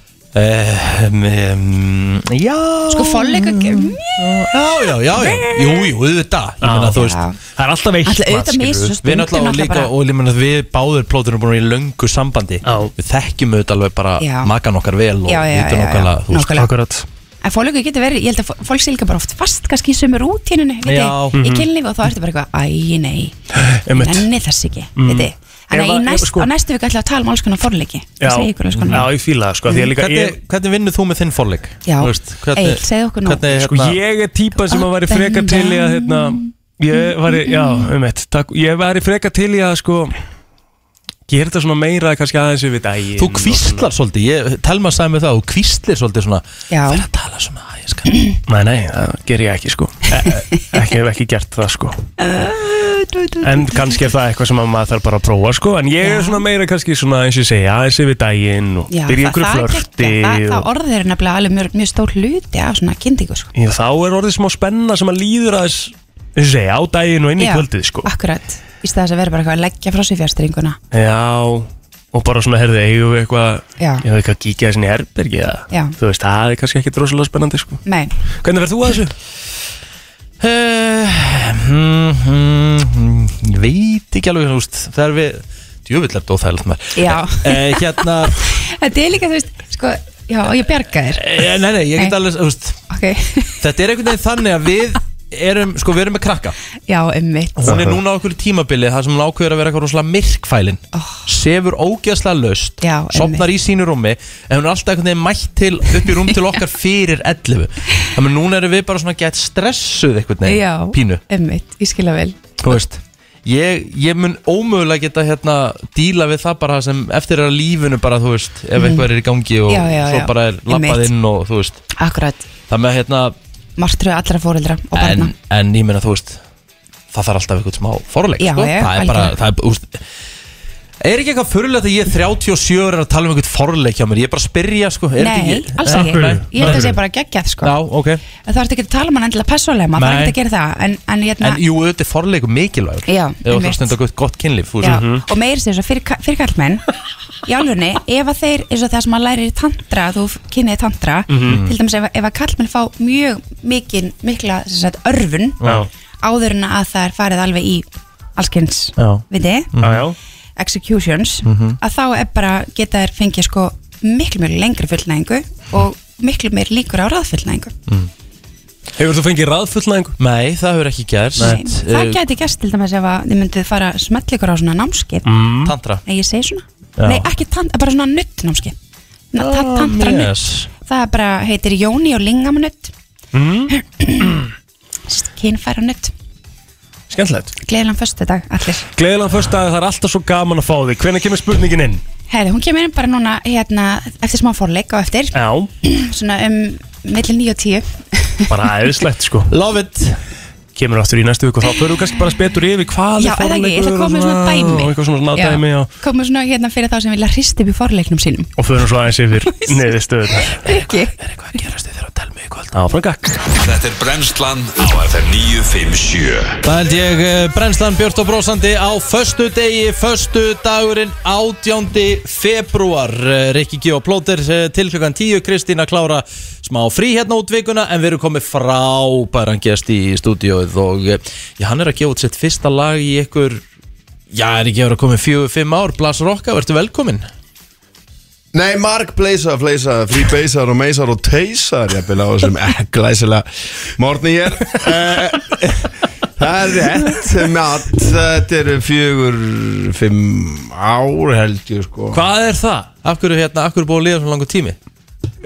Speaker 2: um, um, Já
Speaker 12: sko forleikur mm,
Speaker 2: Já, já, já, já, jú, jú, auðvitað Ég meina, þú veist Það
Speaker 1: er alltaf
Speaker 12: Alltaf auðvitað með þessu
Speaker 2: Við
Speaker 12: stundum
Speaker 2: náttúrulega og
Speaker 12: alltaf
Speaker 2: líka,
Speaker 12: bara-
Speaker 2: og ég meina, við báður plótur erum búin í löngu sambandi já. Við þekkjum auðvitað alveg bara
Speaker 12: Já.
Speaker 2: makan okkar vel og
Speaker 12: Já, já, já,
Speaker 2: vitum
Speaker 12: já,
Speaker 2: okkar
Speaker 12: já, nákvæmlega.
Speaker 1: Akkurat
Speaker 12: En fólku getur verið, ég held að fó- fólk sé líka bara oft fast kannski í sömu rútínunni, viti,
Speaker 1: Já.
Speaker 12: í
Speaker 1: Mhm.
Speaker 12: kynlífi og þá ertu bara eitthvað, æ, nei,
Speaker 1: Einmitt.
Speaker 12: nenni þess ekki,
Speaker 1: Mm.
Speaker 12: viti. Þannig
Speaker 1: Ef
Speaker 12: að í
Speaker 1: að-
Speaker 12: næst,
Speaker 1: ef- sko-
Speaker 12: á næstu viku ætlum við að tala um alls konar forleiki, það segja ykkur alls konar.
Speaker 1: Já, ég fíla það sko mm. líka,
Speaker 2: Hvernig, hvernig vinnur þú með þinn forleik?
Speaker 12: Já.
Speaker 2: Þú veist,
Speaker 12: Egill, segðu okkur nú.
Speaker 2: hvernig, hérna-
Speaker 1: Sko ég er típa sem að væri freka til í að hérna, ég væri, já, um eitt takk, ég væri freka til í að sko gera þetta svona meira kannski aðeins yfir daginn
Speaker 2: Þú kvistlar svolítið, ég, Telma sagði mig það, þú kvistlir svolítið svona
Speaker 12: Já. Það
Speaker 2: er að tala svona, æ,
Speaker 1: elskan Nei, nei, það ger ég ekki sko e e- Ekki hef ekki gert það sko En kannski er það eitthvað sem að maður þarf bara að prófa sko En ég er svona meira kannski svona eins og ég segja Aðeins yfir daginn og
Speaker 12: Já,
Speaker 1: byrja
Speaker 12: það-
Speaker 1: ykkur
Speaker 12: það
Speaker 1: flörti
Speaker 12: gekkja, Það,
Speaker 1: og-
Speaker 12: það orðið er nefnilega alveg mjög, mjög stór hluti af svona kynningu sko.
Speaker 1: Já, Þá er orðið smá spenna sem að líður aðeins eins og ég segja, á daginn og inn í
Speaker 12: Já,
Speaker 1: kvöldið sko
Speaker 12: Akkurat, í stað þess að vera bara eitthvað að leggja frá sér fjárstringuna
Speaker 1: Já, og bara svona herði eigum við eitthvað
Speaker 12: Já.
Speaker 1: Ég hef eitthvað að kíkja þessin í herbergi eða-
Speaker 12: Já.
Speaker 1: Þú veist, það er kannski ekki drosalega spennandi sko
Speaker 12: Nei,
Speaker 1: Hvernig verð þú að þessu?
Speaker 2: Eh, Mm, mm, mm, ég veit ekki alveg húst það er við djöfullert óþægilegt maður
Speaker 12: Já.
Speaker 2: Eh, hérna
Speaker 12: þetta er líka, þú veist, sko, já, ég bjarga þér
Speaker 2: eh, nei nei ég get
Speaker 12: Nei.
Speaker 2: alveg húst
Speaker 12: Ok,
Speaker 2: þetta er einhvern veginn þannig að við erum sko við erum með krakka
Speaker 12: já, ummitt
Speaker 2: hún er núna á okkur tímabili þar sem hún ákveður að vera eitthvað rosalega myrkfælin sefur ógeðslega laust
Speaker 12: Oh. Já,
Speaker 2: sopnar í sínu rúmi en hún er alltaf einhvern veginn mætt til upp í rúm til okkar fyrir 11 þannig að núna erum við bara svona gett stressuð einhvern veginn
Speaker 12: Já,
Speaker 2: pínu
Speaker 12: ummitt, ég skilja vel
Speaker 2: þú veist ég, ég mun ómögulega geta hérna díla við það bara sem eftir er að lífinu bara þú veist ef
Speaker 12: Mhm.
Speaker 2: eitthvað er í gangi og
Speaker 12: Já, já,
Speaker 2: svo
Speaker 12: já.
Speaker 2: bara er
Speaker 12: Einmitt.
Speaker 2: lappað inn og þú veist
Speaker 12: Akkurat,
Speaker 2: það með hérna
Speaker 12: martröð allra fóreldra og barna
Speaker 2: en, en ég meina þú veist það þarf alltaf eitthvað smá forleik
Speaker 12: Já,
Speaker 2: sko.
Speaker 12: já,
Speaker 2: það er bara
Speaker 12: algjörlega.
Speaker 2: það er, úst, er ekki eitthvað fyrirlega að ég er 37 ára að tala um eitthvað forleik hjá mér ég er bara að spyrja sko er þetta
Speaker 12: Nei,
Speaker 2: ekki,
Speaker 12: alls ekki,
Speaker 2: Nei.
Speaker 12: ég held að segja bara geggjað sko
Speaker 2: Já, ok
Speaker 12: Það þarf ekki að tala um hann endilega persónlega, maður
Speaker 2: Nei.
Speaker 12: þarf ekki að gera það En, en, hérna,
Speaker 2: En jú, auðvitað er forleikur mikilvægur
Speaker 12: Já,
Speaker 2: Ef það
Speaker 12: einmitt.
Speaker 2: stenda gott, gott kynlíf þú veist.
Speaker 12: Já,
Speaker 4: Mhm.
Speaker 12: og meira sér þess að fyrir, fyrir kallmenn í álunni, ef að þeir eins og það sem að læri í tantra, þú kynniði tantra
Speaker 4: Mhm.
Speaker 12: til dæmis ef, ef að kallmenn fá mjög mikil, mikla sem sagt, örfun
Speaker 4: Já.
Speaker 12: áður en að það er farið alveg í allskins
Speaker 4: Já.
Speaker 12: viti,
Speaker 4: Já, já.
Speaker 12: executions
Speaker 4: Mhm.
Speaker 12: að þá er bara geta þær fengið sko miklu mjög lengri fullnæðingu og miklu meir líkur á ráðfullnæðingu
Speaker 1: Hefur þú fengið ráðfullnæðingu?
Speaker 2: Nei, Eh, það hefur ekki gerst
Speaker 12: Nei, það gæti gæst til dæmis ef að þið mynduð fara smell ykkur á svona námskeið
Speaker 2: Mm. Tantra
Speaker 12: Nei, ég segi svona
Speaker 2: Já.
Speaker 12: Nei, ekki tant, bara svona nuttnámski Na, ta Tantra nutt
Speaker 2: yes.
Speaker 12: Það er bara, heitir Jóni og Lingamnutt Mhm.
Speaker 1: mm.
Speaker 12: Kynfæra nutt
Speaker 1: Skemmtilegt
Speaker 12: Gleðilan föstu dag, allir
Speaker 1: Gleðilega fyrst að það er alltaf svo gaman að fá þig Hvernig kemur spurningin inn?
Speaker 12: Herri, hún kemur inn bara núna hérna Eftir smá fórleik og eftir
Speaker 1: Já,
Speaker 12: Svona um milli 9 og 10
Speaker 1: bara æðislegt sko
Speaker 2: Love it
Speaker 1: Kemur aftur í næstu viku og þá förum við kannski bara spetur yfir hvað
Speaker 12: Já,
Speaker 1: er
Speaker 12: eða ekki, ég ætla
Speaker 1: forleikur
Speaker 12: að koma með
Speaker 1: og
Speaker 12: svona dæmi
Speaker 1: og eitthvað svona svona
Speaker 12: Já,
Speaker 1: dæmi og,
Speaker 12: Koma svona hérna fyrir þá sem vilja hristi upp í forleiknum sínum
Speaker 1: og förum svo aðeins yfir neðið stöðunar
Speaker 12: Ekki
Speaker 1: Áfram gakk
Speaker 3: Þetta er brennslan á FM 957
Speaker 2: Það held ég eh, brennslan Björn og Brósandi á föstu degi, föstu dagurinn 18. februar Rikki G og Plóter eh, til klukkan 10 Kristín að klára smá frí hérna út vikuna en við erum komið frábæran gest í stúdíóið og eh, já, hann er að gefa út sitt fyrsta lag í ykkur já, er ekki að vera komið 4-5 ár Blas Rokka, ertu velkomin
Speaker 14: Nei, mark bleisa, fleisa, frí beisar og meisar og teisar Ég byrja á þessum eh, glæsilega morgni hér Eh, Það er rétt mat, Þetta eru fjögur, fimm ár held ég sko
Speaker 2: Hvað er það? Af hverju, hérna, af hverju búið að líða svona langur tími?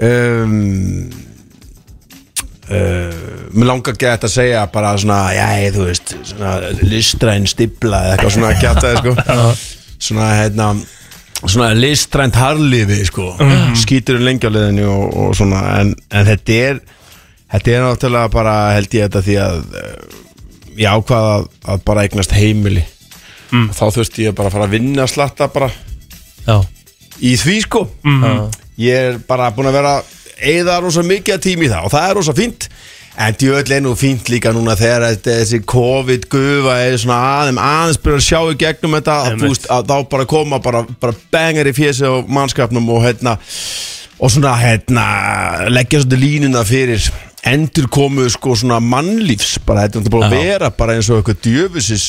Speaker 14: um, uh, Mér langar gett að segja bara svona, já, þú veist svona listræn stibla eða eitthvað svona gett að sko svona, hérna svona listrænt harliði sko
Speaker 1: Mhm.
Speaker 14: skýtur um lengi á liðinu og, og svona en, en þetta er þetta er náttúrulega bara held ég þetta því að uh, ég ákvað að, að bara eignast heimili þá þurfti ég bara að fara að vinna að slatta bara
Speaker 2: Já.
Speaker 14: í því sko
Speaker 2: Mhm.
Speaker 14: ég er bara búin að vera eða rosa mikið tími í það og það er rosa fínt en djöðl er nú fínt líka núna þegar þetta, þessi COVID-gufa er svona aðeim aðeins byrja að sjá í gegnum þetta að, þú veist, að þá bara koma bara, bara bengar í fjösi og mannskapnum og hérna og svona hérna leggja svona línuna fyrir endur komu sko svona mannlífs bara þetta er bara að
Speaker 2: Já.
Speaker 14: vera bara eins og eitthvað djöfusis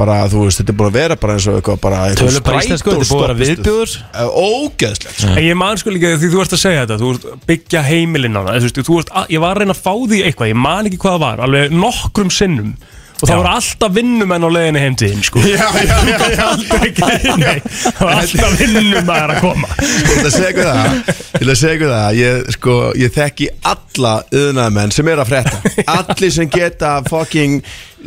Speaker 14: bara þú veist þetta er bara að vera bara eins og eitthvað bara eitthvað
Speaker 2: Tölum bara íslensku, þetta er búið að vera
Speaker 14: strætóstoppistöð.
Speaker 2: viðbjóður
Speaker 14: Ógeðslegt
Speaker 1: En ég man sko líka því þú ert að segja þetta Þú ert að byggja heimilinn hana þú veist, þú ert að, Ég var að reyna að fá því eitthvað Ég man ekki hvað það var, alveg nokkrum sinnum Og það
Speaker 2: Já.
Speaker 1: voru alltaf vinnumenn á leiðinni heim til þín sko.
Speaker 14: Já, já, já, já.
Speaker 1: Það var alltaf vinnum að er að koma
Speaker 14: Ég ætla að segja ykkur það Ég ætla að segja ykkur það Ég, sko, ég þekki alla öðnaðmenn sem er að frétta Allir sem geta fucking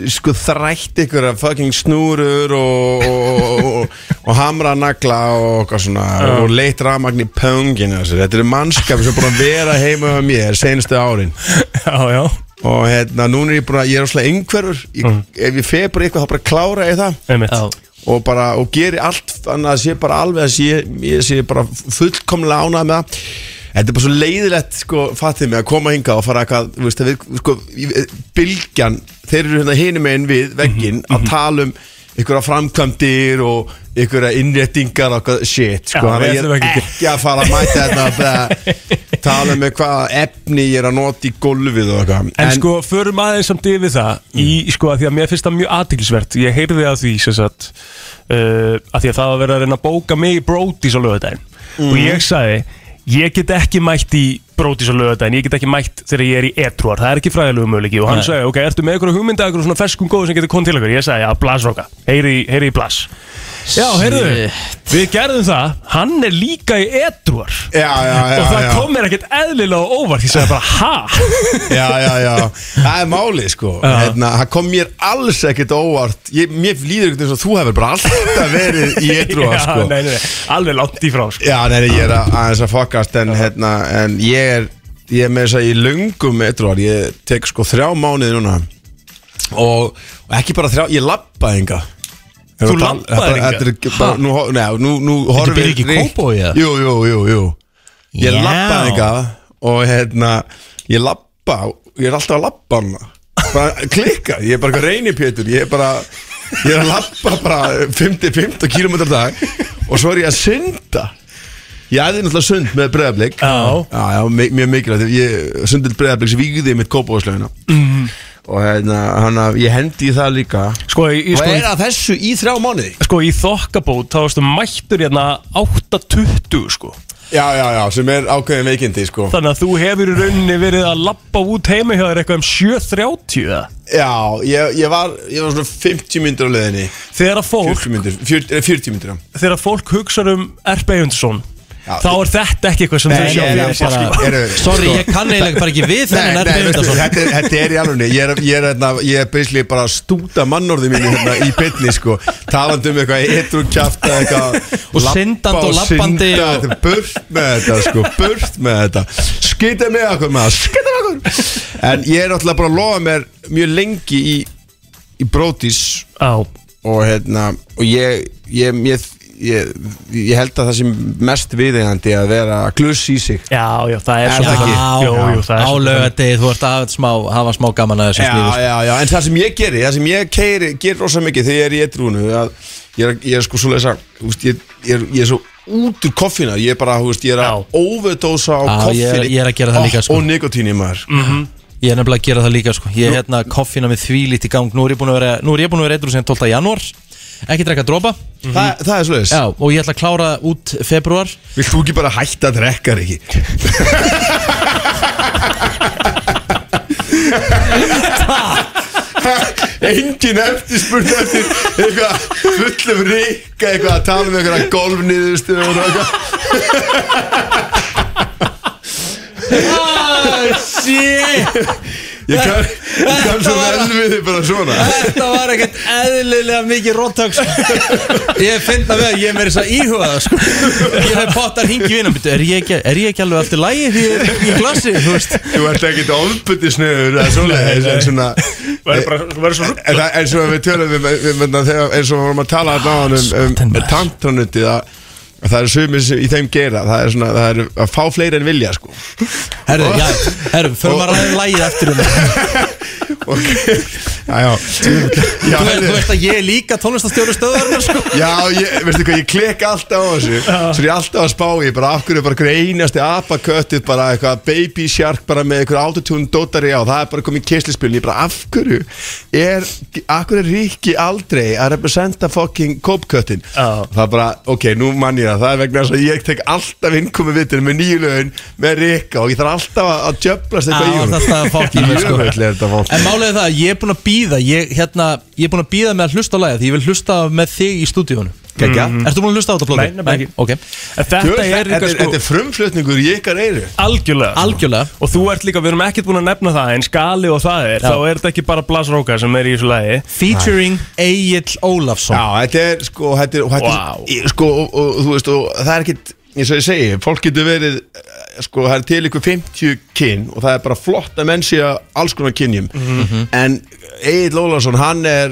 Speaker 14: sko, þrætt ykkur að fucking snúrur og, og, og, og, og hamra nagla og, eitthvað svona,
Speaker 1: Já.
Speaker 14: og leitt rafmagn í pöngin þetta er mannskap sem er búin að vera heima hjá mér senstu árin
Speaker 1: já, já. Mm.
Speaker 14: og hérna, núna er ég búin að ég er óslega einhverfur ég, ef ég fer bara eitthvað þá bara klára ég það
Speaker 1: Einmitt. Já.
Speaker 14: og bara, og geri allt þannig að það sé bara alveg að sé, ég sé bara fullkomlega ánað með það Þetta er bara svo leiðilegt, sko, fattið mig að koma hingað og fara eitthvað, þú veist, að við, sko, ég- bylgjan, þeir eru hérna hinum einn við vegginn
Speaker 1: Mhm,
Speaker 14: að tala um einhverja framkvæmdir og einhverja innréttingar og eitthvað shit, sko,
Speaker 1: Já,
Speaker 14: þannig
Speaker 1: við
Speaker 14: að
Speaker 1: ætlum
Speaker 14: ég
Speaker 1: ekki-
Speaker 14: er ekki að fara að mæta þetta að það- tala um hvaða efni ég er að nota í gólfið og eitthvað.
Speaker 1: En, sko, förum aðeins samt yfir það
Speaker 14: Mm.
Speaker 1: í, sko, að því að mér finnst það mjög aðtilsvert ég heyrði að því, sem sagt uh, að því að það var verið að reyna að bóka mig í Brodís á lögadaginn og
Speaker 14: Mm.
Speaker 1: ég sagði, ég get ekki mætt í Brodís á lögadaginn, ég get ekki mætt þegar ég er í etruar, það er ekki fræðilegu möguleiki og hann
Speaker 4: Nei.
Speaker 1: sagði, ok, ertu með einhverju hugmynda einhverju svona ferskum góðu sem getur komið til okkur ég sagði, já, blasroka, heyri, í- heyri í blas já, heyrðu, við gerðum það hann er líka í etruar
Speaker 14: já, já, já,
Speaker 1: og það
Speaker 14: já.
Speaker 1: kom mér ekkert eðlilega á óvart, ég sagði bara, ha?
Speaker 14: já, já, já, það er málið sko hérna, það kom mér alls ekkert óvart ég, mér líður ekkert eins og þú hefur bara alltaf verið í eitthvað
Speaker 1: Já,
Speaker 14: sko
Speaker 1: nei, nei, nei, alveg langt í frá sko.
Speaker 14: já, nei, nei, ég er að, aðeins að fokast en, hérna, en ég er ég er með þess að í löngum eitthvað ég tek sko þrjá mánuði núna og, og ekki bara þrjá, ég labba enga
Speaker 2: Þú labbaðir hingað? Ha?
Speaker 14: Nú, hor- nei, nú, nú
Speaker 2: Þetta
Speaker 14: horfir
Speaker 2: byrjar ekki í
Speaker 14: Rík-
Speaker 2: Kópavogi, eða?
Speaker 14: Jú, jú, jú, jú Ég
Speaker 2: Já.
Speaker 14: labbaði eitthvað og hérna, ég labba, ég er alltaf að labba hana bara klikka, ég er bara eitthvað reynipétur ég er bara, ég er að labba bara 50-15 km dag og svo er ég að synda Ég æði náttúrulega sund með breðablík Já, já, mi- mjög mikilvægt Ég sundið breðablík sem vígði mitt kópáðslöfina
Speaker 1: Mhm.
Speaker 14: Og hérna, hann að ég hendi í það líka
Speaker 1: Sko, ég,
Speaker 14: Og
Speaker 1: sko,
Speaker 14: er að þessu í þrjá mánuði?
Speaker 1: Sko, í þokkabót, þá varstu mættur hérna 8.20 sko
Speaker 14: Já, já, já, sem er ákveðin veikindi, sko
Speaker 1: Þannig að þú hefur í rauninni verið að lappa út heima hjá þér eitthvað um 7.30 eða?
Speaker 14: Já, ég, ég, var, ég var svona 50 myndir á leiðinni
Speaker 1: Þegar að fólk
Speaker 14: 40 myndir, 40, eh, 40 myndir já.
Speaker 1: Þegar fólk hugsar um R.B. Hundsson Þá er þetta ekki eitthvað sem
Speaker 14: Nei,
Speaker 1: þau sjá
Speaker 14: nei, nei,
Speaker 1: fyrir sér,
Speaker 14: bara-
Speaker 1: sko.
Speaker 14: eru- sko- Nei, nei, veistu, Þetta er- þetta er í alveg Ég er, ég er, hérna, ég er basically bara að stúta mannorði mínu hérna í byrni sko talandi um eitthvað, eitthvað kjafta eitthvað
Speaker 2: Og
Speaker 14: labba
Speaker 2: syndandi og
Speaker 14: synda,
Speaker 2: labbandi og-
Speaker 14: Þetta er burt með þetta sko, burt með þetta Skita með okkur maður, skita með okkur En ég er náttúrulega bara að lofa mér mjög lengi í, í brótis
Speaker 1: Á
Speaker 14: Og hérna, og ég, ég, ég, ég, ég held að það sem mest viðeigandi að vera að kluss í sig
Speaker 1: Já, já, það
Speaker 14: Er það ekki? Jú, jú, það er
Speaker 2: á
Speaker 14: svolítið
Speaker 2: lögadegi, þú ert að smá, hafa smá gaman að þessu sko.
Speaker 14: já,
Speaker 2: slífi
Speaker 14: já, já, en það sem ég geri, það sem ég keiri, ger rosa mikið þegar ég er í eitrúnu að ég er, ég er sko svoleiðis að, þú veist, ég, ég, er, ég er svo út úr koffina, ég er bara, þú veist, ég er að overdósa á
Speaker 2: Já, Ah, ég er-
Speaker 14: koffini
Speaker 2: ég er að gera það líka, sko.
Speaker 14: Og nikotíni maður
Speaker 2: Mhm. Ég er nefnilega að gera það líka sko. Ég er hérna koffina með því lít í gang Nú er ég búin að vera, nú er ég búin að vera eitthvað sem 12. janúar Ekki drekka dropa
Speaker 14: Þa- Það er svoleiðis
Speaker 2: Já, og ég ætla að klára það út februar
Speaker 14: Vilt þú ekki bara hætta að drekka, Riki? Engin eftirspurn eftir eitthvað fullum rikka eitthvað að tala um eitthvað golfniðustu og eitthvað
Speaker 5: Ah,
Speaker 2: Shit
Speaker 14: Ég kann, ég kann svo vel við þig bara svona
Speaker 2: Þetta var ekkert eðlilega mikið róttök Ég finn það við að ég er meira þess að íhuga það sko. Ég hef pottar hingi vina er, ég ekki- er ég ekki alveg allt í lægi því ég er í glasi Þú veist
Speaker 14: Þú ert ekkert ofbundisnöður eða svoleiðis en svona En það er svo að við tölum við, við, við, þegar, eins og við vorum að tala að náðan um, um tantranutið að að það er sumir sem í þeim gera það er svona, það er að fá fleiri en vilja sko
Speaker 2: Herru, já, herru, förum að ræða um lægið eftir um
Speaker 14: Já, já, já
Speaker 2: Þú veist- þú veist að ég er líka tónlistastjóru stöðarinnar sko.
Speaker 14: Já, ég, veistu hvað, ég klikka alltaf á þessu Svo er ég alltaf að spá í bara af hverju er bara hverju einasti apaköttið bara eitthvað baby shark bara með eitthvað autotune dótari á það er bara komið kislispilin ég bara af hverju er af hverju er Ríkki aldrei að representa fucking kópköttin það er bara, ok, nú mann ég það það er vegna þess að ég tek alltaf innkomi vittin með nýju lögin með Ríkka og ég þarf alltaf að- að djöflast eitthvað í
Speaker 2: Já,
Speaker 14: honum.
Speaker 2: þetta er fokk í mér, sko.
Speaker 14: Jöfull er þetta fokk.
Speaker 2: En málega það, ég er búin að býða Ég, hérna, ég er búin að býða með að hlusta á lagið Því ég vil hlusta með þig í stúdíónu
Speaker 14: Kekja
Speaker 2: Mhm. Ertu búin að hlusta á þetta blóði?
Speaker 1: Nei, nefnilega ekki.
Speaker 2: Ok
Speaker 1: Þetta er líka sko
Speaker 14: Þetta er frumflutningur í ykkar eyru
Speaker 1: Algjörlega
Speaker 2: Algjörlega
Speaker 1: Og þú ert líka, við erum ekkert búin að nefna það En skali og það er,
Speaker 2: Já.
Speaker 1: þá er þetta ekki bara Blas Róka sem er í þessu lagi
Speaker 2: Featuring Egil Ólafsson
Speaker 14: Já, þetta er sko, þetta er, og þetta
Speaker 1: Vá.
Speaker 14: er sko, og, og þú veist, og það er ekkit eins og ég segi, fólk getur verið eh, sko, það er til ykkur 50 kyn og það er bara flott að menn sé að alls konar kynjum
Speaker 4: Mhm.
Speaker 14: en Egil Lólasson, hann er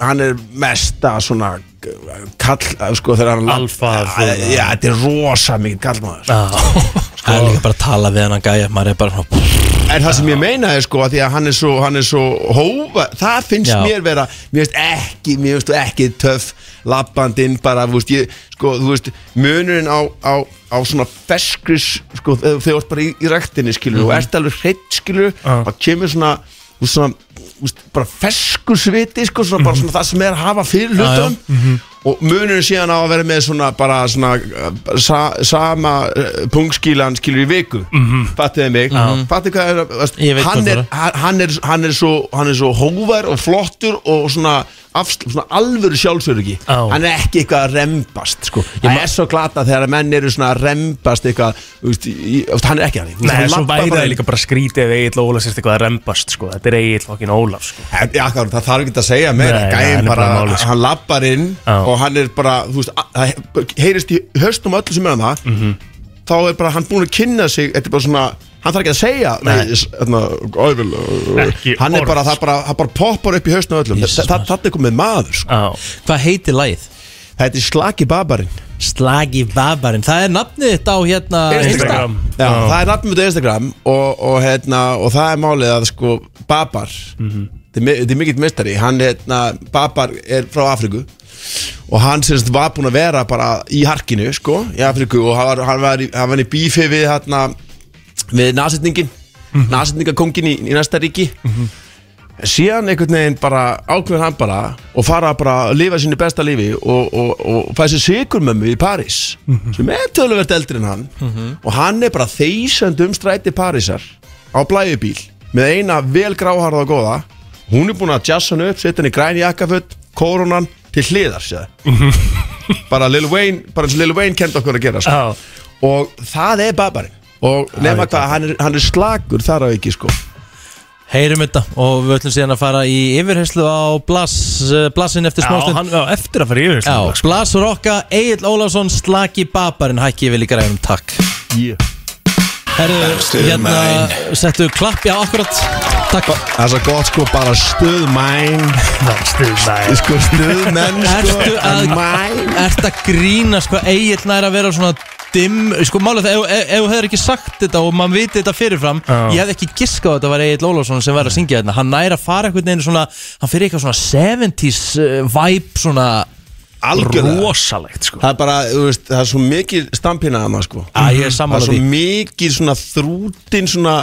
Speaker 14: hann er mesta svona eh, kall, eh, sko, þegar hann eh,
Speaker 1: alfa,
Speaker 14: já, þetta er rosa mikið kallmaður
Speaker 2: Það er líka bara að tala við hann að gæja Maður er bara svona
Speaker 14: En það sem ég meina er sko að því að hann er svo, hann er svo hófa, það finnst
Speaker 2: Já.
Speaker 14: mér vera, mér finnst ekki, mér finnst þú ekki töff, lappandinn bara, þú veist, ég, sko, þú veist, munurinn á, á, á svona feskris, sko, þegar þegar þú ert bara í, í rektinni, skilur,
Speaker 4: Mhm.
Speaker 14: og ert alveg hreitt, skilur, og kemur svona, þú veist, svona, þú veist, bara feskursviti, sko, svona, bara svona það sem er að hafa fyrir hlutum,
Speaker 1: Mhm.
Speaker 14: og munurinn síðan á að vera með svona bara svona uh, sa, sama uh, pungskílan skilur í viku mm -hmm. fattiði mig
Speaker 2: Mhm.
Speaker 14: fattiði hvað er að- veist,
Speaker 2: Ég veit
Speaker 14: hann,
Speaker 2: hvað
Speaker 14: er,
Speaker 2: það
Speaker 14: hann, hann er hann er svo hann er svo hóvar og flottur og svona, afsl, svona alvöru sjálfsöryggi hann er ekki eitthvað að rembast sko. það er svo glata þegar að menn eru svona að rembast eitthvað þú veist, í- þú veist, hann er ekki hann
Speaker 1: Nei, svo væri það líka bara skrítið ef Egil Ólafs er eitthvað að rembast sko. Þetta er Egil fokkin Ólafs sko.
Speaker 14: Já, það þarf ekki að segja meira
Speaker 1: Nei, nei, hann
Speaker 14: Gæin
Speaker 1: er
Speaker 14: bara,
Speaker 1: bara málið, sko.
Speaker 14: hann lappar inn og hann er bara, þú veist, að- það heyrist í höstum öllu sem er hann það
Speaker 1: Mhm.
Speaker 14: þá er bara hann búin að kynna sig þetta er bara svona, hann þarf ekki að segja nei,
Speaker 1: Nei.
Speaker 14: s- þarna, ó, ég vil, ö,
Speaker 1: Ekki
Speaker 14: hann er
Speaker 1: orð,
Speaker 14: bara, það
Speaker 1: sko.
Speaker 14: bara, það bara poppar upp í höstum öllum Þa- það það er komið maður sko.
Speaker 2: Hvað heitir lagið?
Speaker 14: Þetta er Slagi Babarinn
Speaker 2: Slagi Babarinn Það er nafnið þetta á hérna
Speaker 14: Instagram Já, það er nafnum út á Instagram og, og, hérna, og það er málið að sko Babar þetta er mi- þetta er mikill mistari hann, hérna, Babar er frá Afriku og hann semst var búinn að vera bara í harkinu sko í Afriku og hann var, hann var, í, hann var í bífi við hérna við nasetningin mm í, í næsta ríki En síðan einhvern veginn bara ákveður hann bara og fara bara að lifa sínu besta lífi og, og, og, og fæ sér sigurmömmu í París sem er töluvert eldri en hann
Speaker 1: Mhm.
Speaker 14: og hann er bara þeysand um stræti Parísar á blæjubíl með eina vel gráharða og góða hún er búin að jazza hann upp, setja hann í græn jakkaföt koronan til hliðar sér. bara Lil Wayne bara eins og Lil Wayne kemd okkur að gera sko. og það er babarinn og nema hvað, hann er, hann er slagur þar á ekki sko
Speaker 2: Heyrum þetta og við ætlum síðan að fara í yfirherslu á Blas, eh, Blasin eftir
Speaker 1: Já,
Speaker 2: smástund
Speaker 1: hann- já, eftir að fara í yfirherslu á
Speaker 2: Já,
Speaker 1: Blas,
Speaker 2: Blas Rokka, Egil Ólafsson, Slaki Babarinn Hækki yfir líka ræðum, takk
Speaker 14: yeah.
Speaker 2: Herru,
Speaker 14: Stuð
Speaker 2: hérna
Speaker 14: mæn.
Speaker 2: settu klapp, já, akkurat Takk
Speaker 14: Það er svo gott sko bara stuð mæn
Speaker 1: Stuð mæn
Speaker 14: Sko stuð menn sko
Speaker 2: Ertu að, ertu að grína sko, Egil nær að vera svona dimm Sko, málega það, ef- ef ef þú hefur ekki sagt þetta og mann viti þetta fyrirfram Ég hefði ekki giskað að þetta var Egil Ólafsson sem var að syngja þetta Hann nær að fara einhvern veginn svona Hann fyrir eitthvað svona 70s eh, vibe svona
Speaker 14: Algjörlega.
Speaker 1: Rosalegt sko
Speaker 14: Það er bara, þú veist, það er svo mikið stampina að maður sko
Speaker 2: Æ, ég er sammála
Speaker 14: Það er svo
Speaker 2: því.
Speaker 14: mikið svona þrútin svona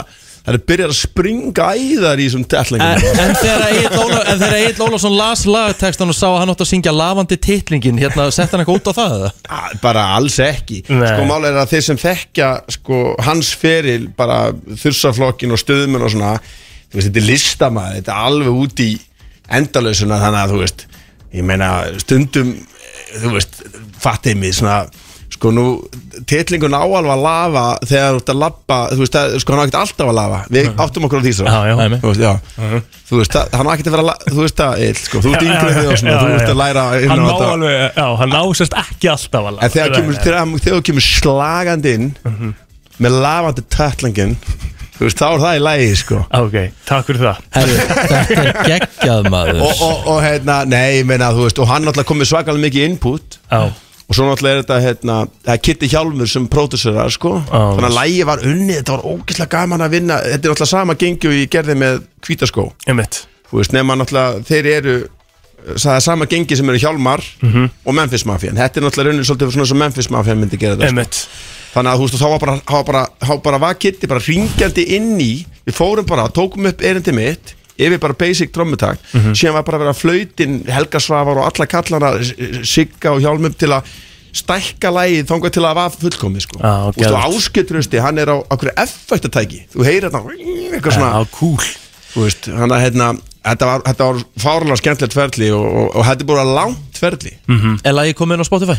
Speaker 14: Það er byrjað að springa æðar í þessum
Speaker 2: En,
Speaker 14: tellingum
Speaker 2: en þegar Egill Óla- en þegar Egil Ólafsson las lagtextan og sá að hann átti að syngja lavandi titlingin hérna, sett hann eitthvað út á það eða?
Speaker 14: Að- Bara alls ekki
Speaker 2: Nei.
Speaker 14: Sko máli er að þeir sem þekkja sko, hans feril, bara þursaflokkin og stöðumun og svona Þú veist, þetta er listamaður, þetta er alveg út í endalausuna Þannig að þú veist, ég meina stundum, eh, þú veist, fattið mig svona Sko nú, titlingun á alveg að lafa þegar þú ert að labba, þú veist, það- sko hann á ekkert alltaf að lafa Við áttum okkur á því svo
Speaker 1: Já, Mhm. já.
Speaker 14: Þú veist, já Þú veist, það- hann á ekkert að vera, að la- þú veist það, Egill, sko, þú ert yngri þegar og svona, þú ert að læra inn á
Speaker 1: Hann ná
Speaker 14: þetta.
Speaker 1: alveg, já, hann ná sérst ekki alltaf að lafa.
Speaker 14: En þegar
Speaker 1: Nei,
Speaker 14: kemur,
Speaker 1: nei.
Speaker 14: þegar, þegar þú kemur slagandi inn
Speaker 1: Mhm.
Speaker 14: Með lafandi tattlingin Þú veist, þá er það í lægi, sko
Speaker 1: Ok, takk fyrir það
Speaker 2: Herru, þetta er geggjað maður
Speaker 14: Og, og, og hérna, nei, ég meina, þú veist Og hann náttúrulega komið svakalega mikið input
Speaker 1: Já
Speaker 14: Og svo náttúrulega er þetta, hérna Það er Kitty Hjálmur sem pródusserar, sko Þannig að lægi var unnið, þetta var ógeðslega gaman að vinna Þetta er náttúrulega sama gengju ég gerði með Hvítaskó
Speaker 1: Einmitt
Speaker 14: Þú veist, nema náttúrulega, þeir eru Það er sama gengi sem eru Hjálmar
Speaker 1: Mhm.
Speaker 14: og Memphis Mafian Þetta er náttúrulega raunin svolítið svona sem Memphis Mafian myndi gera þetta sko.
Speaker 1: Einmitt.
Speaker 14: Þannig að þú veist þá var bara, þá var bara, þá bara var Kitty bara ringjandi inn í Við fórum bara, tókum upp erindi mitt Yfir bara basic drömmutak
Speaker 1: Mhm.
Speaker 14: Síðan var bara að vera flautin, Helga Svavar og alla kallana S- S- Sigga og Hjálmum til að stækka lægið þangað til að það var fullkomið sko.
Speaker 1: Já,
Speaker 14: Þú veist, og
Speaker 1: geðvægt.
Speaker 14: áskjötrusti, hann
Speaker 1: Ah,
Speaker 14: er á okkur effektatæki Þú heyrir þetta eitthvað svona
Speaker 1: Já, cool
Speaker 14: Þú veist, hann að hérna þetta var, þetta var fárlega skemmtilegt ferli og, og, og þetta er búin að langt ferli
Speaker 2: -hmm. Er lagið komið inn á Spotify?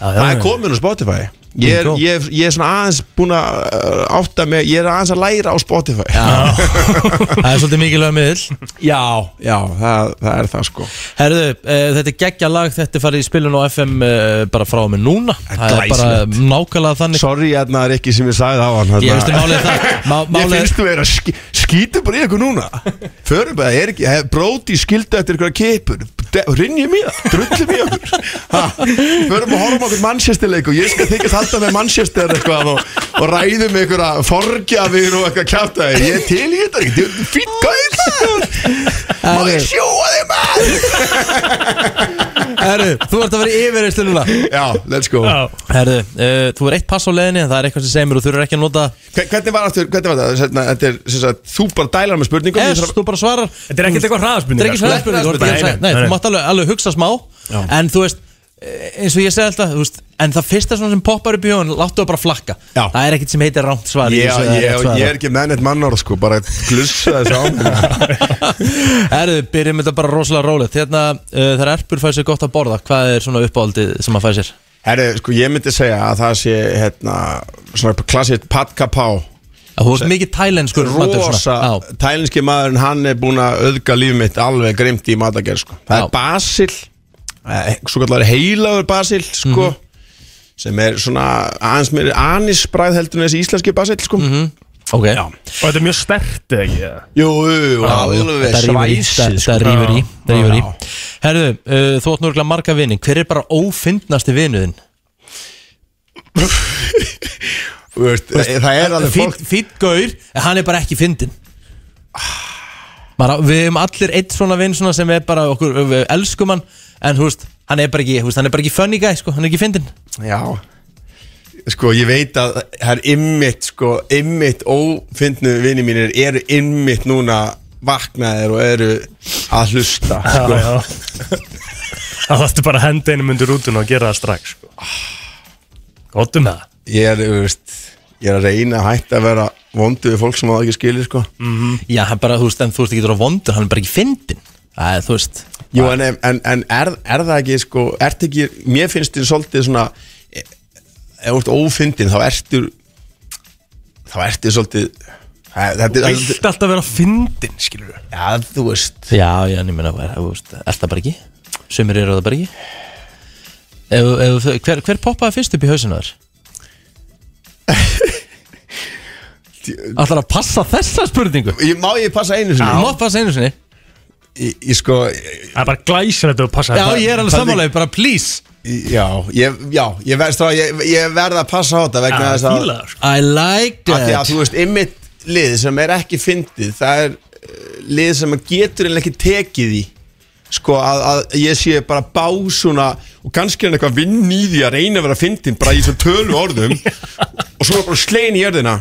Speaker 14: mhm. Það er komin á Spotify Ég er,
Speaker 2: Bingo.
Speaker 14: ég, er- ég er svona aðeins búin að uh, átta mig, ég er aðeins að læra á Spotify Já,
Speaker 2: Það er svolítið mikilvæg miðl
Speaker 14: já, það, það er það sko
Speaker 2: Herðu, uh, þetta er geggja lag Þetta er farið í spilun á FM uh, bara frá og með núna Það er bara
Speaker 14: Glæsilegt.
Speaker 2: nákvæmlega þannig
Speaker 14: Sorry, hérna er ekki sem ég sagði á hérna- hann
Speaker 2: Ég veistu málið er það má,
Speaker 14: Ég
Speaker 2: málið,
Speaker 14: finnst þú verið að ski, skýta bara í ykkur núna Förum bara, er ekki, hef, bróti skilda eftir ykkur að kipur Rinjum í það, drullum í okkur ha, Förum og horfum okkur mannsjæstileik og ég skal þykist halda með mannsjæstir eitthvað og, og ræðum ykkur að forgjafir og eitthvað kjáta Ég er til í þetta, ég er fýtt gæð Má ég sjóa þig maður
Speaker 2: Herru, þú ert að vera yfirreyslu núna
Speaker 14: Já, let's go
Speaker 2: Herðu, uh, þú er eitt pass á leiðinni en Það er eitthvað sem segir mér og þú eru ekki að nota
Speaker 14: Hver- Hvernig var, aftur, hvernig var það? Sérna, þetta er, sem sagt, þú bara dælar með spurningum
Speaker 2: Yes,
Speaker 14: ég þarf-
Speaker 2: þú bara svarar
Speaker 1: Þetta er ekkert eitthvað hraðaspurning,
Speaker 2: Þetta er ekki
Speaker 1: sko.
Speaker 2: hraðaspurning,
Speaker 1: Nei,
Speaker 2: orðið ég að
Speaker 1: nei,
Speaker 2: segja. Nei,
Speaker 1: nei,
Speaker 2: þú
Speaker 1: nei.
Speaker 2: mátt alveg, alveg hugsa smá
Speaker 1: Já.
Speaker 2: En þú veist, eh, eins og ég segi alltaf þú veist, En það fyrsta svona sem poppar upp í hugun Láttu það bara flakka Já. Það er ekkert sem heitir rámt svar í
Speaker 14: Ég,
Speaker 2: þessu
Speaker 14: ég,
Speaker 2: eða
Speaker 14: ég,
Speaker 2: rétt svar.
Speaker 14: er ekki með neitt mannorð sko, bara glussa þessu á mig
Speaker 2: Herðu, byrjum þetta bara rosalega rólegt Hérna, uh, þegar erpur fæði sér gott að borða Hvað er svona uppáhaldið sem að fæði sér?
Speaker 14: Herri, sko, ég myndi segja að það sé hérna, svona klassið patkapá
Speaker 2: Þú ert mikið tælenskur matur svona.
Speaker 14: Rosa,
Speaker 2: Já.
Speaker 14: tælinski maðurinn hann er búin að auðga líf mitt alveg grimt í matagerð sko. Það er basil eh, svo kallar heilagur basil sko,
Speaker 2: Mhm.
Speaker 14: sem er svona aðeins meiri anisbræð heldur en þessi íslenski basil sko. mm -hmm.
Speaker 2: Mhm. Ok
Speaker 14: Já.
Speaker 1: Og þetta er mjög stert, eða ekki? eða?
Speaker 14: Jú, jú,
Speaker 1: Já,
Speaker 14: alveg sko.
Speaker 2: þetta rífur í,
Speaker 14: svæsi
Speaker 2: þetta- þetta rífur í, þetta rífur í. Herðu, uh, þú átt núrglega marga vini Hver er bara ófindnasti vinuðinn?
Speaker 14: Veist, eh, það er alveg fólk-
Speaker 2: Fýtt eh, gaur, en hann er bara ekki fyndin Bara, Við hefum allir eitt svona vinn svona sem er bara okkur, við elskum hann En þú veist, hann er bara ekki, þú veist, hann er bara ekki funny guy, sko, hann er ekki fyndin
Speaker 14: Já Sko ég veit að það er ymmit sko, ymmit ófindnu vini mínir eru ymmit núna vaknaðir og eru að hlusta sko.
Speaker 1: Já, já. Það þarftu bara að henda einum undir rútun og gera það strax sko. Gott um það
Speaker 14: Ég er, þú veist, ég er að reyna að hætta að vera vondu við fólk sem það ekki skilir sko.
Speaker 2: Já, hann bara, þú veist, en þú veist ekki þú er vondur, hann er bara ekki fyndin Það er, þú veist
Speaker 14: Jú, en, en, en er, er það ekki, sko, ert ekki, mér finnst þér svolítið svona, e- ef þú ert ófindin, þá ertu, þá ertu svolítið, það, þetta er
Speaker 1: Þú vilt alltaf vera fyndin, skilur við
Speaker 14: Já, þú veist
Speaker 2: Já, já, en ég meina, er, þú veist, er það bara ekki? Sumir eru það bara ekki ef, ef, hver, hver poppaði fyrst upp í hausinu þar? Ætlar að passa þessa spurningu?
Speaker 14: Ég, má ég passa einu
Speaker 2: sinni? Má passa einu sinni?
Speaker 14: Ég, ég sko
Speaker 1: Það er bara glæsir þetta og passa
Speaker 2: Já, ég er alveg sammálaðið, bara please
Speaker 14: Já, ég, já, ég, ver, strá, ég, ég verð að passa á þetta vegna
Speaker 2: Já,
Speaker 14: þess að
Speaker 2: fíla það, sko. I like
Speaker 14: Af því
Speaker 2: that.
Speaker 14: að þú veist, ymmit lið sem er ekki fyndið Það er eh, lið sem að getur en ekki tekið í Sko að, að ég sé bara básuna Og kannski er hann eitthvað vinn í því að reyna að vera fyndin Bara í þessum tölu orðum Og svo er bara slegin í jörðina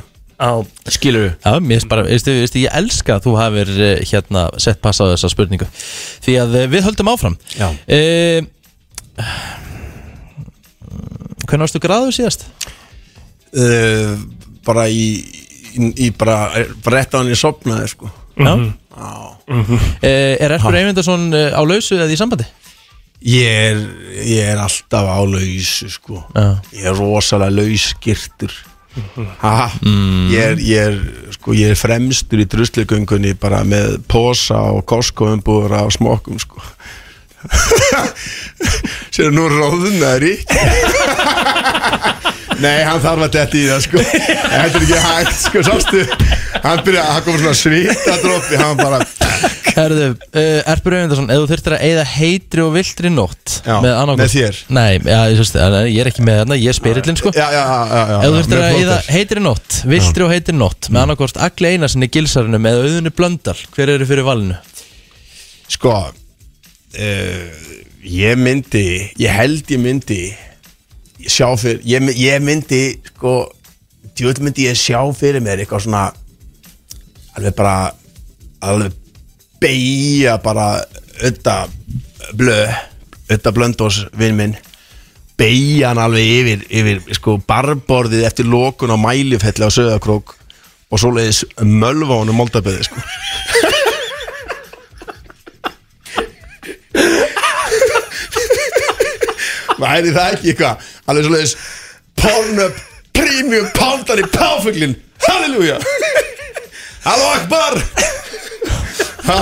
Speaker 2: Skilur við Já, mér finnst bara, veistu, veistu, ég elska að þú hafir eh, hérna sett pass á þessa spurningu Því að eh, við höldum áfram Eh, Já Hvernig varstu gráður síðast?
Speaker 14: uh, Bara í, í, í bara, eh, bara rétt á hann í sopnaði sko
Speaker 2: Já
Speaker 14: Mhm.
Speaker 2: Eh, Er Erfur Eyvindarsson eh, á lausu eða í sambandi?
Speaker 14: Ég er, ég er alltaf á lausu sko
Speaker 2: Já.
Speaker 14: Ég er rosalega lauskirtur ha,
Speaker 2: Mm.
Speaker 14: ég, er, ég, er, sko, ég er fremstur í druslegöngunni bara með posa og koskoumbúra og smokkum sko Sér nú róðunar í Nei, hann þarf að detti í það sko Þetta er ekki hægt sko, sástu Hann byrja, hann kom svona svita droppi Hann bara,
Speaker 2: Herðu, uh, Erpur Eyvindarsson, ef þú þurftir að eyða heitri og vildri nótt
Speaker 14: Já,
Speaker 2: annað
Speaker 14: með
Speaker 2: hvort-
Speaker 14: þér.
Speaker 2: Nei, já, ég, sérst, ég er ekki með þarna, ég er spyrillin sko
Speaker 14: já, já, já, já
Speaker 2: Ef þú þurftir
Speaker 14: mjög
Speaker 2: að
Speaker 14: flottur.
Speaker 2: eyða heitri nótt, vildri og heitri nótt með annarkort Agli Einarsinni gilsarinum eða auðinu blöndal, hver eru fyrir valinu?
Speaker 14: Sko uh, Ég myndi Ég held ég myndi ég Sjá fyrir Ég, my- ég myndi sko Djúvel myndi ég sjá fyrir mér eitthvað svona Alveg bara Alveg beigja bara Ötta blö Ötta blöndós vinn minn Beigja hann alveg yfir, yfir sko barborðið eftir lokun á mælifelli á söðakrók og svo leiðis mölva honum moldaböði sko væri það ekki eitthvað alveg svoleiðis Pornhub Premium Poundar í páfuglin Halleluja Halló Akbar Ha.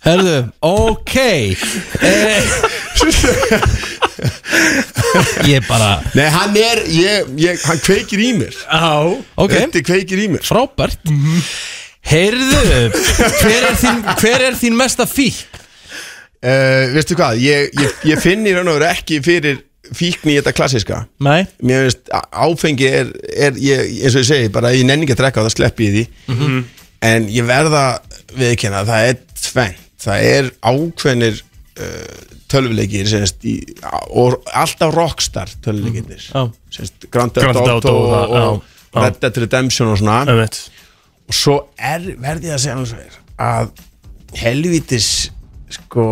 Speaker 2: Herðu, ok eh, Ég bara
Speaker 14: Nei, hann er, ég, ég, hann kveikir í mér
Speaker 2: Já, ok
Speaker 14: Þetta kveikir í mér
Speaker 2: Frábært Heyrðu, hver er þín, hver er þín mesta fík?
Speaker 14: Uh, veistu hvað, ég, ég, ég finn í raun og veru ekki fyrir fíkn í þetta klassiska
Speaker 2: Nei
Speaker 14: Mér veist, á- áfengi er, er ég, eins og ég segi, bara ég nenni ekki að drekka og það sleppi ég því
Speaker 2: Mhm.
Speaker 14: En ég verða viðkynna, það er tvennt Það er ákveðnir uh, tölvuleikir, semst, í, og alltaf rockstar tölvuleikirnir
Speaker 2: Mhm. Já.
Speaker 14: semst, Grand Theft
Speaker 1: Grand
Speaker 14: Auto,
Speaker 1: Theft Auto og
Speaker 14: og,
Speaker 1: það,
Speaker 14: og
Speaker 1: já, já.
Speaker 14: Red Dead Redemption og svona
Speaker 1: Einmitt.
Speaker 14: Og svo er, verði ég að segja alveg svo er að helvitis sko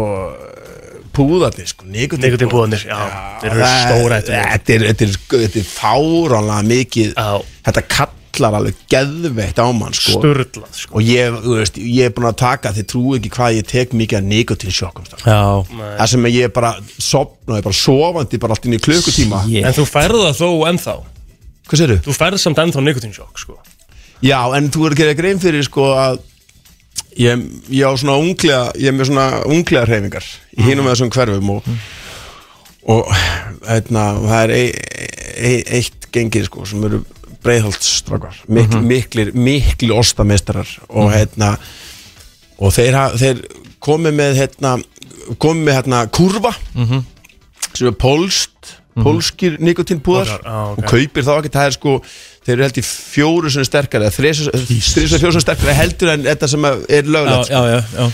Speaker 14: púðarnir sko,
Speaker 1: Nikótínpúðarnir, já, þeir eru
Speaker 14: það-
Speaker 1: stórættulegir.
Speaker 14: þetta er, þetta er, þetta er fáránlega mikið já. þetta kallar alveg geðveitt á mann sko.
Speaker 1: Sturlað,
Speaker 14: og ég, þú veist, ég er búin að taka þið trúi ekki hvað ég tek mikið að nikotinsjokkum
Speaker 2: Já
Speaker 14: það sem ég er bara sopna, ég er bara sofandi bara allt inn í klukkutíma
Speaker 1: En þú færð það þó ennþá
Speaker 14: Hvað segirðu?
Speaker 1: Þú færð samt ennþá nikotinsjokk sko.
Speaker 14: Já, en þú er að gera grein fyrir sko að ég, ég á svona unglega ég er með svona unglega hreyfingar í
Speaker 2: Mhm.
Speaker 14: hinum með þessum hverfum og, og heitna, það er ei, ei, eitt gengið sko sem eru breiðhaldstrakar mikl,
Speaker 2: Mhm.
Speaker 14: miklir, miklir ostamestrar og
Speaker 2: Mhm.
Speaker 14: heitna og þeir, ha- þeir komið með heitna, komið með hérna, heitna kurva
Speaker 2: Mhm.
Speaker 14: sem er pólst pólskir nikotínpúðar
Speaker 2: Púðar, á, ok.
Speaker 14: og kaupir þá ekkert það er sko þeir eru held í fjóru sem sterkari eða þrisa fjóru sem sterkari heldur en þetta sem er löglegt
Speaker 2: Já, já, já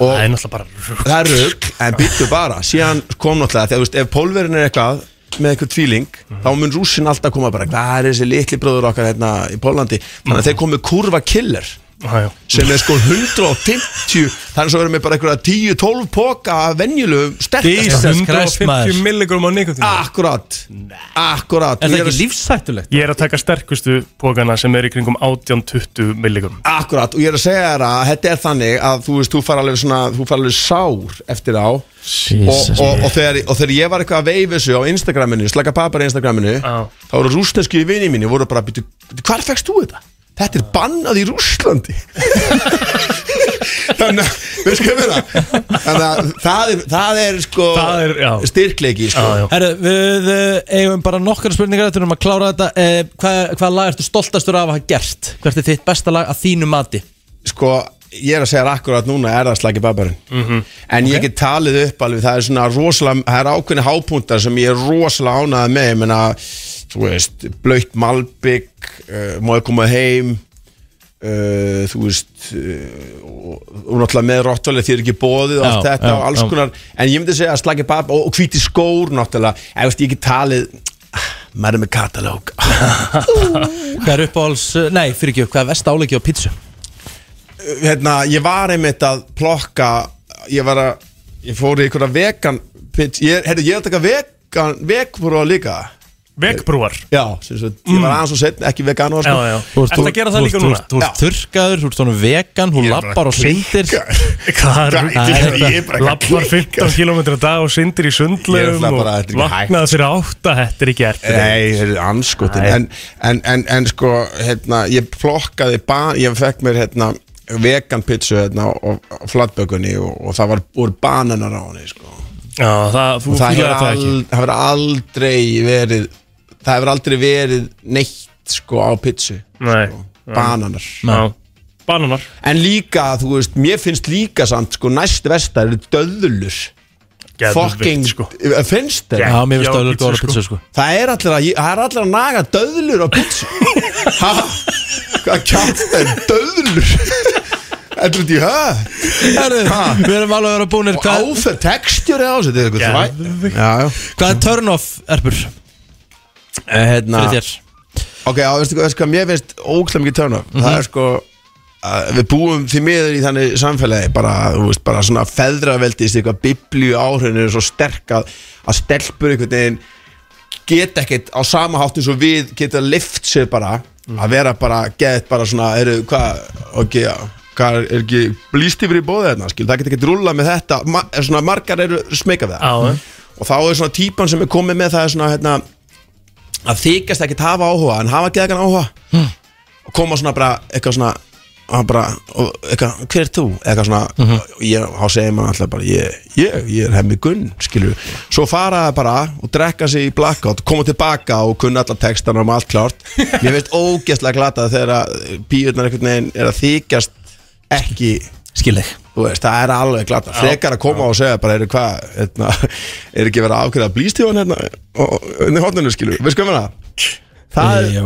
Speaker 14: Og
Speaker 1: Það er náttúrulega bara rugl.
Speaker 14: það er rugg, en byttu bara síðan kom náttúrulega, þegar þú veist, ef pólverin er eitthvað með eitthvað tvíling, þá mun rússin alltaf koma bara, hvað er þessi litli bróður okkar hérna í Pólandi, þannig að þeir komu kurva killer,
Speaker 1: Já, já.
Speaker 14: sem er sko 150, þannig að vera með bara einhverja 10-12 poka af venjulegu sterkast
Speaker 1: Jesus Christ, maður. 150 milligram á nikotín
Speaker 14: Akkurat, akkurat
Speaker 1: Er það
Speaker 14: Ég
Speaker 1: ekki
Speaker 14: að-
Speaker 2: lífshættulegt?
Speaker 1: Ég er að taka sterkustu pókana sem er í kringum 18-20 milligram
Speaker 14: Akkurat, og ég er að segja þér að þetta er þannig að þú veist, þú far alveg svona, þú far alveg sár eftir á og,
Speaker 2: Jesus,
Speaker 14: og,
Speaker 2: maður.
Speaker 14: og, þegar, og þegar ég var eitthvað að veifa þessu á Instagraminu, slaka papar í Instagraminu þá voru rúsneski í vini mínu voru bara, býtu, hvar fegst þú þetta? Þetta er bannað í Rúslandi Þannig að, veist hvað við það? Þannig að það er, það er sko það er, styrkleiki sko.
Speaker 2: Herru, við eh, eigum bara nokkara spurningar Þetta um að klára þetta eh, hvað, hvað lag ertu stoltastur af að hafa gert? Hvert er þitt besta lag að þínu mati?
Speaker 14: Sko, ég er að segja akkurat núna er það slagi babarinn
Speaker 2: Mhm.
Speaker 14: En ég get talið upp alveg, það er svona rosalega, það er ákveðni hápuntar sem ég er rosalega ánæði með, ég menna, þú veist, blöytt malbygg, uh, móið komað heim, uh, þú veist, uh, og, og náttúrulega með rottvalið þér er ekki bóðið og allt
Speaker 2: Já,
Speaker 14: þetta
Speaker 2: já,
Speaker 14: og alls
Speaker 2: já.
Speaker 14: konar, en ég myndi segja að slagi bab og, og hvíti skór náttúrulega, ef veist, ég get talið, ah, maður er með katalóg,
Speaker 2: Hvað er uppáhalds, eh, nei, fyrir ekki, hvað er vest áleiki á pítsu?
Speaker 14: hérna, ég var einmitt að plokka ég var að, ég fór í einhverja vegan pitch, ég, hérna, ég er að taka vegan, vegbrúar líka
Speaker 1: Vegbrúar?
Speaker 14: Já, sem sagt, ég var aðeins og setn, ekki vegan sko. og
Speaker 1: Mm. Já, já. Ertu að gera það líka núna?
Speaker 2: Þú ert þurrkaður, þú ert svona vegan, hún lappar og syndir
Speaker 1: Hvað er
Speaker 2: Æ,
Speaker 1: þetta?
Speaker 2: þetta-
Speaker 1: Lappar 15 km að dag og
Speaker 14: Ég
Speaker 1: syndir í
Speaker 14: er
Speaker 1: sundlegum
Speaker 14: náttúrulega
Speaker 1: og
Speaker 14: bara, þetta er ekki hægt.
Speaker 1: vaknaði fyrir átta Þetta er ekki erfið
Speaker 14: Nei, þetta er anskotin en, en, en, en sko, hérna, ég plokkaði bara, ég fekk mér hérna vegan pizzu hérna og, og flatbökunni og, og það var, voru bananar á henni sko.
Speaker 1: Já, það, þú
Speaker 14: og það
Speaker 1: fílaðir
Speaker 14: hefur
Speaker 1: það ekki.
Speaker 14: al, það hefur aldrei verið það hefur aldrei verið neitt sko á pizzu
Speaker 1: Nei.
Speaker 14: sko, bananar
Speaker 1: Já. Bananar
Speaker 14: en líka þú veist, mér finnst líka samt sko næst vestar eru döðlur
Speaker 1: Geðveikt,
Speaker 14: fucking, eh,
Speaker 1: sko.
Speaker 14: finnst þér
Speaker 2: Já, mér finnst Já, döðlur pizzu, góðar á pizzu, sko.
Speaker 14: það er allir að, það er allir að naga döðlur á pizzu ha, hvað kjátt er döðlur Þetta er út í höf
Speaker 2: Herru, við erum alveg að vera búinir
Speaker 14: Og áferð textjúri á þessu, þetta er eitthvað þvæ- Já, já.
Speaker 2: Hvað er turn off, Erpur?
Speaker 14: hérna,
Speaker 2: Fyrir þér.
Speaker 14: Ok, já, veistu hvað, veistu hvað, mér finnst óklæm ekki törna
Speaker 2: Mhm.
Speaker 14: Það er sko að Við búum því miður í þannig samfélagi bara, þú veist, bara svona feðraveldist eitthvað biblíu áhrifinu er svo sterk að, að stelpur einhvern veginn geta ekkert á sama hátt eins og við geta lift sér bara að vera bara, get bara svona eru, hvað, ok, já hvað er, er ekki blýst yfir í bóðið þarna, skil, það geta ekkert rúla með þetta, ma, svona margar eru smekað við það
Speaker 1: Já,
Speaker 14: og þá er svona típan sem er komið með það er svona hérna, að þykast ekkert hafa áhuga en hafa geðgan áhuga og koma svona bara eitthvað svona og hann bara, og eitthvað, hver er þú? eitthvað svona, mm
Speaker 1: Mhm.
Speaker 2: Mhm.
Speaker 14: ég, þá segir maður alltaf bara ég, ég, ég er hemmi gunn, skilju svo fara það bara og drekka sig í blackout, koma tilbaka og kunna alla textana og allt klárt mér finnst ógeðslega glatað þegar að píurnar einhvern veginn er að þykjast ekki
Speaker 2: skilðið
Speaker 14: veist, það er alveg glatað, frekar að koma og segja bara, eru hvað, hérna, er ekki verið að afgreða blístíðan hérna og, og, og hóndinu, skilju, veist hvað mér það?
Speaker 2: Eh,
Speaker 14: Það er,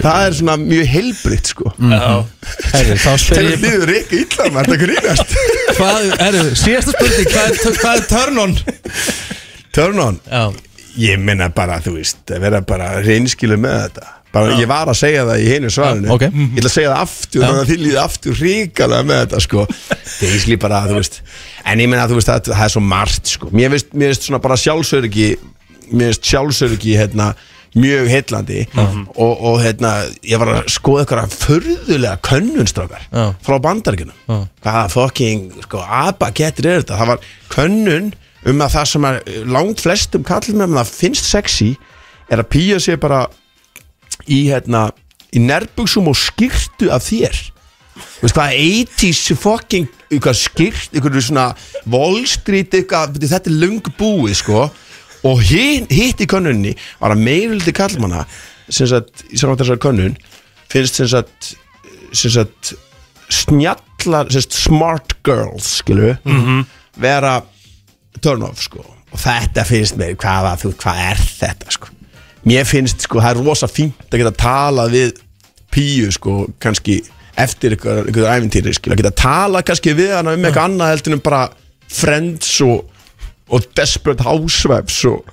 Speaker 14: það er svona mjög heilbritt sko
Speaker 2: Herri, Mhm. þá spyr
Speaker 14: Þegar
Speaker 2: ég-
Speaker 14: líður ekki illa maður, þetta grínast
Speaker 2: Hvað, herru, síðasta spurning, hvað er, hvað er turn on?
Speaker 14: Turn on? Já Ég menna bara, þú veist, að vera bara reynskilu með þetta bara,
Speaker 2: Já.
Speaker 14: Ég var að segja það í hinu svarinu
Speaker 2: Já, ok.
Speaker 14: Ég ætla að segja það aftur,
Speaker 2: Já.
Speaker 14: þannig að þið líði aftur ríkalega með þetta sko Þegar ég slí bara, þú veist En ég menna, þú veist, það, það er svo margt sko Mér veist, mér veist svona bara sjálfsöryggi Mér veist sjálfsöryggi, hérna mjög heillandi og, og hérna, ég var að skoða eitthvað förðulega könnunstrákar
Speaker 2: Já.
Speaker 14: frá bandarginum
Speaker 2: Já.
Speaker 14: hvaða fucking sko, abakettir er þetta það var könnun um að það sem er langt flestum kallum um það finnst sexy er að pýja sér bara í hérna í nærbuksum og skýrtu af þér Þú veist hvað, 80s fucking eitthvað skýrt, eitthvað svona Wall Street, eitthvað, veitir, þetta er lung búið sko og hin- hitt í könnunni var að meiruldi kallmanna sem sagt, í samvæmt þessar könnun finnst sem sagt, sem sagt snjallar, sem sagt smart girls, skilu
Speaker 4: Mhm.
Speaker 14: vera turn off sko og þetta finnst mér, hvað, var- þú, hvað er þetta sko mér finnst sko, það er rosa fínt að geta talað við píu sko, kannski eftir einhver, einhver æfintýri, skil, að geta talað kannski við hana um eitthvað annað heldur en bara friends og, og desperate housewives og,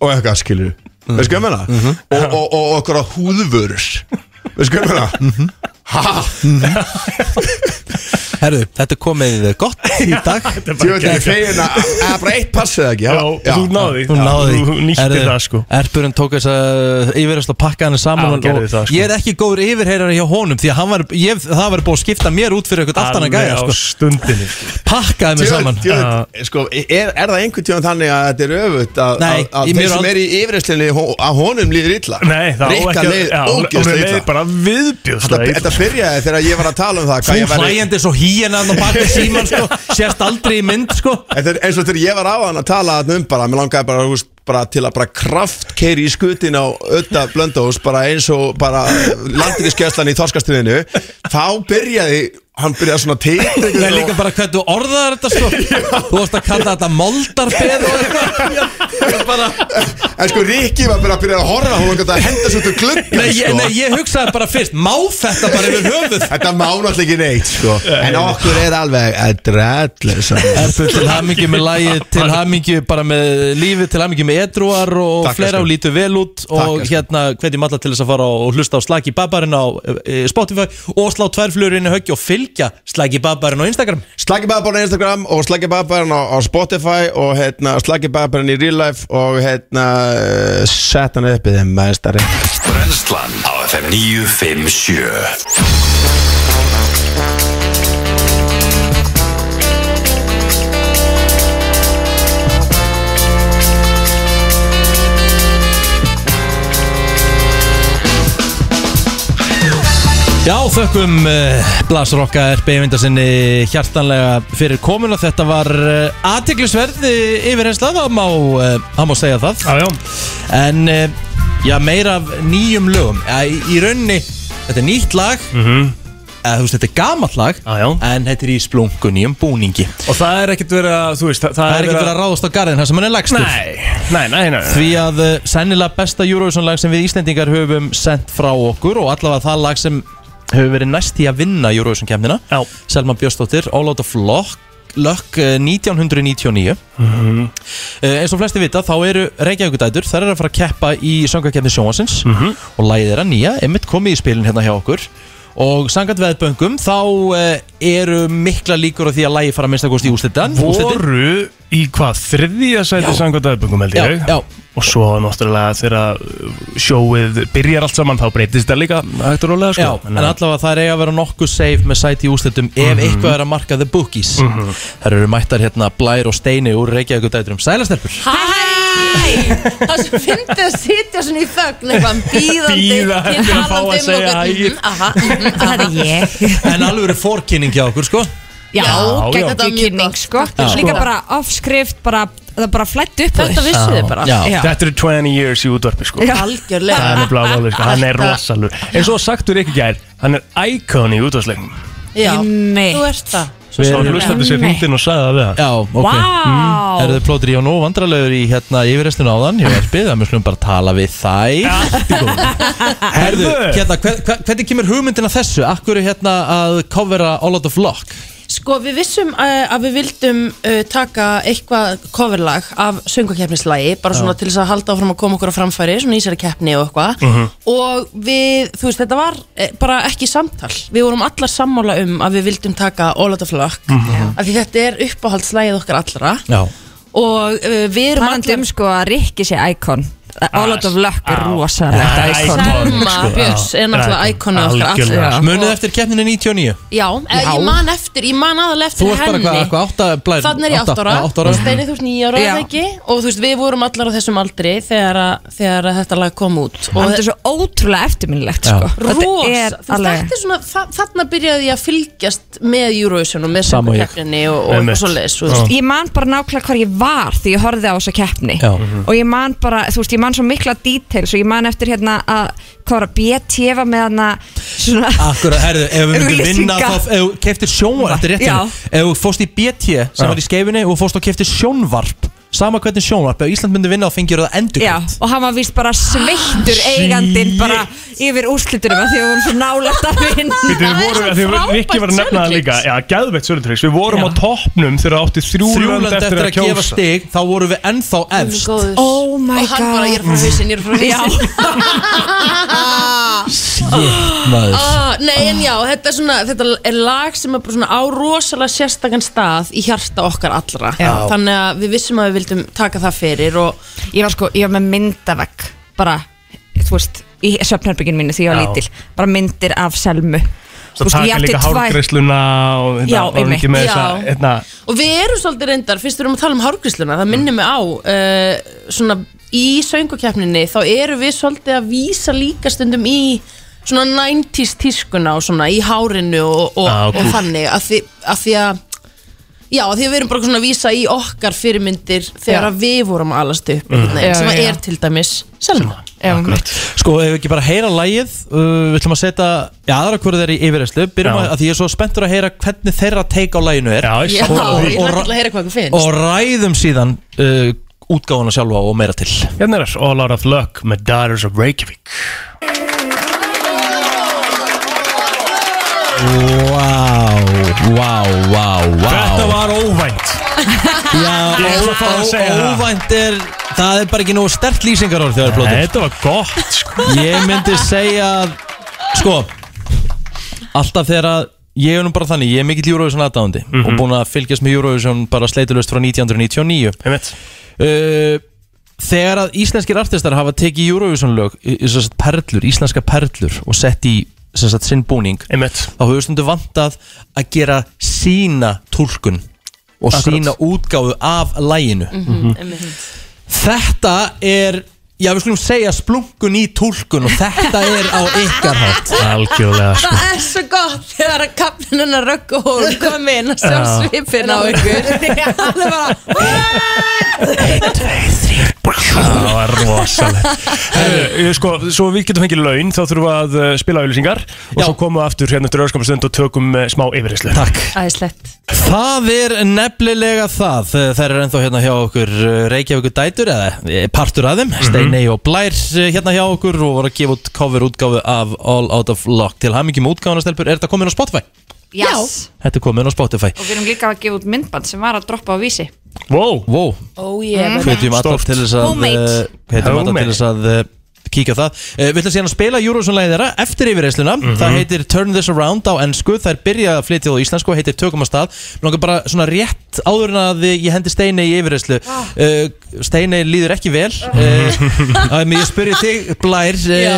Speaker 14: og eitthvað skilur, mm. veist hvað ég menna
Speaker 2: Mhm.
Speaker 14: og, og, og, og okkur að húðvörur veist hvað ég menna
Speaker 2: Mhm.
Speaker 14: ha,
Speaker 2: Herru, þetta er komið eh, gott í dag
Speaker 14: Þetta er bara Ég veit ekki, geggjað. fegin að- að hérna, "Ah, bara eitt passið eða ekki, já. Já, þú náðir því.
Speaker 2: Þú náði
Speaker 14: Þú nýttir það, sko.
Speaker 2: Erburinn tók þess að yfirhæst og pakka hann
Speaker 1: Já,
Speaker 2: saman og-
Speaker 1: gerði það, sko.
Speaker 2: Ég er ekki góður yfirheyrar hjá honum Því að hann var, ég, það var búið að skipta mér út fyrir eitthvað aftan að gæja
Speaker 1: Alveg á
Speaker 2: sko.
Speaker 1: stundinni
Speaker 2: Pakkaði mig
Speaker 14: Djöfull,
Speaker 2: saman
Speaker 14: djöfull, sko, er, er það einhvern tíðan þannig að þetta er öfut að, að,
Speaker 2: Nei,
Speaker 14: að
Speaker 2: í mér
Speaker 14: þeir sem
Speaker 2: ald-
Speaker 14: er í yfirreyslinni að honum líður illa
Speaker 1: Nei, það á
Speaker 14: Rikka
Speaker 1: ekki að-
Speaker 14: leið
Speaker 1: já, honum
Speaker 14: ógeðslega
Speaker 1: leið
Speaker 14: illa
Speaker 1: bara viðbjóðslega
Speaker 14: Þetta-
Speaker 1: illa. sko.
Speaker 14: Þetta byrjaði þegar ég var að tala um það
Speaker 2: Þú hlæjandi svo híenan og bakið síman sko, Sérst aldrei í mynd sko
Speaker 14: Þetta er eins og þegar ég var á hann að tala þarna um bara Mér langaði bara, húst, bara til að bara kraftkeiri í skutin á ötta blöndós Bara eins og bara landingiskeslan í þorskastriðinu Þá byrjaði, hann byrjaði svona teitur
Speaker 2: Það er líka bara hvernig þú orðaðar þetta sko Þú varst að kalla þetta moldarbeð og eitthvað bara...
Speaker 14: En sko Rikki var bara að byrja að horfa Hún var að henda svo til gluggan
Speaker 2: Nei, ég-
Speaker 14: sko.
Speaker 2: nei, ég hugsaði bara fyrst Má þetta bara yfir höfuð
Speaker 14: Þetta má náttúrulega ekki neitt sko En okkur er alveg að drallu
Speaker 2: Ertu til hamingi með lægi, til hamingi bara með lífið, til hamingi með edruar og
Speaker 14: Takk,
Speaker 2: fleira
Speaker 14: elskan.
Speaker 2: og lítu vel út og hérna hvernig matla til þess að fara og hlusta á Slagi Babarinn á e, Spotify og slá tværflurinn í höggi og fylgja Slagi Babarinn á Instagram
Speaker 14: Slaggi Babbarn á Instagram og Slaggi Babbarn á, á Spotify og hérna, Slaggi Babbarn í Real Life og hérna, eh, setan uppið þeim meðstari
Speaker 3: Brennslan á FM 957
Speaker 2: Já, þökkum uh, Blasrokka RB Vindarsinni hjartanlega fyrir komuna Þetta var uh, aðtiklisverð yfirhensla, það má, uh, það má segja það Já, já En, uh, já, meira af nýjum lögum ja, í, í rauninni, þetta er nýtt lag
Speaker 1: Mhm.
Speaker 2: -hmm. eða, Þú veist, þetta er gamalt lag já, já. En þetta er í splunku nýjum búningi
Speaker 1: Og það er ekkert verið að, þú veist, það,
Speaker 2: Það er ekkert verið að ráðast á garðin, það sem hann er lagstur
Speaker 1: Nei, nei, nei, nei, nei.
Speaker 2: Því að uh, sennilega besta Eurovision-lag sem við Íslendingar höfum sendt frá okkur og allavega það lag sem hefur verið næst í að vinna Eurovision-kemnina Selma Björnsdóttir, All Out of Luck, Luck uh, 1999
Speaker 1: Mhm.
Speaker 2: uh, Eins og flesti vita þá eru Reykjavíkudætur, þær eru að fara að keppa í söngakefni sjónvansins
Speaker 1: Mhm.
Speaker 2: og lagið þeirra nýja, einmitt komið í spilin hérna hjá okkur og sangat veðböngum þá uh, eru mikla líkur á því að lægi fara að minnstakosti í úslitan
Speaker 1: voru í hvað þriðja sæti samkvæmt aðböngum held ég
Speaker 2: já.
Speaker 1: og svo náttúrulega þegar uh, sjóið byrjar allt saman þá breytist það líka hægt og rólega sko.
Speaker 2: Já, en allavega það er eiga að vera nokkuð safe með sæti í úslitum ef
Speaker 1: Mhm.
Speaker 2: eitthvað er að marka the bookies mm Það eru mættar hérna Blær og Steini úr Reykjavík dæturum Sælastelpur
Speaker 4: Hæ! Það sem fyndi að sitja svona í þögn eitthvað bíðandi
Speaker 2: Bíða eftir að fá að
Speaker 4: talandi um
Speaker 2: segja
Speaker 4: okkur,
Speaker 2: hæ.
Speaker 4: mhm, aha, mhm, aha.
Speaker 12: Það er ég
Speaker 2: En alveg eru fórkynning hjá okkur sko
Speaker 12: Já,
Speaker 2: já.
Speaker 12: gegn þetta kynning sko
Speaker 2: Já.
Speaker 12: Líka bara offskrift, bara, það bara flætt upp
Speaker 4: Þetta vissu þið bara.
Speaker 1: Já.
Speaker 12: Já.
Speaker 1: Þetta eru 20 years í útvarpi sko
Speaker 4: Já. Algjörlega.
Speaker 1: Það er nefnilega málið sko, hann er
Speaker 4: Þetta-
Speaker 1: rosalur En svo sagtur ekki gær, hann er icon í útvarpsleiknum
Speaker 4: Já, þú ert það
Speaker 1: Svo sá hlustandi sér hringdinn og sagði það við hann
Speaker 2: Já, ok
Speaker 4: Vá.
Speaker 2: mm. Eru þið plótir í og nú vandralegur í hérna yfirreistinu áðan Ég er byggð að mjög slum bara tala við þær Herðu, hérna, hver, hver, hvernig kemur hugmyndina þessu? Akkur er hérna að covera All Out of Lock
Speaker 4: Sko, við vissum uh, að við vildum uh, taka eitthvað coverlag af söngvakeppnislægi, bara svona
Speaker 13: Já.
Speaker 4: til þess að halda áfram að koma okkur á framfæri, svona í sér keppni og eitthvað.
Speaker 13: Mhm.
Speaker 4: Og við, þú veist, þetta var eh, bara ekki samtal. Við vorum allar sammála um að við vildum taka All Out of Luck,
Speaker 13: Mhm.
Speaker 4: af því þetta er uppáhaldslægið okkar allra.
Speaker 2: Já
Speaker 4: Og uh, við erum
Speaker 13: Talandi um sko að Rikki sé íkon All out of luck er rosalegt
Speaker 2: Já,
Speaker 13: íkon
Speaker 2: iconic,
Speaker 4: Selma
Speaker 2: sko.
Speaker 4: Björns er
Speaker 2: Já.
Speaker 4: náttúrulega íkonið okkar
Speaker 2: Algjörlega.
Speaker 4: allra.
Speaker 2: Munið eftir keppninu 99
Speaker 4: Já, eh,
Speaker 2: Já.
Speaker 4: ég man eftir, ég man aðal eftir
Speaker 2: Þú ert bara
Speaker 4: henni
Speaker 2: hvað, hvað, átta blær
Speaker 4: Þannig er ég 8 ára,
Speaker 2: já, átta ára.
Speaker 4: og Steini þú ert 9 ára
Speaker 13: Já.
Speaker 4: eða ekki og þú veist við vorum allar á þessum aldri þegar, að, þegar að þetta lag kom út og
Speaker 13: Þetta er svo ótrúlega eftirminnilegt sko. Þetta er
Speaker 4: Rosa, þú
Speaker 13: alveg-
Speaker 4: þekktir svona, þa þarna byrjaði ég að fylgjast með Eurovision og með
Speaker 13: Sama og ég.
Speaker 4: söngvakeppninni og, og, og svo leis
Speaker 13: Þú veist, Ég man bara nákvæmlega hvar ég var því ég horfði á þessa keppni
Speaker 4: Já. Mhm.
Speaker 13: og ég man bara, þú veist, ég man svo mikla details og ég man eftir hérna að hvað var að BT var með hana svona
Speaker 2: Akkurat, herðu, ef við myndum
Speaker 13: Auglýsinga.
Speaker 2: vinna þá, ef þú keftir sjónvarp, þetta er rétt
Speaker 13: Já.
Speaker 2: hérna. ef þú fóst í BT
Speaker 13: Já.
Speaker 2: sem var í skeifinni og fóst og keftir sjónvarp sama hvernig sjónvarp, ef Ísland myndi vinna þá fengir það endur
Speaker 13: Já, og hann var víst bara sveittur
Speaker 1: Ah,
Speaker 13: eigandinn bara yfir úrslitunum að því við vorum svo nálægt að vinna
Speaker 1: Við vorum, því að Rikki var að nefna það líka Já, gæðveitt sölutryggs, við vorum á toppnum þegar átti þrjú
Speaker 2: þrjúland
Speaker 1: lönd
Speaker 2: eftir að gefa stig þá voru við ennþá efst
Speaker 13: Oh my
Speaker 4: og hann bara ég er frá hausinn, ég er frá hausinn
Speaker 2: maður.
Speaker 4: Ah, nei en já, þetta er, svona, þetta er lag sem er bara svona á rosalega sérstakann stað í hjarta okkar allra
Speaker 13: Já.
Speaker 4: þannig að við vissum að við vildum taka það fyrir og
Speaker 13: ég var sko, ég var með myndavegg bara, þú veist, í söpnarbyggin mínu því ég var
Speaker 1: Já.
Speaker 13: lítil, bara myndir af Selmu Þú
Speaker 1: Svo
Speaker 13: veist, ég
Speaker 1: taka
Speaker 13: átti
Speaker 1: líka
Speaker 13: tvær-
Speaker 1: hárgreisluna og
Speaker 13: Já,
Speaker 1: hérna, var
Speaker 13: einmitt.
Speaker 1: ekki með
Speaker 4: Já.
Speaker 1: þessa hérna,
Speaker 4: Og við erum svolítið reyndar, fyrst við erum að tala um hárgrísluna, það minnir mig á uh, svona í söngukeppninni þá erum við svolítið að vísa líka stundum í svona 90s tískuna og svona í hárinu og, og,
Speaker 13: Ah,
Speaker 4: og
Speaker 13: kúl.
Speaker 4: þannig að því, að því að Já, af því að við erum bara svona að vísa í okkar fyrirmyndir þegar
Speaker 13: Já.
Speaker 4: að við vorum að alast upp
Speaker 2: Mm.
Speaker 4: mm. veginn,
Speaker 13: Já,
Speaker 4: sem að
Speaker 13: já, já.
Speaker 4: er til dæmis Selma
Speaker 2: Sko, ef við ekki bara heyra lægið uh, Við ætlum að setja í aðra hverju þeir í yfirreyslu Byrjum
Speaker 1: Já.
Speaker 2: að, að því ég er svo spenntur að heyra hvernig þeirra teik á læginu er
Speaker 4: Já, ég
Speaker 2: og, og,
Speaker 4: var
Speaker 2: og,
Speaker 4: alltaf að heyra hvað þú
Speaker 2: og
Speaker 4: finnst
Speaker 2: ræðum síðan uh, útgáfuna sjálfa og meira til
Speaker 1: Hérna er All Out of Luck með Daughters of Reykjavík
Speaker 2: Vá, vá, vá, vá
Speaker 1: Þetta var óvænt
Speaker 2: Já,
Speaker 1: Ég ætla bara að
Speaker 2: ó-
Speaker 1: segja það.
Speaker 2: óvænt er Það er bara ekki nógu stert lýsingarorð þegar það er blótið
Speaker 1: Þetta var gott sko.
Speaker 2: Ég myndi segja að Sko Alltaf þegar að Ég er nú bara þannig Ég er mikill Eurovision aðdáðandi Og
Speaker 1: Mhm.
Speaker 2: búin að fylgjast með Eurovision Bara sleitulust frá 1999 uh, Þegar að íslenskir artistar hafa tekið Eurovision lög í- í sem sagt Perlur, íslenska perlur Og sett í sem sagt, sinn búning
Speaker 1: Einmitt.
Speaker 2: Þá hefur stundu vantað Að gera sína túlkun Og
Speaker 1: Akkurat. Mhm.
Speaker 2: sína útgáfu af læginu
Speaker 4: Mhm, Einmitt.
Speaker 2: Þetta er Já, við skulum segja splunkun í tólkun og þetta er á ykkar hátt
Speaker 1: Algjörlega
Speaker 4: Það er svo gott þegar að kapninn að röggu hún kom inn að sjá
Speaker 2: Já.
Speaker 4: svipin á ykkur Það er bara
Speaker 1: Það var rosalegt Herru, ég sko, Svo við getum fengið laun þá þurfum við að uh, spila auðlýsingar og svo komum við aftur hérna eftir örskamma stund og tökum uh, smá yfirreyslu
Speaker 2: Takk
Speaker 4: Æðislegt
Speaker 2: Það er nefnilega það Það er ennþá hérna hjá okkur Reykjavíkur dætur eða eh, partur að þeim Steinei og Blær eh, hérna hjá okkur og voru að gefa út cover útgáfu af All Out of Lock til hamingjum útgáfuna stelpur Er þetta komin á Spotify?
Speaker 13: Yes.
Speaker 2: Þetta er komin á Spotify
Speaker 13: og við erum líka að gefa út myndband sem var að droppa á vísi Mhm.
Speaker 1: Wow,
Speaker 2: wow.
Speaker 4: Oh yeah
Speaker 2: Hvetjum alltaf til þess að
Speaker 13: Mm-hmm. Homemade.
Speaker 2: eh, Hvetjum alltaf til
Speaker 1: Homemade.
Speaker 2: þess að eh, kíkja á það uh, Við ætlum síðan að spila Eurovision-lægið þeirra eftir yfirreysluna Það heitir Turn This Around á ennsku Það er byrjað að flytja það á íslensku og heitir Tökum að stað Mér langar bara svona rétt áður en að ég hendi Steini í yfirreyslu uh, Steini líður ekki vel uh, um, Ég spurði þig, Blær uh,
Speaker 4: Já.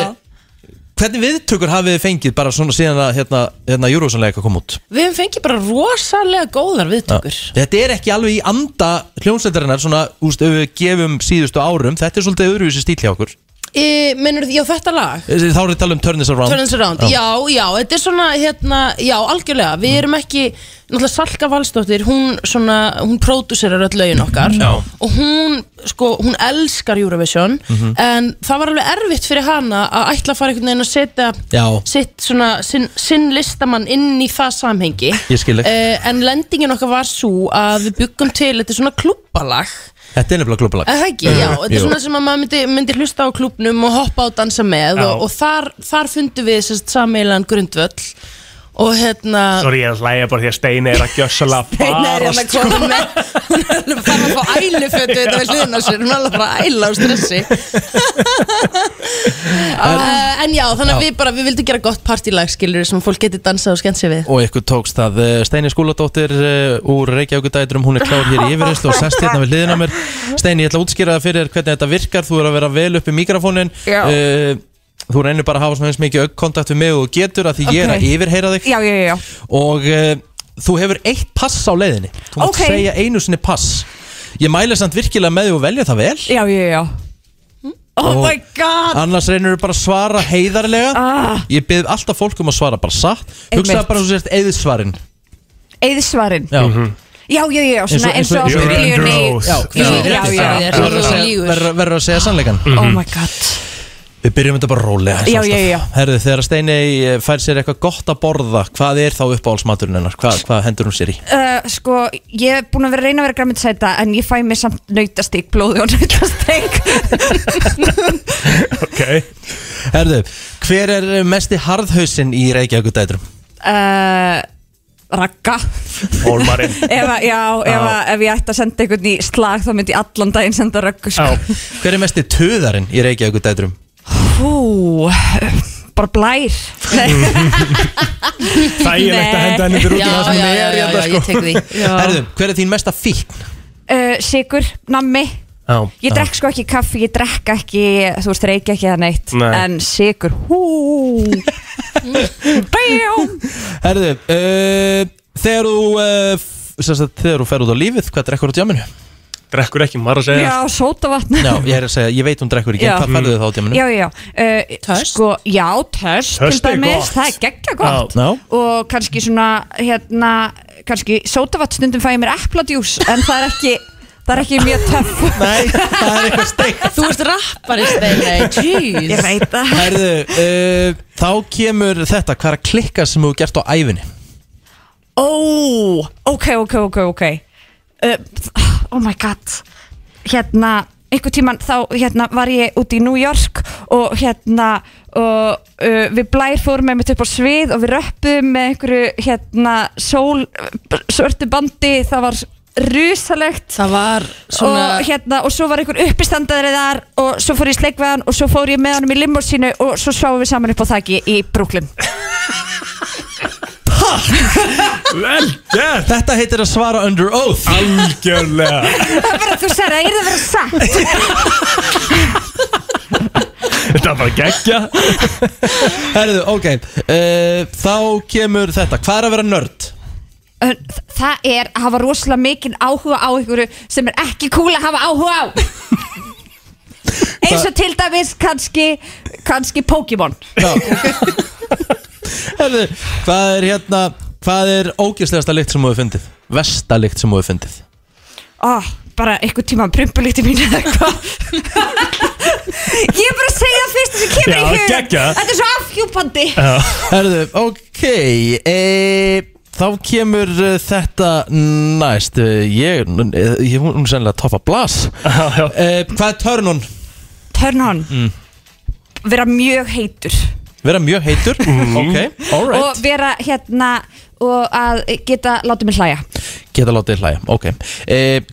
Speaker 2: Hvernig viðtökur hafið þið fengið bara svona síðan að hérna, hérna Eurovision-lægið kom út?
Speaker 4: Við hefum fengið bara rosalega góðar viðtökur
Speaker 2: Já. Þetta er ekki alveg í anda hljómsveitarinnar svona, úst, ef við gefum síðustu árum þetta er svolítið öðruvísi stíl hjá okkur
Speaker 4: e, Mennur þið, já þetta lag
Speaker 2: þá erum við að tala um Turn This Around
Speaker 4: Turn this around, já, Mm. já, þetta er svona hérna, já, algjörlega, við erum ekki náttúrulega Salka Valstóttir, hún svona, hún pródúserar öll lögin okkar
Speaker 2: Já.
Speaker 4: og hún, sko, hún elskar Eurovision,
Speaker 2: Mhm.
Speaker 4: en það var alveg erfitt fyrir hana að ætla að fara einhvern veginn að setja
Speaker 2: Já.
Speaker 4: sitt svona, sinn, sinn listamann inn í það samhengi
Speaker 2: Ég skil þig.
Speaker 4: Eh, en lendingin okkar var svo að við byggum til, þetta er svona klubbalag
Speaker 2: þetta er nefnilega klubbalag
Speaker 4: Er Það ekki,
Speaker 2: Mm,
Speaker 4: já, þetta er svona sem að maður myndi, myndi hlusta á klúbnum og hoppa og dansa með
Speaker 1: Já.
Speaker 4: og, og þar, þar fundum við sérst sameilan grundvöll og hérna
Speaker 1: Sorry, ég er að hlæja bara því að Steini er að gjössala
Speaker 4: Steina er
Speaker 1: bara
Speaker 4: hérna komið með hún er alveg bara að fá ælufötu þetta við hliðin á sér, hún er alveg bara að æla á stressi uh, En já, þannig að
Speaker 2: Já.
Speaker 4: við bara, við vildum gera gott partílag skilur sem fólk geti dansað og skemmt sér við
Speaker 2: og ykkur tókst það Eh, Steini Skúladóttir eh, úr Reykjavíkudæturum hún er klár hér í yfirreyslu og sest hérna við hliðina á mér Steini, ég ætla að útskýra það fyrir þér hvernig þetta virkar þú er að vera vel upp í mikrofónin
Speaker 13: Já.
Speaker 2: Eh, þú reynir bara að hafa svona eins mikið augkontakt við mig og þú getur að því ég er að
Speaker 13: Ok.
Speaker 2: yfirheyra þig
Speaker 13: Já, já, já, já.
Speaker 2: og uh, þú hefur eitt pass á leiðinni þú mátt
Speaker 13: Ok.
Speaker 2: segja einu sinni pass ég mæla samt virkilega með því að velja það vel
Speaker 13: Já, já, já Oh
Speaker 2: Hm? Og
Speaker 13: my god
Speaker 2: annars reynir þú bara að svara heiðarlega
Speaker 13: Ah.
Speaker 2: ég byrð alltaf fólk um að svara bara satt
Speaker 13: Einmitt.
Speaker 2: hugsaðu bara þú sérst eðsvarin
Speaker 13: Eðisvarin
Speaker 2: já
Speaker 13: Já, já, já, svona eins og á
Speaker 2: You're under oath.
Speaker 13: Já,
Speaker 2: Já,
Speaker 13: já, já, já.
Speaker 2: Verður að segja- verður- verður að segja Mhm. sannleikan
Speaker 13: Oh my god
Speaker 2: Mm-hmm. Við byrjum þetta bara rólega eins og
Speaker 13: Já, já,
Speaker 2: alltaf.
Speaker 13: já.
Speaker 2: Herðu, þegar Steini eh, fær sér eitthvað gott að borða Hvað er þá uppáhaldsmaturinn hennar? Hvað, hvað hendur hún sér í?
Speaker 13: Uh, sko, ég er búin að vera að reyna að vera græmitisæta en ég fæ mér samt nautastík, blóði og nautasteng
Speaker 2: Okay. Herðu, hver er mesti harðhausinn í Reykjavík dætrum?
Speaker 13: uh, Ragga
Speaker 2: Hólmarinn.
Speaker 13: ef, að- Já, ef, að- ef ég ætti að senda einhvern í slag þá myndi ég allan daginn senda Raggu sko.
Speaker 2: Hver er mesti töðarinn í Reykjavík dætrum?
Speaker 13: Hú, bara blær Nei.
Speaker 1: Þægilegt að henda henni fyrir út í það sem hún er í þetta, sko. Já.
Speaker 2: Herðu, hver er þín mesta fíkn?
Speaker 13: uh, Sigur, nammi
Speaker 2: Já,
Speaker 13: Ég drekk sko ekki kaffi, ég drekk ekki Þú veist, reykja ekki það neitt
Speaker 2: Nei.
Speaker 13: En sigur, hú Bæjum
Speaker 2: Herðu, uh, þegar þú uh, f- sem sagt, þegar þú fer út á lífið, hvað drekkur þú á djáminu? Drekkur ekki, maður að
Speaker 13: Já, sótavatn
Speaker 2: Já, ég er að segja, ég veit hún drekkur ekki,
Speaker 13: Já.
Speaker 2: en hvað ferðu þið þá á djáminu?
Speaker 13: Já, já, uh, töst sko, Já, töst,
Speaker 2: Töst
Speaker 13: til
Speaker 2: er
Speaker 13: dæmis
Speaker 2: gott.
Speaker 13: Það er geggja gott
Speaker 2: Já. Já.
Speaker 13: Og kannski svona, hérna Kannski sótavatn stundum fæ ég mér epladjús En það er ekki, það er ekki mjög töff
Speaker 2: Nei, það er eitthvað steik
Speaker 4: Þú ert rappari steina, jeez
Speaker 13: Ég veit það
Speaker 2: Herðu, uh, þá kemur þetta, hvað er að klikka sem þú hefur gert á æfinni?
Speaker 13: Ó, ok, ok, ok, ok uh, Oh my god Hérna, einhvern tíman þá hérna, var ég út í New York og hérna og uh, við blær fórum með mitt upp á svið og við röppum með einhverju hérna sól, svörtu bandi það var rusalegt
Speaker 4: það var svona-
Speaker 13: og, hérna, og svo var einhver uppistandari þar og svo fór ég í sleikveðan og svo fór ég með honum í limosínu og svo sváum við saman upp á þakki í Brooklyn
Speaker 2: Vel gert! Þetta heitir að svara under oath Algjörlega
Speaker 13: það er bara þú sér að ég er það verið sagt
Speaker 2: Þetta var geggja Herðu, ok uh, Þá kemur þetta, hvað er að vera nörd?
Speaker 13: En þ- Það er að hafa rosalega mikinn áhuga á einhverju sem er ekki cool að hafa áhuga á eins og til dæmis kannski, kannski Pokémon
Speaker 2: Herðu, hvað er hérna Hvað er ógjörslegasta lykt sem þú hefur fundið? Vesta lykt sem þú hefur fundið?
Speaker 13: oh, bara einhver tíma prumpulíkti mín eða eitthvað ég er bara að segja það fyrst sem kemur
Speaker 2: Já,
Speaker 13: í hug
Speaker 2: geggjað.
Speaker 13: þetta er svo afhjúpandi
Speaker 2: Herðu, ok e, Þá kemur uh, þetta næst Eh, Ég, eh, ég hún er sennilega að toppa blas e, Hvað er törnun?
Speaker 13: turn on,
Speaker 2: Mm.
Speaker 13: vera mjög heitur
Speaker 2: Vera mjög heitur Ok, Mhm. alright
Speaker 13: og vera hérna og að geta láta mig hlæja
Speaker 2: Geta látið þig hlæja, ok e,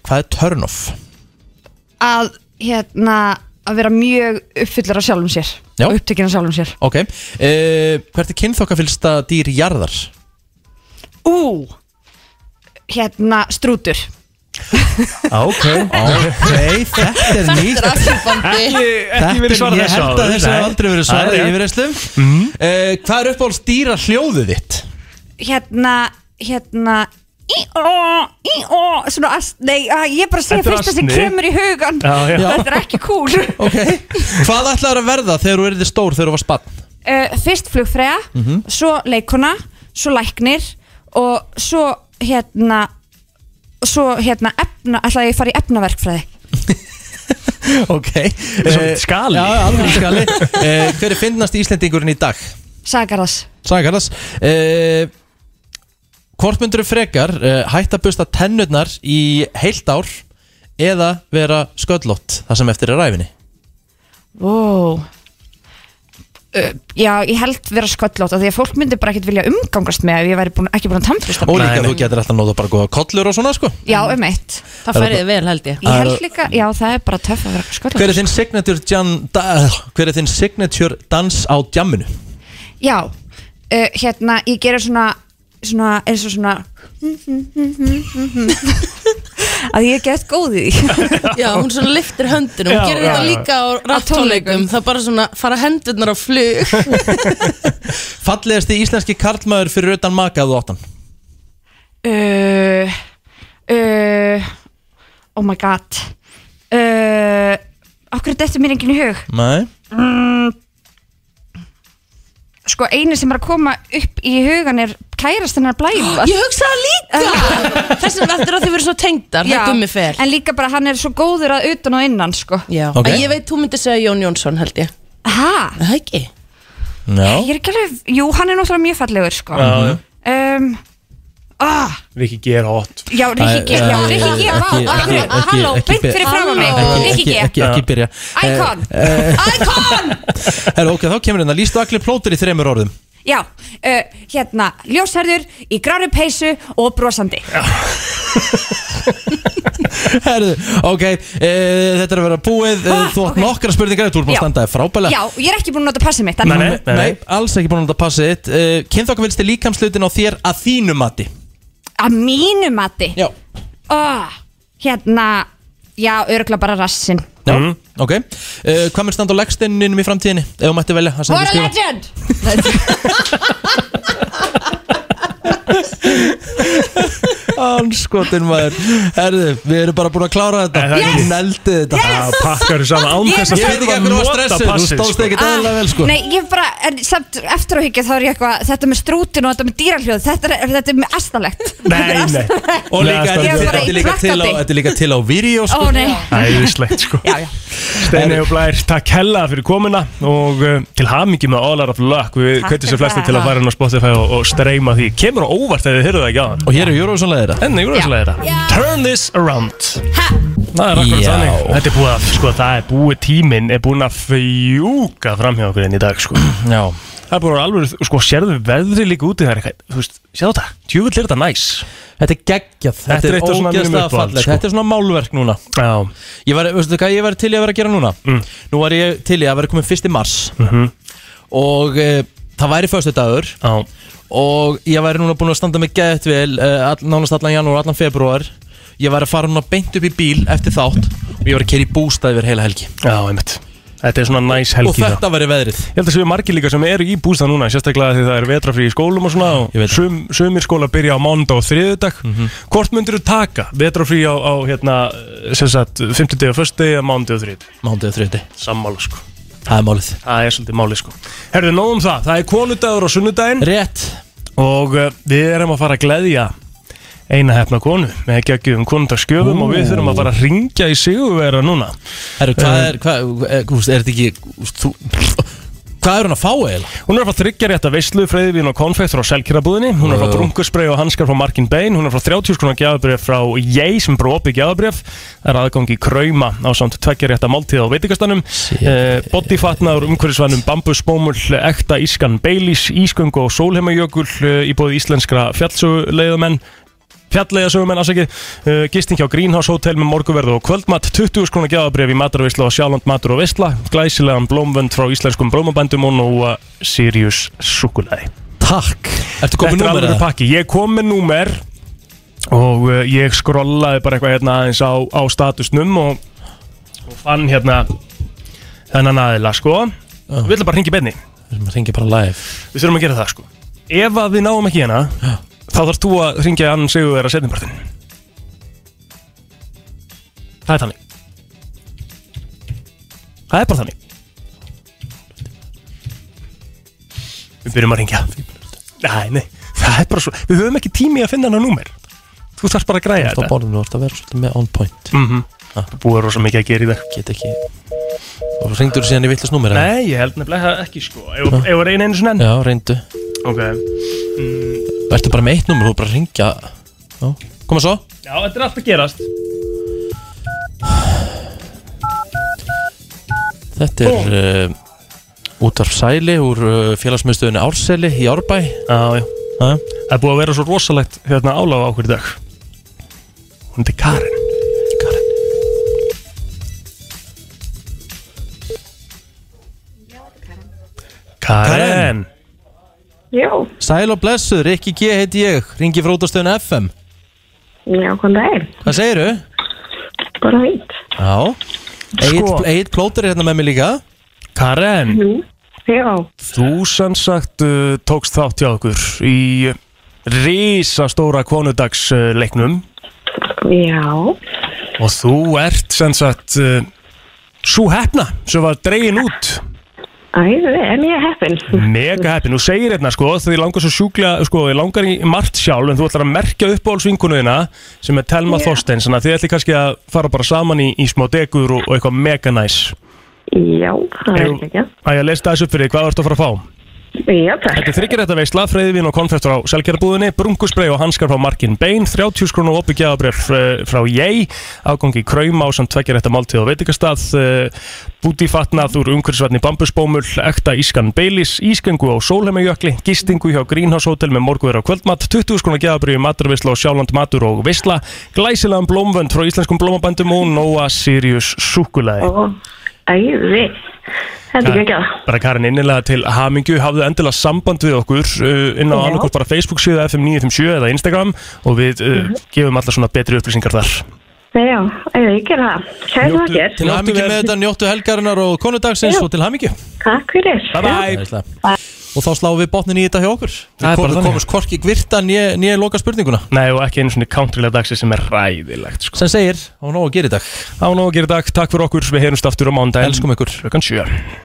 Speaker 2: Hvað er törn off?
Speaker 13: að hérna að vera mjög uppfyllur af sjálfum sér
Speaker 2: Já.
Speaker 13: og upptekinn af sjálfum sér
Speaker 2: Ok, uh, hvert er kynþokkafylsta dýr jarðar?
Speaker 13: Ú, hérna strútur
Speaker 2: Ah, Ok, þetta er nýtt
Speaker 13: eh,
Speaker 1: Ekki verið svarað
Speaker 2: Ég
Speaker 1: þessu
Speaker 2: held að
Speaker 1: áður, nei.
Speaker 2: þessu hefur aldrei verið
Speaker 1: Það er
Speaker 2: svarað
Speaker 1: rétt.
Speaker 2: í
Speaker 1: Mhm.
Speaker 2: yfirreyslum mm. Hvað er uppáhalds dýra hljóðið þitt?
Speaker 13: hérna, hérna í ó, í ó svona ast, nei, að, ég bara segja
Speaker 2: Þetta er
Speaker 13: fyrsta sem
Speaker 2: asni.
Speaker 13: kemur í hugan
Speaker 2: Já, já.
Speaker 13: þetta er ekki cool
Speaker 2: okay. Hvað ætlaður að verða þegar þú erði stór þegar þú var spann?
Speaker 13: uh, fyrst flugfræða
Speaker 2: Mhm.
Speaker 13: svo leikuna, svo læknir og svo hérna svo hérna efna, ætlaði ég að fara í efnaverkfræði
Speaker 2: Ok uh, Skali Já, alveg skali uh, Hver er finnast Íslendingurinn í dag?
Speaker 13: Sagarðas
Speaker 2: Sagarðas uh, Hvort myndur frekar uh, hætta að busta tennurnar í heilt ár eða vera sköllótt þar sem eftir er ræfinni?
Speaker 13: wow. uh, já, ég held vera sköllótt af því að fólk myndi bara ekkert vilja umgangast með ef ég væri búin, ekki búin að tannfrista
Speaker 2: Og líka þú getur alltaf nota bara góða kollur og svona sko
Speaker 13: já, um eitt
Speaker 2: Það fer þér
Speaker 13: vel held ég ég held líka, já, það er bara töff að vera sköllótt
Speaker 2: Hver er þinn signature, jan, da, eh, hver er þinn signature dans á djamminu?
Speaker 13: Já, uh, hérna, ég gerir svona, svona eins og svona Mhm. að ég er gett góð í því
Speaker 4: Já, hún svona liftir höndunum, hún
Speaker 13: Já,
Speaker 4: gerir
Speaker 13: já,
Speaker 4: þetta
Speaker 13: já.
Speaker 4: líka á rattónleikum Það bara svona fara hendurnar á flug
Speaker 2: Fallegasti íslenski karlmaður fyrir utan maka að þú áttan
Speaker 13: uh, uh, Oh my god uh, Okkur er þetta mér enginn í hug
Speaker 2: Nei
Speaker 13: mm, Sko, einu sem er að koma upp í hugan er kærastinn er blæfa
Speaker 4: Ég hugsa það líka Þess vegna eftir að þið verið svo tengdar
Speaker 13: Já,
Speaker 4: Það gummi fer
Speaker 13: En líka bara hann er svo góður að utan og innan sko.
Speaker 4: Já,
Speaker 2: Ok.
Speaker 4: En ég veit, þú myndir segja Jón Jónsson held ég
Speaker 13: Hæ?
Speaker 4: Það ekki
Speaker 2: Já
Speaker 13: Ég er ekki alveg, jú, hann er náttúrulega mjög fallegur sko.
Speaker 1: Já, já.
Speaker 13: um, ah,
Speaker 1: Rikki G er hot
Speaker 13: Já, Rikki G, já, Rikki G, vá,
Speaker 2: Eh, Ekki- ekki-
Speaker 13: akkurat,
Speaker 2: ekki-
Speaker 13: halló,
Speaker 2: ekki
Speaker 13: beint
Speaker 2: be-
Speaker 13: fyrir framan mig,
Speaker 2: Ekki-
Speaker 13: Rikki G.
Speaker 2: ekki- Ekki ekki byrja
Speaker 13: Icon.
Speaker 2: Icon Herra, ok, þá kemur hérna Lýstu allir plótur í þremur orðum
Speaker 13: já, uh, hérna, ljósherður í grári peysu og brosandi
Speaker 2: Herðu, ok e, Þetta er að vera búið ah,
Speaker 13: Ah,
Speaker 2: Þú átt
Speaker 13: ok.
Speaker 2: nokkra spurningar Þú er búin
Speaker 13: Já.
Speaker 2: að standa þér frábælega
Speaker 13: Já, ég er ekki búin að nota passið mitt en-
Speaker 2: nei, alls ekki búin að láta passa þitt uh, Kynþokka vilst þið líkamslutin á þér að þínu mati
Speaker 13: Að mínu mati
Speaker 2: Já
Speaker 13: oh, Hérna, já, örgla bara rassin
Speaker 2: Já, ok uh, Hvað mér standa á leggsteininum í framtíðinni ef þú mætti velja það sem þú
Speaker 13: What a
Speaker 2: skrifa?
Speaker 13: legend
Speaker 2: Anskotin maður Herðu, við erum bara búin að klára þetta
Speaker 1: Yes!
Speaker 2: Hún eldi þetta Ah,
Speaker 1: Yes! Já, pakkar þessu saman án
Speaker 2: Ég
Speaker 1: þess að
Speaker 2: veit ekki
Speaker 1: þurfa að
Speaker 2: að hvernig var
Speaker 1: nota
Speaker 2: stressið Þú
Speaker 1: passið,
Speaker 2: stóðst
Speaker 1: sko.
Speaker 2: ekki aðalega vel sko
Speaker 13: Nei, ég bara, en samt eftir á higgja þá er ég eitthvað Þetta með strútin og þetta með dýrahljóð Þetta er, þetta er með astalegt
Speaker 1: Nei, nei
Speaker 2: Og líka,
Speaker 1: Ég
Speaker 2: þetta
Speaker 1: er
Speaker 2: er-
Speaker 1: bara
Speaker 2: þetta
Speaker 1: í
Speaker 2: er líka til á-
Speaker 1: plakkati.
Speaker 2: þetta er líka til á vídeo sko
Speaker 13: Ó, nei.
Speaker 1: Æðislegt sko Steini og Blær, takk hella fyrir komuna og uh, til hamingi með All Out of Luck við
Speaker 2: Takk
Speaker 1: kveitum
Speaker 2: fyrir
Speaker 1: sér flestir
Speaker 2: það.
Speaker 1: til að fara inn á Spotify og, og streyma því kemur á óvart ef þið hyrðu það ekki á hann
Speaker 2: Og hér er Eurovision leiðira
Speaker 1: Enn er Eurovision leiðira Turn this around Það er akkurat
Speaker 2: Já.
Speaker 1: þannig Þetta er búið að, sko, það er búið tíminn er búin að fjúka fram hjá okkur enn í dag, sko
Speaker 2: Já
Speaker 1: Það er búin alveg, sko, sérðu veðri líka úti það er eitthvað, þú veist, sérðu þetta, djúvill er þetta næs
Speaker 2: Þetta er geggjað, þetta er
Speaker 1: eitt af svona mínum
Speaker 2: ógeðslega
Speaker 1: uppáhalds,
Speaker 2: fallegt
Speaker 1: sko.
Speaker 2: Þetta er svona málverk núna
Speaker 1: Já Mm.
Speaker 2: Ég var, veistu hvað ég var til í að vera að gera núna Nú var ég til í að vera komið fyrst í mars
Speaker 1: Mhm.
Speaker 2: Og e, það væri föstu dagur
Speaker 1: Já
Speaker 2: Og ég væri núna búin að standa mig geðt vel e, all, Nánast allan janúar, allan februar Ég væri að fara núna beint upp í bíl eftir þátt Og ég var að kera í bústað yfir heila helgi
Speaker 1: Já, einmitt Þetta er svona næs helgi
Speaker 2: Og þetta væri veðrið
Speaker 1: Ég held að séu margir líka sem eru í bústað núna sérstaklega því það er vetrafrí í skólum og svona og sum, sumir skóla byrja á mánudag og þriðudag
Speaker 2: Mhm.
Speaker 1: Hvort myndir þú taka vetrafrí á, á hérna, sem sagt 50 og 1. eða mánudag og þriðudag
Speaker 2: Mánudag og þriðudag
Speaker 1: Sammála sko
Speaker 2: Það er málið
Speaker 1: Það er svolítið málið sko Herðu, nóg um það, það er konudagur á sunnudaginn
Speaker 2: Rétt
Speaker 1: Og uh, við erum að fara að gleðja eina hefna konu með geggjum konundagsgjöfum og við þurfum að fara að ringja í sigurvera núna Eh,
Speaker 2: Herru, hvað er, hvað, er, er þetta ekki úst, þú, Hvað er hún að fá eiginlega?
Speaker 1: Hún er frá þryggjarétta veislu, freyðivín og konfekt frá selkjærabúðinni Hún er frá
Speaker 2: Wow.
Speaker 1: brunkurspray og hanskar frá Markin Bain Hún er frá 30 skrónar gjafabrif frá Jei sem er opið gjafabrif Það er aðgangi krauma á samt tveggjarétta máltíða á veitingastanum eh, Bodyfatnaður, umhverfisvænum, bambusbómull, ekta ískan Baileys, ísköngu og sólheimajökul eh, í bóði íslenskra fjallsöguleiðamenn fjallega sögumenn afsakið uh, Gisting hjá Greenhouse Hotel með morguverð og kvöldmatt 20 skrona gjáðabref í matarvisla og sjálfand matur og visla Glæsilegan blómvönd frá íslenskum blómabændum og nóa Sirius súkulaði
Speaker 2: Takk Ertu komið
Speaker 1: Þetta er
Speaker 2: númer
Speaker 1: alveg
Speaker 2: eða?
Speaker 1: pakki Ég kom með númer og uh, ég skrollaði bara eitthvað hérna aðeins á, á statusnum og, og fann hérna þennan aðila sko Við ætlum bara að ringi benni
Speaker 2: Við ringja bara live
Speaker 1: Við þurfum að gera það sko Ef að við náum ekki hérna Þá þarf þú að ringja annan segjum þeirra setjumpartin Það er þannig Það er bara þannig Við byrjum að ringja Nei, nei, það er bara svo Við höfum ekki tími að finna hana númer Þú þarf bara að
Speaker 2: Þú
Speaker 1: græja
Speaker 2: ert á
Speaker 1: þetta
Speaker 2: borðinu, þú ert að vera svolítið með on point
Speaker 1: mm
Speaker 2: Ah.
Speaker 1: -hmm. Búið rosa mikið að gera í það
Speaker 2: Get ekki Og ringdur þú síðan í villast númer eða?
Speaker 1: Nei, ég held nefnilega það ekki sko Ef ef við reynum einu sinni enn
Speaker 2: Já, reyndu
Speaker 1: Ok mm,
Speaker 2: Ertu bara með eitt númer, þú er bara að ringja Já, koma svo
Speaker 1: Já, þetta er allt að gerast
Speaker 2: Þetta er uh, útvarf Sæli úr uh, félagsmiðstöðinu Árseli í Árbæ
Speaker 1: Já, já Það er búið að vera svo rosalegt hérna áláð á okkur í dag Hún heitir Karen Karen Karen
Speaker 15: Já,
Speaker 2: Sæl og blessuð, Rikki G heiti ég Ringi frá útastöðinu FM
Speaker 15: já, hvað það er?
Speaker 1: Mm.
Speaker 2: Hvað segiru?
Speaker 15: Bara veit.
Speaker 2: Já Egil
Speaker 1: Sko.
Speaker 2: sko. plótur er hérna með mig líka
Speaker 1: Karen
Speaker 15: Já,
Speaker 1: Þú sem sagt uh, tókst þátt hjá okkur í risastóra konudagsleiknum
Speaker 15: já,
Speaker 1: og þú ert sem sagt uh, svo hefna sem var dregin út
Speaker 15: æðið, en ég er heppin.
Speaker 1: Mega heppin, þú segir hérna sko því langar svo sjúkla, sko því langar í margt sjálf en þú ætlar að merkja uppáhaldsvinkunuðina sem er Telma
Speaker 15: Já.
Speaker 1: yeah. Þorstein þannig að þið ætlir kannski að fara bara saman í, í smá degur og, og eitthvað mega næs
Speaker 15: Já, það er
Speaker 1: Eigum-
Speaker 15: ekki.
Speaker 1: Æ, ég leist aðeins upp fyrir þig, hvað ertu að fara að fá?
Speaker 15: Já, takk.
Speaker 1: Þetta er þryggjarætta veisla, freyðivin og konfektur á selgerabúðinni, brungusbrei og hanskar frá markin bein, 30 skrún og opiðgjafabref eh, frá ég, afgangi krauma á samt tveggjarætta máltíð og veitingastað, bútifatnað úr umhverfisvætni bambusbómul, ekta ískan beilis, ískengu á sólheimajökli, gistingu hjá Greenhouse Hotel með morguður á kvöldmatt, 20 skrún og gefabref, maturvisla og sjálfland matur og visla, glæsilegan blómvönd frá íslenskum blómabændum og Nóa Sirius súkulaði.
Speaker 15: Ó, æðið, þetta er ekki að.
Speaker 1: Bara Karin innilega til hamingju hafðu endilega samband við okkur uh, inn á
Speaker 15: Já.
Speaker 1: annarkort bara Facebook síðu FM957 eða Instagram og við uh, gefum allar svona betri upplýsingar þar
Speaker 15: Já, æðið, ég ger það. Kæra það ekki.
Speaker 2: Til hamingju með þetta, njóttu helgarinnar og konudagsins
Speaker 15: Já.
Speaker 2: og til hamingju
Speaker 15: Takk fyrir.
Speaker 2: Æðislega. Og þá sláum við botnin í þetta hjá okkur
Speaker 1: Það er
Speaker 2: Við
Speaker 1: bara
Speaker 2: komum-
Speaker 1: þannig.
Speaker 2: komumst hvorki gvirta nýja loka spurninguna
Speaker 1: Nei og ekki einu svona countrylega dagsi sem er ræðilegt sko.
Speaker 2: Sem segir, á nóg að gera í dag
Speaker 1: Á nóg að gera í dag, takk fyrir okkur, við heyrumst aftur á mándag Elskum
Speaker 2: ykkur
Speaker 1: Klukkan 7